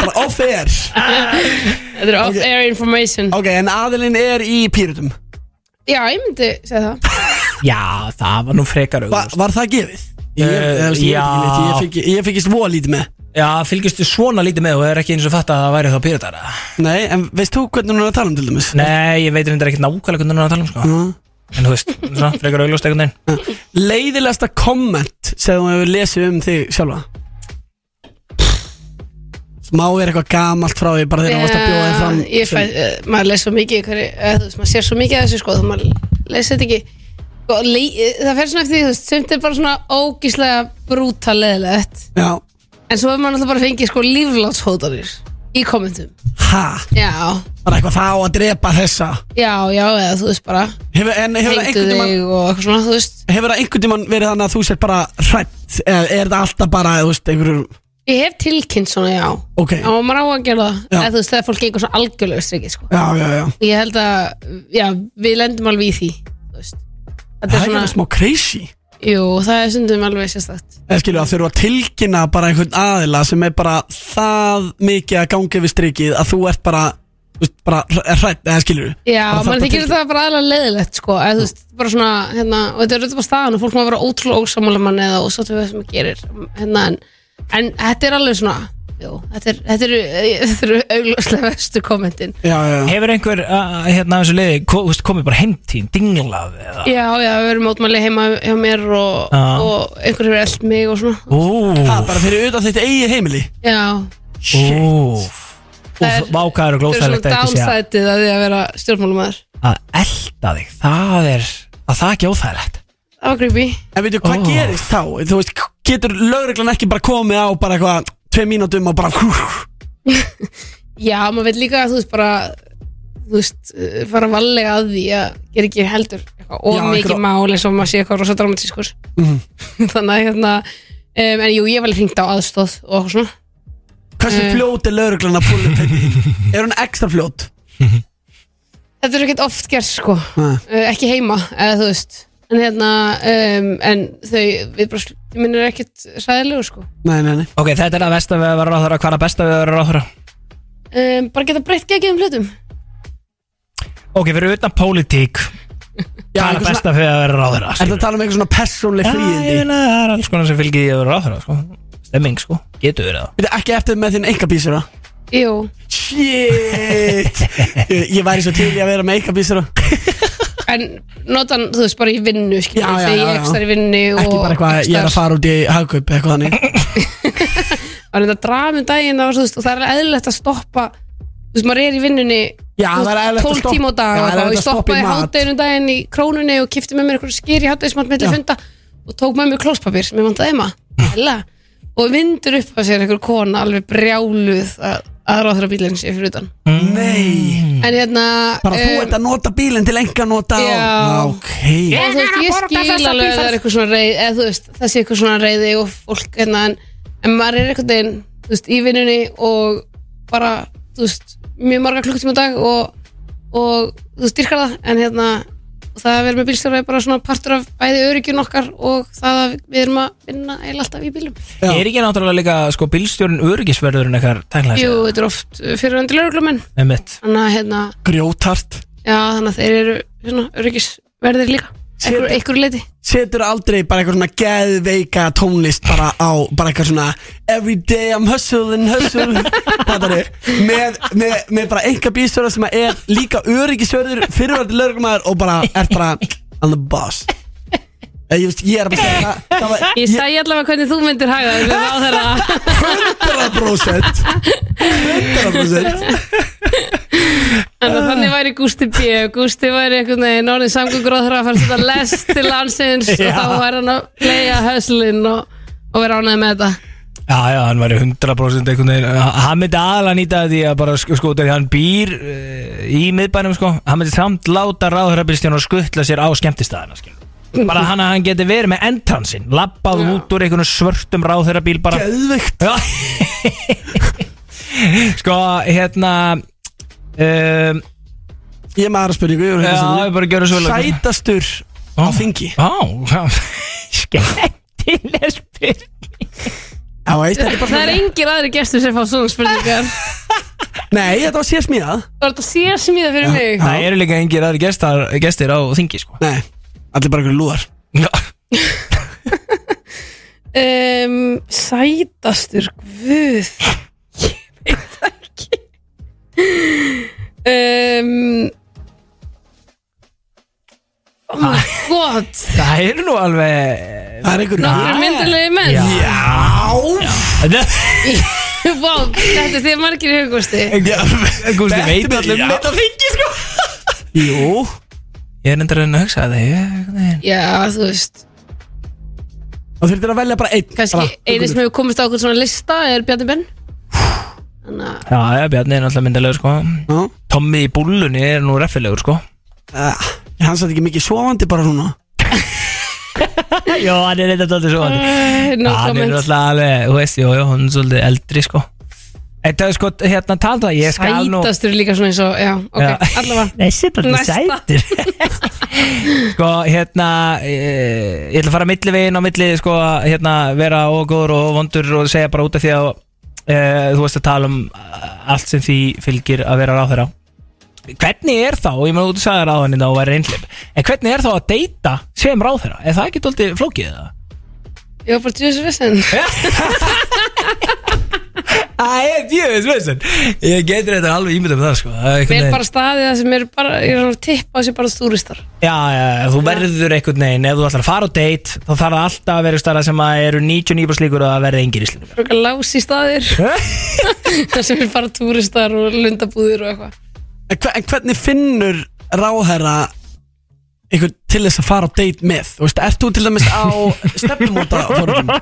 Speaker 6: Bara off air
Speaker 3: Þetta er off-air information
Speaker 6: Ok, en aðilinn er í pýrutum
Speaker 3: Já, ég myndi segja það
Speaker 2: Já, það var nú frekar
Speaker 6: Va,
Speaker 2: augljóst
Speaker 6: Var það gefið? Ég,
Speaker 2: Eh,
Speaker 6: ég, ég, ég,
Speaker 2: já.
Speaker 6: ég, ég, fekk- ég fekk svo lítið með
Speaker 2: Já, fylgistu svona lítið með og er ekki eins og fatt að það væri þá pyratara
Speaker 6: Nei, en veist þú hvernig hún er að tala um til dæmis?
Speaker 2: Nei, ég veit um þetta ekkert nákvæmlega hvernig hann er að tala um sko. En þú veist, svona, frekar augljóst einhvern veginn
Speaker 6: Leiðilegasta komment sem hún hefur lesið um þig sjálfa Má vera eitthvað gamalt frá því bara þegar hún varst að bjóða þig fram
Speaker 3: Eh, Ég fæ,
Speaker 6: sem-
Speaker 3: eh, maður les svo mikið í hverju, eh, þú veist, maður sér svo mikið að þessu sko þú maður les þetta ekki sko, le, eh, það fer svona eftir því, þú veist, semt er bara svona ógíslega brútal leðilegt
Speaker 6: Já,
Speaker 3: en svo hefur maður náttúrulega bara fengið sko líflátshóðanir í kommentum
Speaker 6: ha,
Speaker 3: Já,
Speaker 6: bara eitthvað þá að drepa þessa
Speaker 3: já, já, eða þú veist bara
Speaker 6: Hefur, en hefur það
Speaker 3: hengdu þig
Speaker 6: einhvern tímann
Speaker 3: og eitthvað svona, þú veist
Speaker 6: Hefur það einhvern tímann verið þannig að þú sér bara hrætt eða er þetta alltaf bara, þú veist, einhverjum
Speaker 3: Ég hef tilkynnt svona, já
Speaker 6: Ok, já,
Speaker 3: og maður á að gera það,
Speaker 6: Já.
Speaker 3: eða þú veist, þegar fólk gengur svona algjörlega strikið, sko
Speaker 6: já, já
Speaker 3: Ég held að, já, við lendum alveg í því, þú veist Þetta er
Speaker 6: Það er
Speaker 3: svona,
Speaker 6: eitthvað smá crazy
Speaker 3: jú, það er stundum alveg sérstakt
Speaker 6: eða skilju að þurfa að tilkynna bara einhvern aðila sem er bara það mikið að gangi við strikið að þú ert bara, þú veist, bara hrætt, eða skilju
Speaker 3: Já,
Speaker 6: Bara
Speaker 3: mann
Speaker 6: þarna
Speaker 3: þykir
Speaker 6: tilkynna.
Speaker 3: þetta bara aðlega leðilegt sko, eða þú veist, bara svona hérna, og þetta er auðvitað bara staðan og fólk maður vera ótrúlega ósamála manni eða og sáttu við það sem maður gerir hérna, en, en þetta er alveg svona jú, þetta er- þetta eru [laughs] þetta eru augljóslega vestu kommentin
Speaker 6: Já, já, já,
Speaker 2: Hefur einhver, uh, hérna, af þessu liði ko, þú veist, komið bara heimtíðin, dinglað eða
Speaker 3: Já, já, við erum mótmæli heima hjá mér og,
Speaker 2: Já.
Speaker 3: og einhverjur er eld mig og svona
Speaker 2: Ú,
Speaker 6: Ha, bara fyrir utan þetta eigið heimili
Speaker 3: Já,
Speaker 2: ú
Speaker 3: Það er-
Speaker 2: Vákaður og
Speaker 3: þetta eru
Speaker 2: glóðsæðilegt ekki sé
Speaker 3: svona
Speaker 2: að-
Speaker 3: downsætið að því að vera stjórnmálumæður
Speaker 2: að elda þig Það er, að það er ekki óþægilegt
Speaker 3: Það var creepy
Speaker 6: En veitu,
Speaker 2: Ó.
Speaker 6: hvað gerist þá? Þú veist, getur lögreglan ekki bara komið á bara eitthvað tvei mínútum og bara hú,
Speaker 3: Já, maður veit líka að þú veist bara þú veist, eh, fara varlega að því að gera ekki heldur eitthvað of
Speaker 6: Já, Mhm.
Speaker 3: mikið
Speaker 6: einhver-
Speaker 3: mál eins og maður sé eitthvað rosa dramatískur [laughs] þannig að hérna um, en jú, ég var hringt á aðstóð og eitthvað svona
Speaker 6: hversu
Speaker 3: Eh.
Speaker 6: fljót er lögreglan að búin [laughs] Er hún ekstra fljót?
Speaker 3: þetta er ekkert oft gerð sko
Speaker 6: Nei.
Speaker 3: uh, ekki heima, eða þú veist en hérna, um, en þau við bara, sl- ég minn er ekkert sæðilegu sko
Speaker 6: Nei, nei, nei
Speaker 2: Ok, þetta er að besta við að vera ráðhara, hvað er að besta við að vera ráðhara?
Speaker 3: um, bara geta breytt geggjum hlutum
Speaker 2: Ok, fyrir utan pólitík, hvað er að
Speaker 6: Já, eitthvað svona-
Speaker 2: besta við að vera ráðhara?
Speaker 6: Ertu að tala um eitthvað svona persónleg
Speaker 2: Já, ég
Speaker 6: fríðindi?
Speaker 2: meina, það er alls konar sem fylgir því að vera ráðherra sko. Stemming, sko, getur verið það
Speaker 6: Veitu, ekki eftir með þinn engabísera?
Speaker 3: jú,
Speaker 6: [laughs] Shit ég, ég væri svo til í að vera með engabísera
Speaker 3: en notan, þú veist, bara í vinnu skilur,
Speaker 6: Já, já,
Speaker 3: þegar
Speaker 6: já,
Speaker 3: ég
Speaker 6: já.
Speaker 3: ekstar í vinnu
Speaker 6: Ekki
Speaker 3: og
Speaker 6: bara eitthvað, ég er að fara út í hagkaup eitthvað þannig
Speaker 3: var reynda að draga um daginn og, veist, og það er eðlilegt að stoppa þú veist, maður er í vinnunni
Speaker 6: Já,
Speaker 3: þú
Speaker 6: það er eðlilegt að
Speaker 3: 12
Speaker 6: stoppa-
Speaker 3: tíma á dag
Speaker 6: Já,
Speaker 3: og
Speaker 6: það er
Speaker 3: eitthvað. ég
Speaker 6: eðlilegt að stoppa í
Speaker 3: stoppaði
Speaker 6: mat.
Speaker 3: hátdeginum daginn í krónunni og kipti með mér einhverju skýr í hátdegismat milli
Speaker 6: Já.
Speaker 3: funda og tók með mér klóspapir sem ég vantaði heima Hella. og vindur upp að sér einhver kona alveg brjáluð að, að ráðhra bílinn sé fyrir utan
Speaker 6: Nei
Speaker 3: En hérna
Speaker 6: Mm. Bara þú
Speaker 3: em,
Speaker 6: ert að nota bílinn til enga nota á-
Speaker 3: Já.
Speaker 6: Ok
Speaker 3: og þú veist, ég skil alveg að það er eitthvað svona reyði eða þú veist, það sé eitthvað svona reyði og fólk hérna, en, en maður er eitthvað veginn þú veist, í vinnunni og bara, þú veist, mjög marga klukkutíma á dag og, og þú veist, dyrkar það, en hérna og það að vera með bílstjóra er bara svona partur af bæði örygjun okkar og það að við erum að vinna eiginlega alltaf í bílum
Speaker 2: Er ekki náttúrulega líka sko bílstjórn öryggisverðurinn eitthvað tæknilega
Speaker 3: Jú, þetta er oft fyrirvendir lögreglumenn
Speaker 2: séð? Einmitt.
Speaker 3: þannig að hérna,
Speaker 6: Grjótart
Speaker 3: já, þannig að þeir eru svona öryggisverðir líka einhver, einhver leiti
Speaker 6: Setur aldrei bara eitthvað svona geðveika tónlist bara á, bara eitthvað svona Every day I'm hustling, hustling [laughs] Fattari með, með, með bara einhver bílstjóra sem er líka öryggisörður Fyrirvært lögumæður og bara er bara I'm the boss Eh, Ég, veist, ég er bara að segja það- það var-
Speaker 3: Ég sagði allavega hvernig þú myndir haga þér við ráðherra
Speaker 6: 100% 100%
Speaker 3: En að þannig væri Gústi B Gústi væri einhvern veginn orðin samgönguráðherra að fara að setja lest til landsins
Speaker 2: Já.
Speaker 3: og þá væri hann að playa höslinn og, og vera ánægð með þetta
Speaker 2: Já, já, hann væri 100% einhvern veginn H- Hann myndi aðalega nýta því að bara sko, sko þegar hann býr uh, í miðbænum sko Hann myndi samt láta ráðhörabílstjón og skuttla sér á skemmtistæðina skil. Bara hann að hann geti verið með entransinn Lappað út úr einhvern svörtum ráðhörabíl bara
Speaker 6: Geðveikt
Speaker 2: [laughs] Sko, hérna um,
Speaker 6: Ég er með aðra spurningu ég voru
Speaker 2: Já,
Speaker 6: hérna sem-
Speaker 2: ég bara gjörðu svo vel.
Speaker 6: Sætastur á þingi
Speaker 2: Á, já [laughs] Skemmtileg spurning
Speaker 6: Já, veist, þetta er bara
Speaker 3: Það er engir aðri gestur sem fá svona spurningar
Speaker 6: Nei, þetta var sér smíðað
Speaker 3: Það var þetta sé smíða fyrir mig
Speaker 2: Það eru líka engir aðri gestar, gestir á þingi sko
Speaker 6: Nei, allir bara einhverju lúðar
Speaker 3: um, Sætastur Guð Ég veit það ekki um, Oh my god
Speaker 2: Það eru nú alveg
Speaker 6: [laughs] Það er einhver
Speaker 3: Nokkru myndulegi menn
Speaker 2: Já. Já.
Speaker 3: [laughs] Vá, þetta er því margir í hugusti
Speaker 2: Gústi veit
Speaker 6: Þetta
Speaker 2: allir
Speaker 6: er
Speaker 2: um þetta
Speaker 6: þingi sko Jú
Speaker 2: Ég er endur að reyna að hugsa það ég-
Speaker 3: Já, þú veist
Speaker 6: Og þurftir að velja bara einn
Speaker 3: Kanski eini sem hefur komist á okkur svona lista er Bjarni Ben
Speaker 2: Já, já, Bjarni er náttúrulega myndalegur sko
Speaker 6: Já.
Speaker 2: Tommi í búllunni er nú reffilegur sko
Speaker 6: uh, Hann satt ekki mikið sofandi bara svona
Speaker 2: Jó, hann er eitthvað svolítið svo
Speaker 3: Æ,
Speaker 2: Hann
Speaker 3: no
Speaker 2: er
Speaker 3: comment.
Speaker 2: náttúrulega alveg, þú veist, jó, jó, hann er svolítið eldri sko Þetta er sko, hérna, talda Ég skal nú
Speaker 3: Sætastur er líka svona eins og Já, ok,
Speaker 2: Já.
Speaker 3: allavega
Speaker 2: Þessi er
Speaker 3: Næsta.
Speaker 2: sætir [laughs] Sko, hérna eh, Ég ætla að fara milli veginn á milli Sko, að, hérna, vera ógóður og vondur Og segja bara út af því að eh, Þú veist að tala um eh, allt sem því fylgir Að vera ráð þeirra Hvernig er þá, ég maður út að sagði ráðan En það var reynhlip, en hvernig er þá að deyta Sem ráð þeirra, er það ekki dóldi flókið það?
Speaker 3: Ég var bara tjóðis vissin
Speaker 2: Æ, djöfis, veistu Ég getur þetta alveg ímyndum það, sko Það er einhvern
Speaker 3: Við
Speaker 2: veginn-
Speaker 3: erum bara staðið það sem er bara Ég er svona að tippa á sig bara stúristar
Speaker 2: Já, já, já, þú verður einhvern veginn ef þú ætlar að fara á date, þá þarf það alltaf að vera stara sem að eru 99 slíkur að það verði engir íslendingar.
Speaker 3: Fröka lási staðir [laughs] Það sem er bara túristar og lundabúðir og eitthvað
Speaker 6: En, hver, en hvernig finnur ráðherra einhvern til þess að fara á date með Þú veist, ert þú til dæmis [laughs] á stefnumóta fórum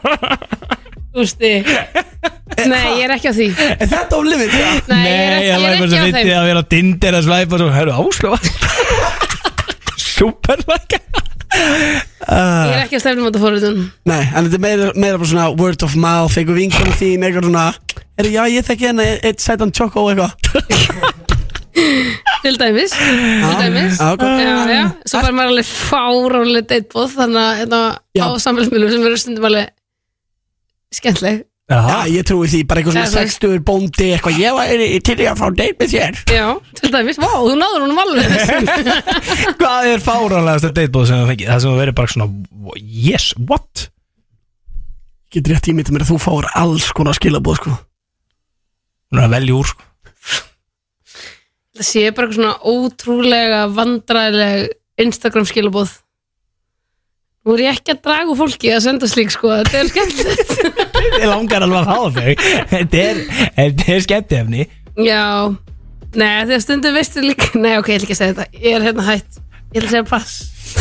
Speaker 3: Gústi
Speaker 2: [laughs]
Speaker 3: Nei, ég er ekki á því
Speaker 6: En þetta á limit það?
Speaker 3: Nei, ég er ekki, ég er ekki á þeim
Speaker 2: að vera dindir að svæpa og svo, herru, [laughs] áslöfa. Superlækka.
Speaker 3: Ég er ekki á stefnumóta fórhundun
Speaker 6: Nei, en þetta er meira, meira bara svona word of mouth einhver vinkum þín, einhver svona Er já, ég þekki henni, eitt sætan tjókó og eitthvað
Speaker 3: Til dæmis, til dæmis.
Speaker 6: já, gott.
Speaker 3: já, já. Svo fær maður alveg fáránlega deitbóð þannig að hérna,
Speaker 6: Já.
Speaker 3: á samfélagsmiðlum sem eru stundum alveg skemmtleg
Speaker 6: Já, ég trúi því, bara eitthvað
Speaker 3: Já,
Speaker 6: svona
Speaker 3: þú veist.
Speaker 6: sextuður bóndi eitthvað Ég var er- til í að fara á date með þér
Speaker 3: Já, til dæmis, vá, þú náður honum
Speaker 6: [laughs]
Speaker 3: alveg
Speaker 2: Hvað er fáránlegasta datebóð sem það fengið? Það sem þú verður bara svona, yes, what?
Speaker 6: Getur rétt ímyndið mér að þú fáur alls konar skilabóð sko
Speaker 2: Hún er að velja úr, sko.
Speaker 3: Það sé bara eitthvað svona ótrúlega vandræðileg Instagram skilabóð Nú er ég ekki að draga úr fólki að senda slík sko, þetta er skemmtilegt
Speaker 6: [laughs]
Speaker 2: Ég langar alveg að hafa þau. [laughs] Þetta er, þetta er skemmtefni.
Speaker 3: Já, nei, þegar stundum veistu líka Nei, ok, ég ætla ekki að segja þetta, ég er hérna hætt Ég ætla að segja pass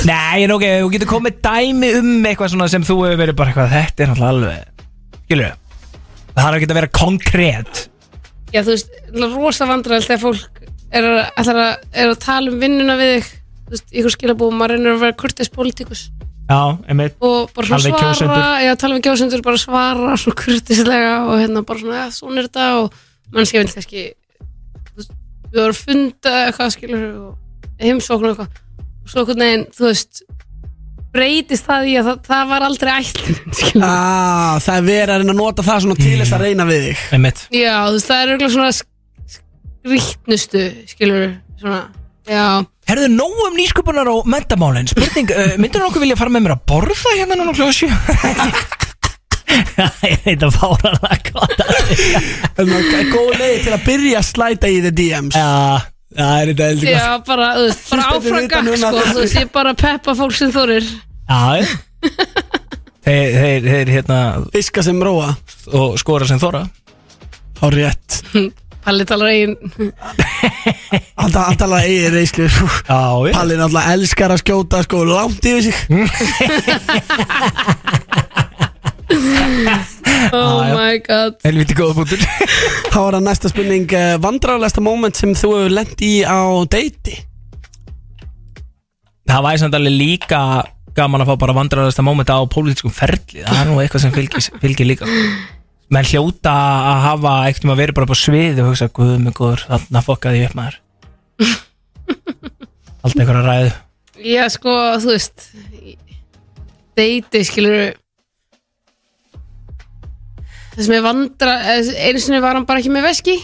Speaker 2: Nei, en ok, þú getur komið dæmi um eitthvað svona sem þú hefur verið bara eitthvað, þetta er náttúrulega alveg, skilur Það þarf ekki að vera konkrét
Speaker 3: Já, þú veist, náttúrulega rosa vandræðal þegar fólk er að, ætlar að, er að tala um vinnuna við þig Þú veist, ykkur skilabúum, maður reynir að vera kurteis politikus
Speaker 2: Já, einmitt
Speaker 3: og bara svona
Speaker 2: Tala við
Speaker 3: svara,
Speaker 2: kjósendur.
Speaker 3: já, tala við kjósendur bara svara [laughs] svona kurtislega og hérna bara svona, já, svona er þetta og mannskja veit kannski þú veist, við vorum að funda eitthvað skilur við, og heimsóknu eitthvað og svo einhvern veginn, þú veist breytist það í að það, það var aldrei ætlun
Speaker 6: ah, Það er verið að reyna að nota það svona til þess að reyna við þig
Speaker 2: Einmitt
Speaker 3: já, þú veist, það er auðvitað svona sk- skrýtnustu skilur við, svona, já
Speaker 2: Herðu nóg um nýsköpunar og mentamálin Spurning, uh, myndur nokkuð vilja fara með mér að borða hérna núna kljóða sjö? [laughs] Ég veit að fára
Speaker 6: Góð leiði til að byrja að slæta í the DMs
Speaker 2: Já, það er þetta heldur
Speaker 3: já, bara, þú veist, bara
Speaker 6: Hlustandi
Speaker 3: áfram
Speaker 6: vita
Speaker 3: gakk
Speaker 6: núna
Speaker 3: sko,
Speaker 6: að-
Speaker 3: þú veist, ég bara peppa fólk sem þorir
Speaker 2: Já þeir, þeir, þeir hérna
Speaker 6: Fiska sem róa
Speaker 2: Og skora sem þóra
Speaker 6: Há rétt
Speaker 3: Palli talar
Speaker 6: [laughs]
Speaker 3: eigin
Speaker 6: Hann tal- hann talar eigin reyslu
Speaker 2: Já,
Speaker 6: sko. Palli náttúrulega elskar að skjóta sko langt yfir sig
Speaker 3: oh
Speaker 6: Ah, já.
Speaker 3: my god
Speaker 2: Helviti góða bútur
Speaker 6: Þá er það næsta spurning Vandrálegasta moment sem þú hefur lent í á deiti
Speaker 2: það væri samt alveg líka gaman að fá bara vandræðasta mómenta á pólitískum ferli það er nú eitthvað sem fylgir, [laughs] fylgir líka menn hljóta að hafa eitthvað að vera bara på sviði og hugsa guð mig góður, þannig að fokka því upp maður alltaf einhverja ræðu
Speaker 3: Já, sko, þú veist Deiti, skilur Það sem er vandra eh, Einu sinni var hann bara ekki með veski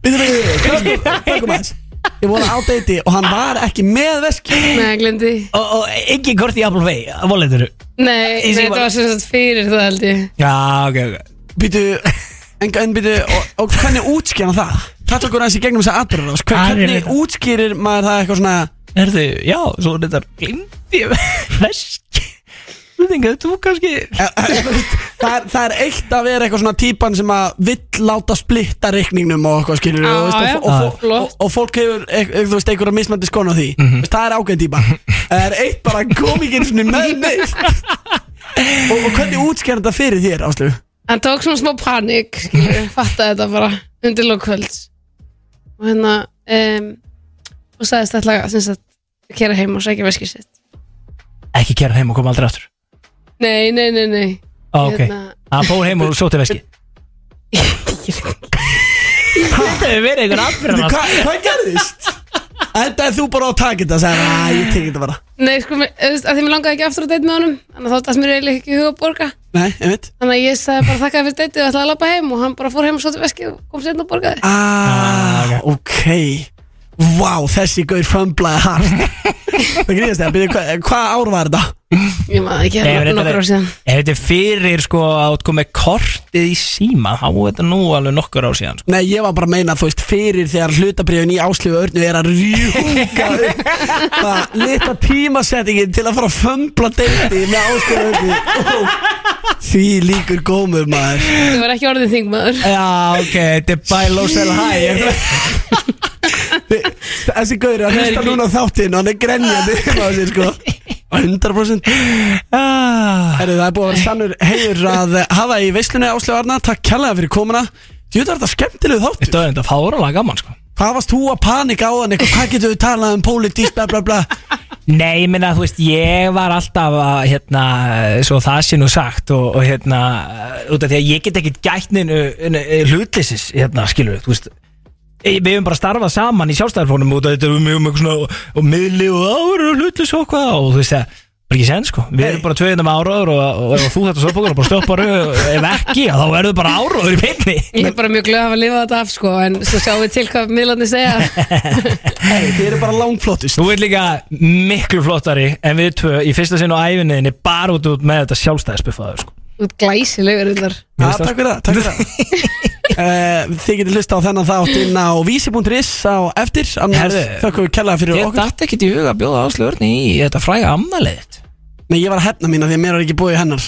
Speaker 6: Býtum við, tökum- tökum aðeins Ég voru á deiti og hann var ekki með veski
Speaker 3: Nei, glendi
Speaker 2: og, og ekki hvort í Apple Pay, að volendur já,
Speaker 3: Nei, nei
Speaker 2: Easy
Speaker 3: þetta
Speaker 2: one.
Speaker 3: var sem sagt fyrir það held ég
Speaker 2: ok, ok
Speaker 6: Býtu, en, en býtu og, og hvernig útskýrna það? Það tókur aðeins í gegnum þess að atbyrða Hver,
Speaker 2: Það er
Speaker 6: Hvernig
Speaker 2: þetta.
Speaker 6: útskýrir maður það eitthvað svona
Speaker 2: Erðu, já, svo er þetta glindi veski þú þengið, þú kannski
Speaker 6: það er, það er eitt að vera eitthvað svona típan sem að vill láta splitta reikningnum og eitthvað skilur
Speaker 3: Já,
Speaker 6: og, veist,
Speaker 3: já.
Speaker 6: og, og,
Speaker 3: Já.
Speaker 6: og, og, og fólk hefur e, e, þú veist, einhverja mismandi skon á því mm -hmm. það er ágæðin típa það er eitt bara komikinn svona með neitt og, og hvernig útskjæra þetta fyrir þér Áslu?
Speaker 3: Hann tók svona smá panik [laughs] skilur, fattaði þetta bara undir lokkvölds og hérna um, og sagðist ætla að sem sagt, kera heim og sækja veskið sitt
Speaker 2: ekki kæra heim og koma aldrei aftur
Speaker 3: Nei, nei, nei, nei
Speaker 2: Á, Ah, ok,
Speaker 3: Hérna,
Speaker 2: hann fór heim og sóti veski þetta hefur verið einhver atbyrðan
Speaker 6: Hva, hvað gerðist? Endaði þú bara á takit að segja að ég tekið þetta bara
Speaker 3: Nei, sko, mér- þú veist, að því mér langaði ekki aftur að deyta með honum Þannig að þá dætt mér eiginlega ekki í hug að borga
Speaker 6: Nei, ég veit
Speaker 3: Þannig að ég sagði bara þakkaði fyrir deytið og ætlaði að lappa heim Og hann bara fór heim og svo til veski og kom sérna og borgaði
Speaker 6: Ah, ok Vá, þessi gaur fömblaði hart Það gríðast það, byrju, hvað, hvað ár var þetta?
Speaker 3: Ég maður ekki,
Speaker 2: Nei,
Speaker 3: hérna
Speaker 2: þetta
Speaker 3: nokkur
Speaker 2: er-
Speaker 3: ár síðan
Speaker 2: Ef þetta er fyrir sko að þú komið kortið í síma þá er þetta nú alveg nokkur ár síðan sko.
Speaker 6: Nei, ég var bara að meina, þú veist, fyrir þegar hlutabriðun í áslöfu örnu er að rjúka upp það litla tímasettingin til að fara að fömbla deiti með áslöfu örnu Ó, Því líkur gómur maður
Speaker 3: Þetta var ekki orðið þingmaður
Speaker 2: Já, ok, þetta er by low sell high
Speaker 6: Þessi gaur er að hlusta núna á þáttinn og hann er grenjandi [laughs] á sér sko 100%
Speaker 2: Ah.
Speaker 6: Herri, Það er búið að vera sannur heiður að hafa í veislunni Áslega Arna Takk kærlega fyrir komuna Jú, þetta var þetta skemmtilegu þáttur
Speaker 2: Þetta er þetta fáralega gaman sko
Speaker 6: Hvað varst þú að panika á hann eitthvað? Hvað getur við talað um pólitíst, bla bla bla
Speaker 2: Nei, ég minna, þú veist, ég var alltaf að, hérna, svo það sé nú sagt og, og hérna, út af því að ég get ekkit gætt neinu neinu eh, hlutleysis, hérna, skilur þú veist Ég- Við hefum bara starfað saman í sjálfstæðarfónum út af þetta við hefum eitthvað svona og miðli og ára og hlutlis og hvað og þú veist það, bara ekki sen sko Við erum bara tveiðina með áraður og, og, ef þú þetta soppokur og bara stoppar og ef ekki, þá verður bara áraður í pinni
Speaker 3: Ég er bara mjög glöð að hafa lifað þetta af sko En svo sjáum við til hvað miðlarnir segja
Speaker 2: [laughs]
Speaker 6: Hei, þið eru bara langflottust
Speaker 2: Þú ert líka miklu flottari en við tvö í fyrsta sinn á æfinniðinni bara út út með þetta sjálfstæðisbuffaður sko
Speaker 3: Út glæsilegur yllar
Speaker 6: Ja, takk fyrir það, takk fyrir það
Speaker 2: [laughs]
Speaker 6: uh, Þið getur hlusta á þennan þátt inn á vísi.is á eftir annars
Speaker 2: Herðu,
Speaker 6: þökkum við kærlega fyrir
Speaker 2: Ég
Speaker 6: okkur
Speaker 2: dætti ekkit í huga að bjóða áslöðurni í þetta fræga ammaliðitt
Speaker 6: Nei, ég var að hefna mín af því að mér var ekki búið í hennar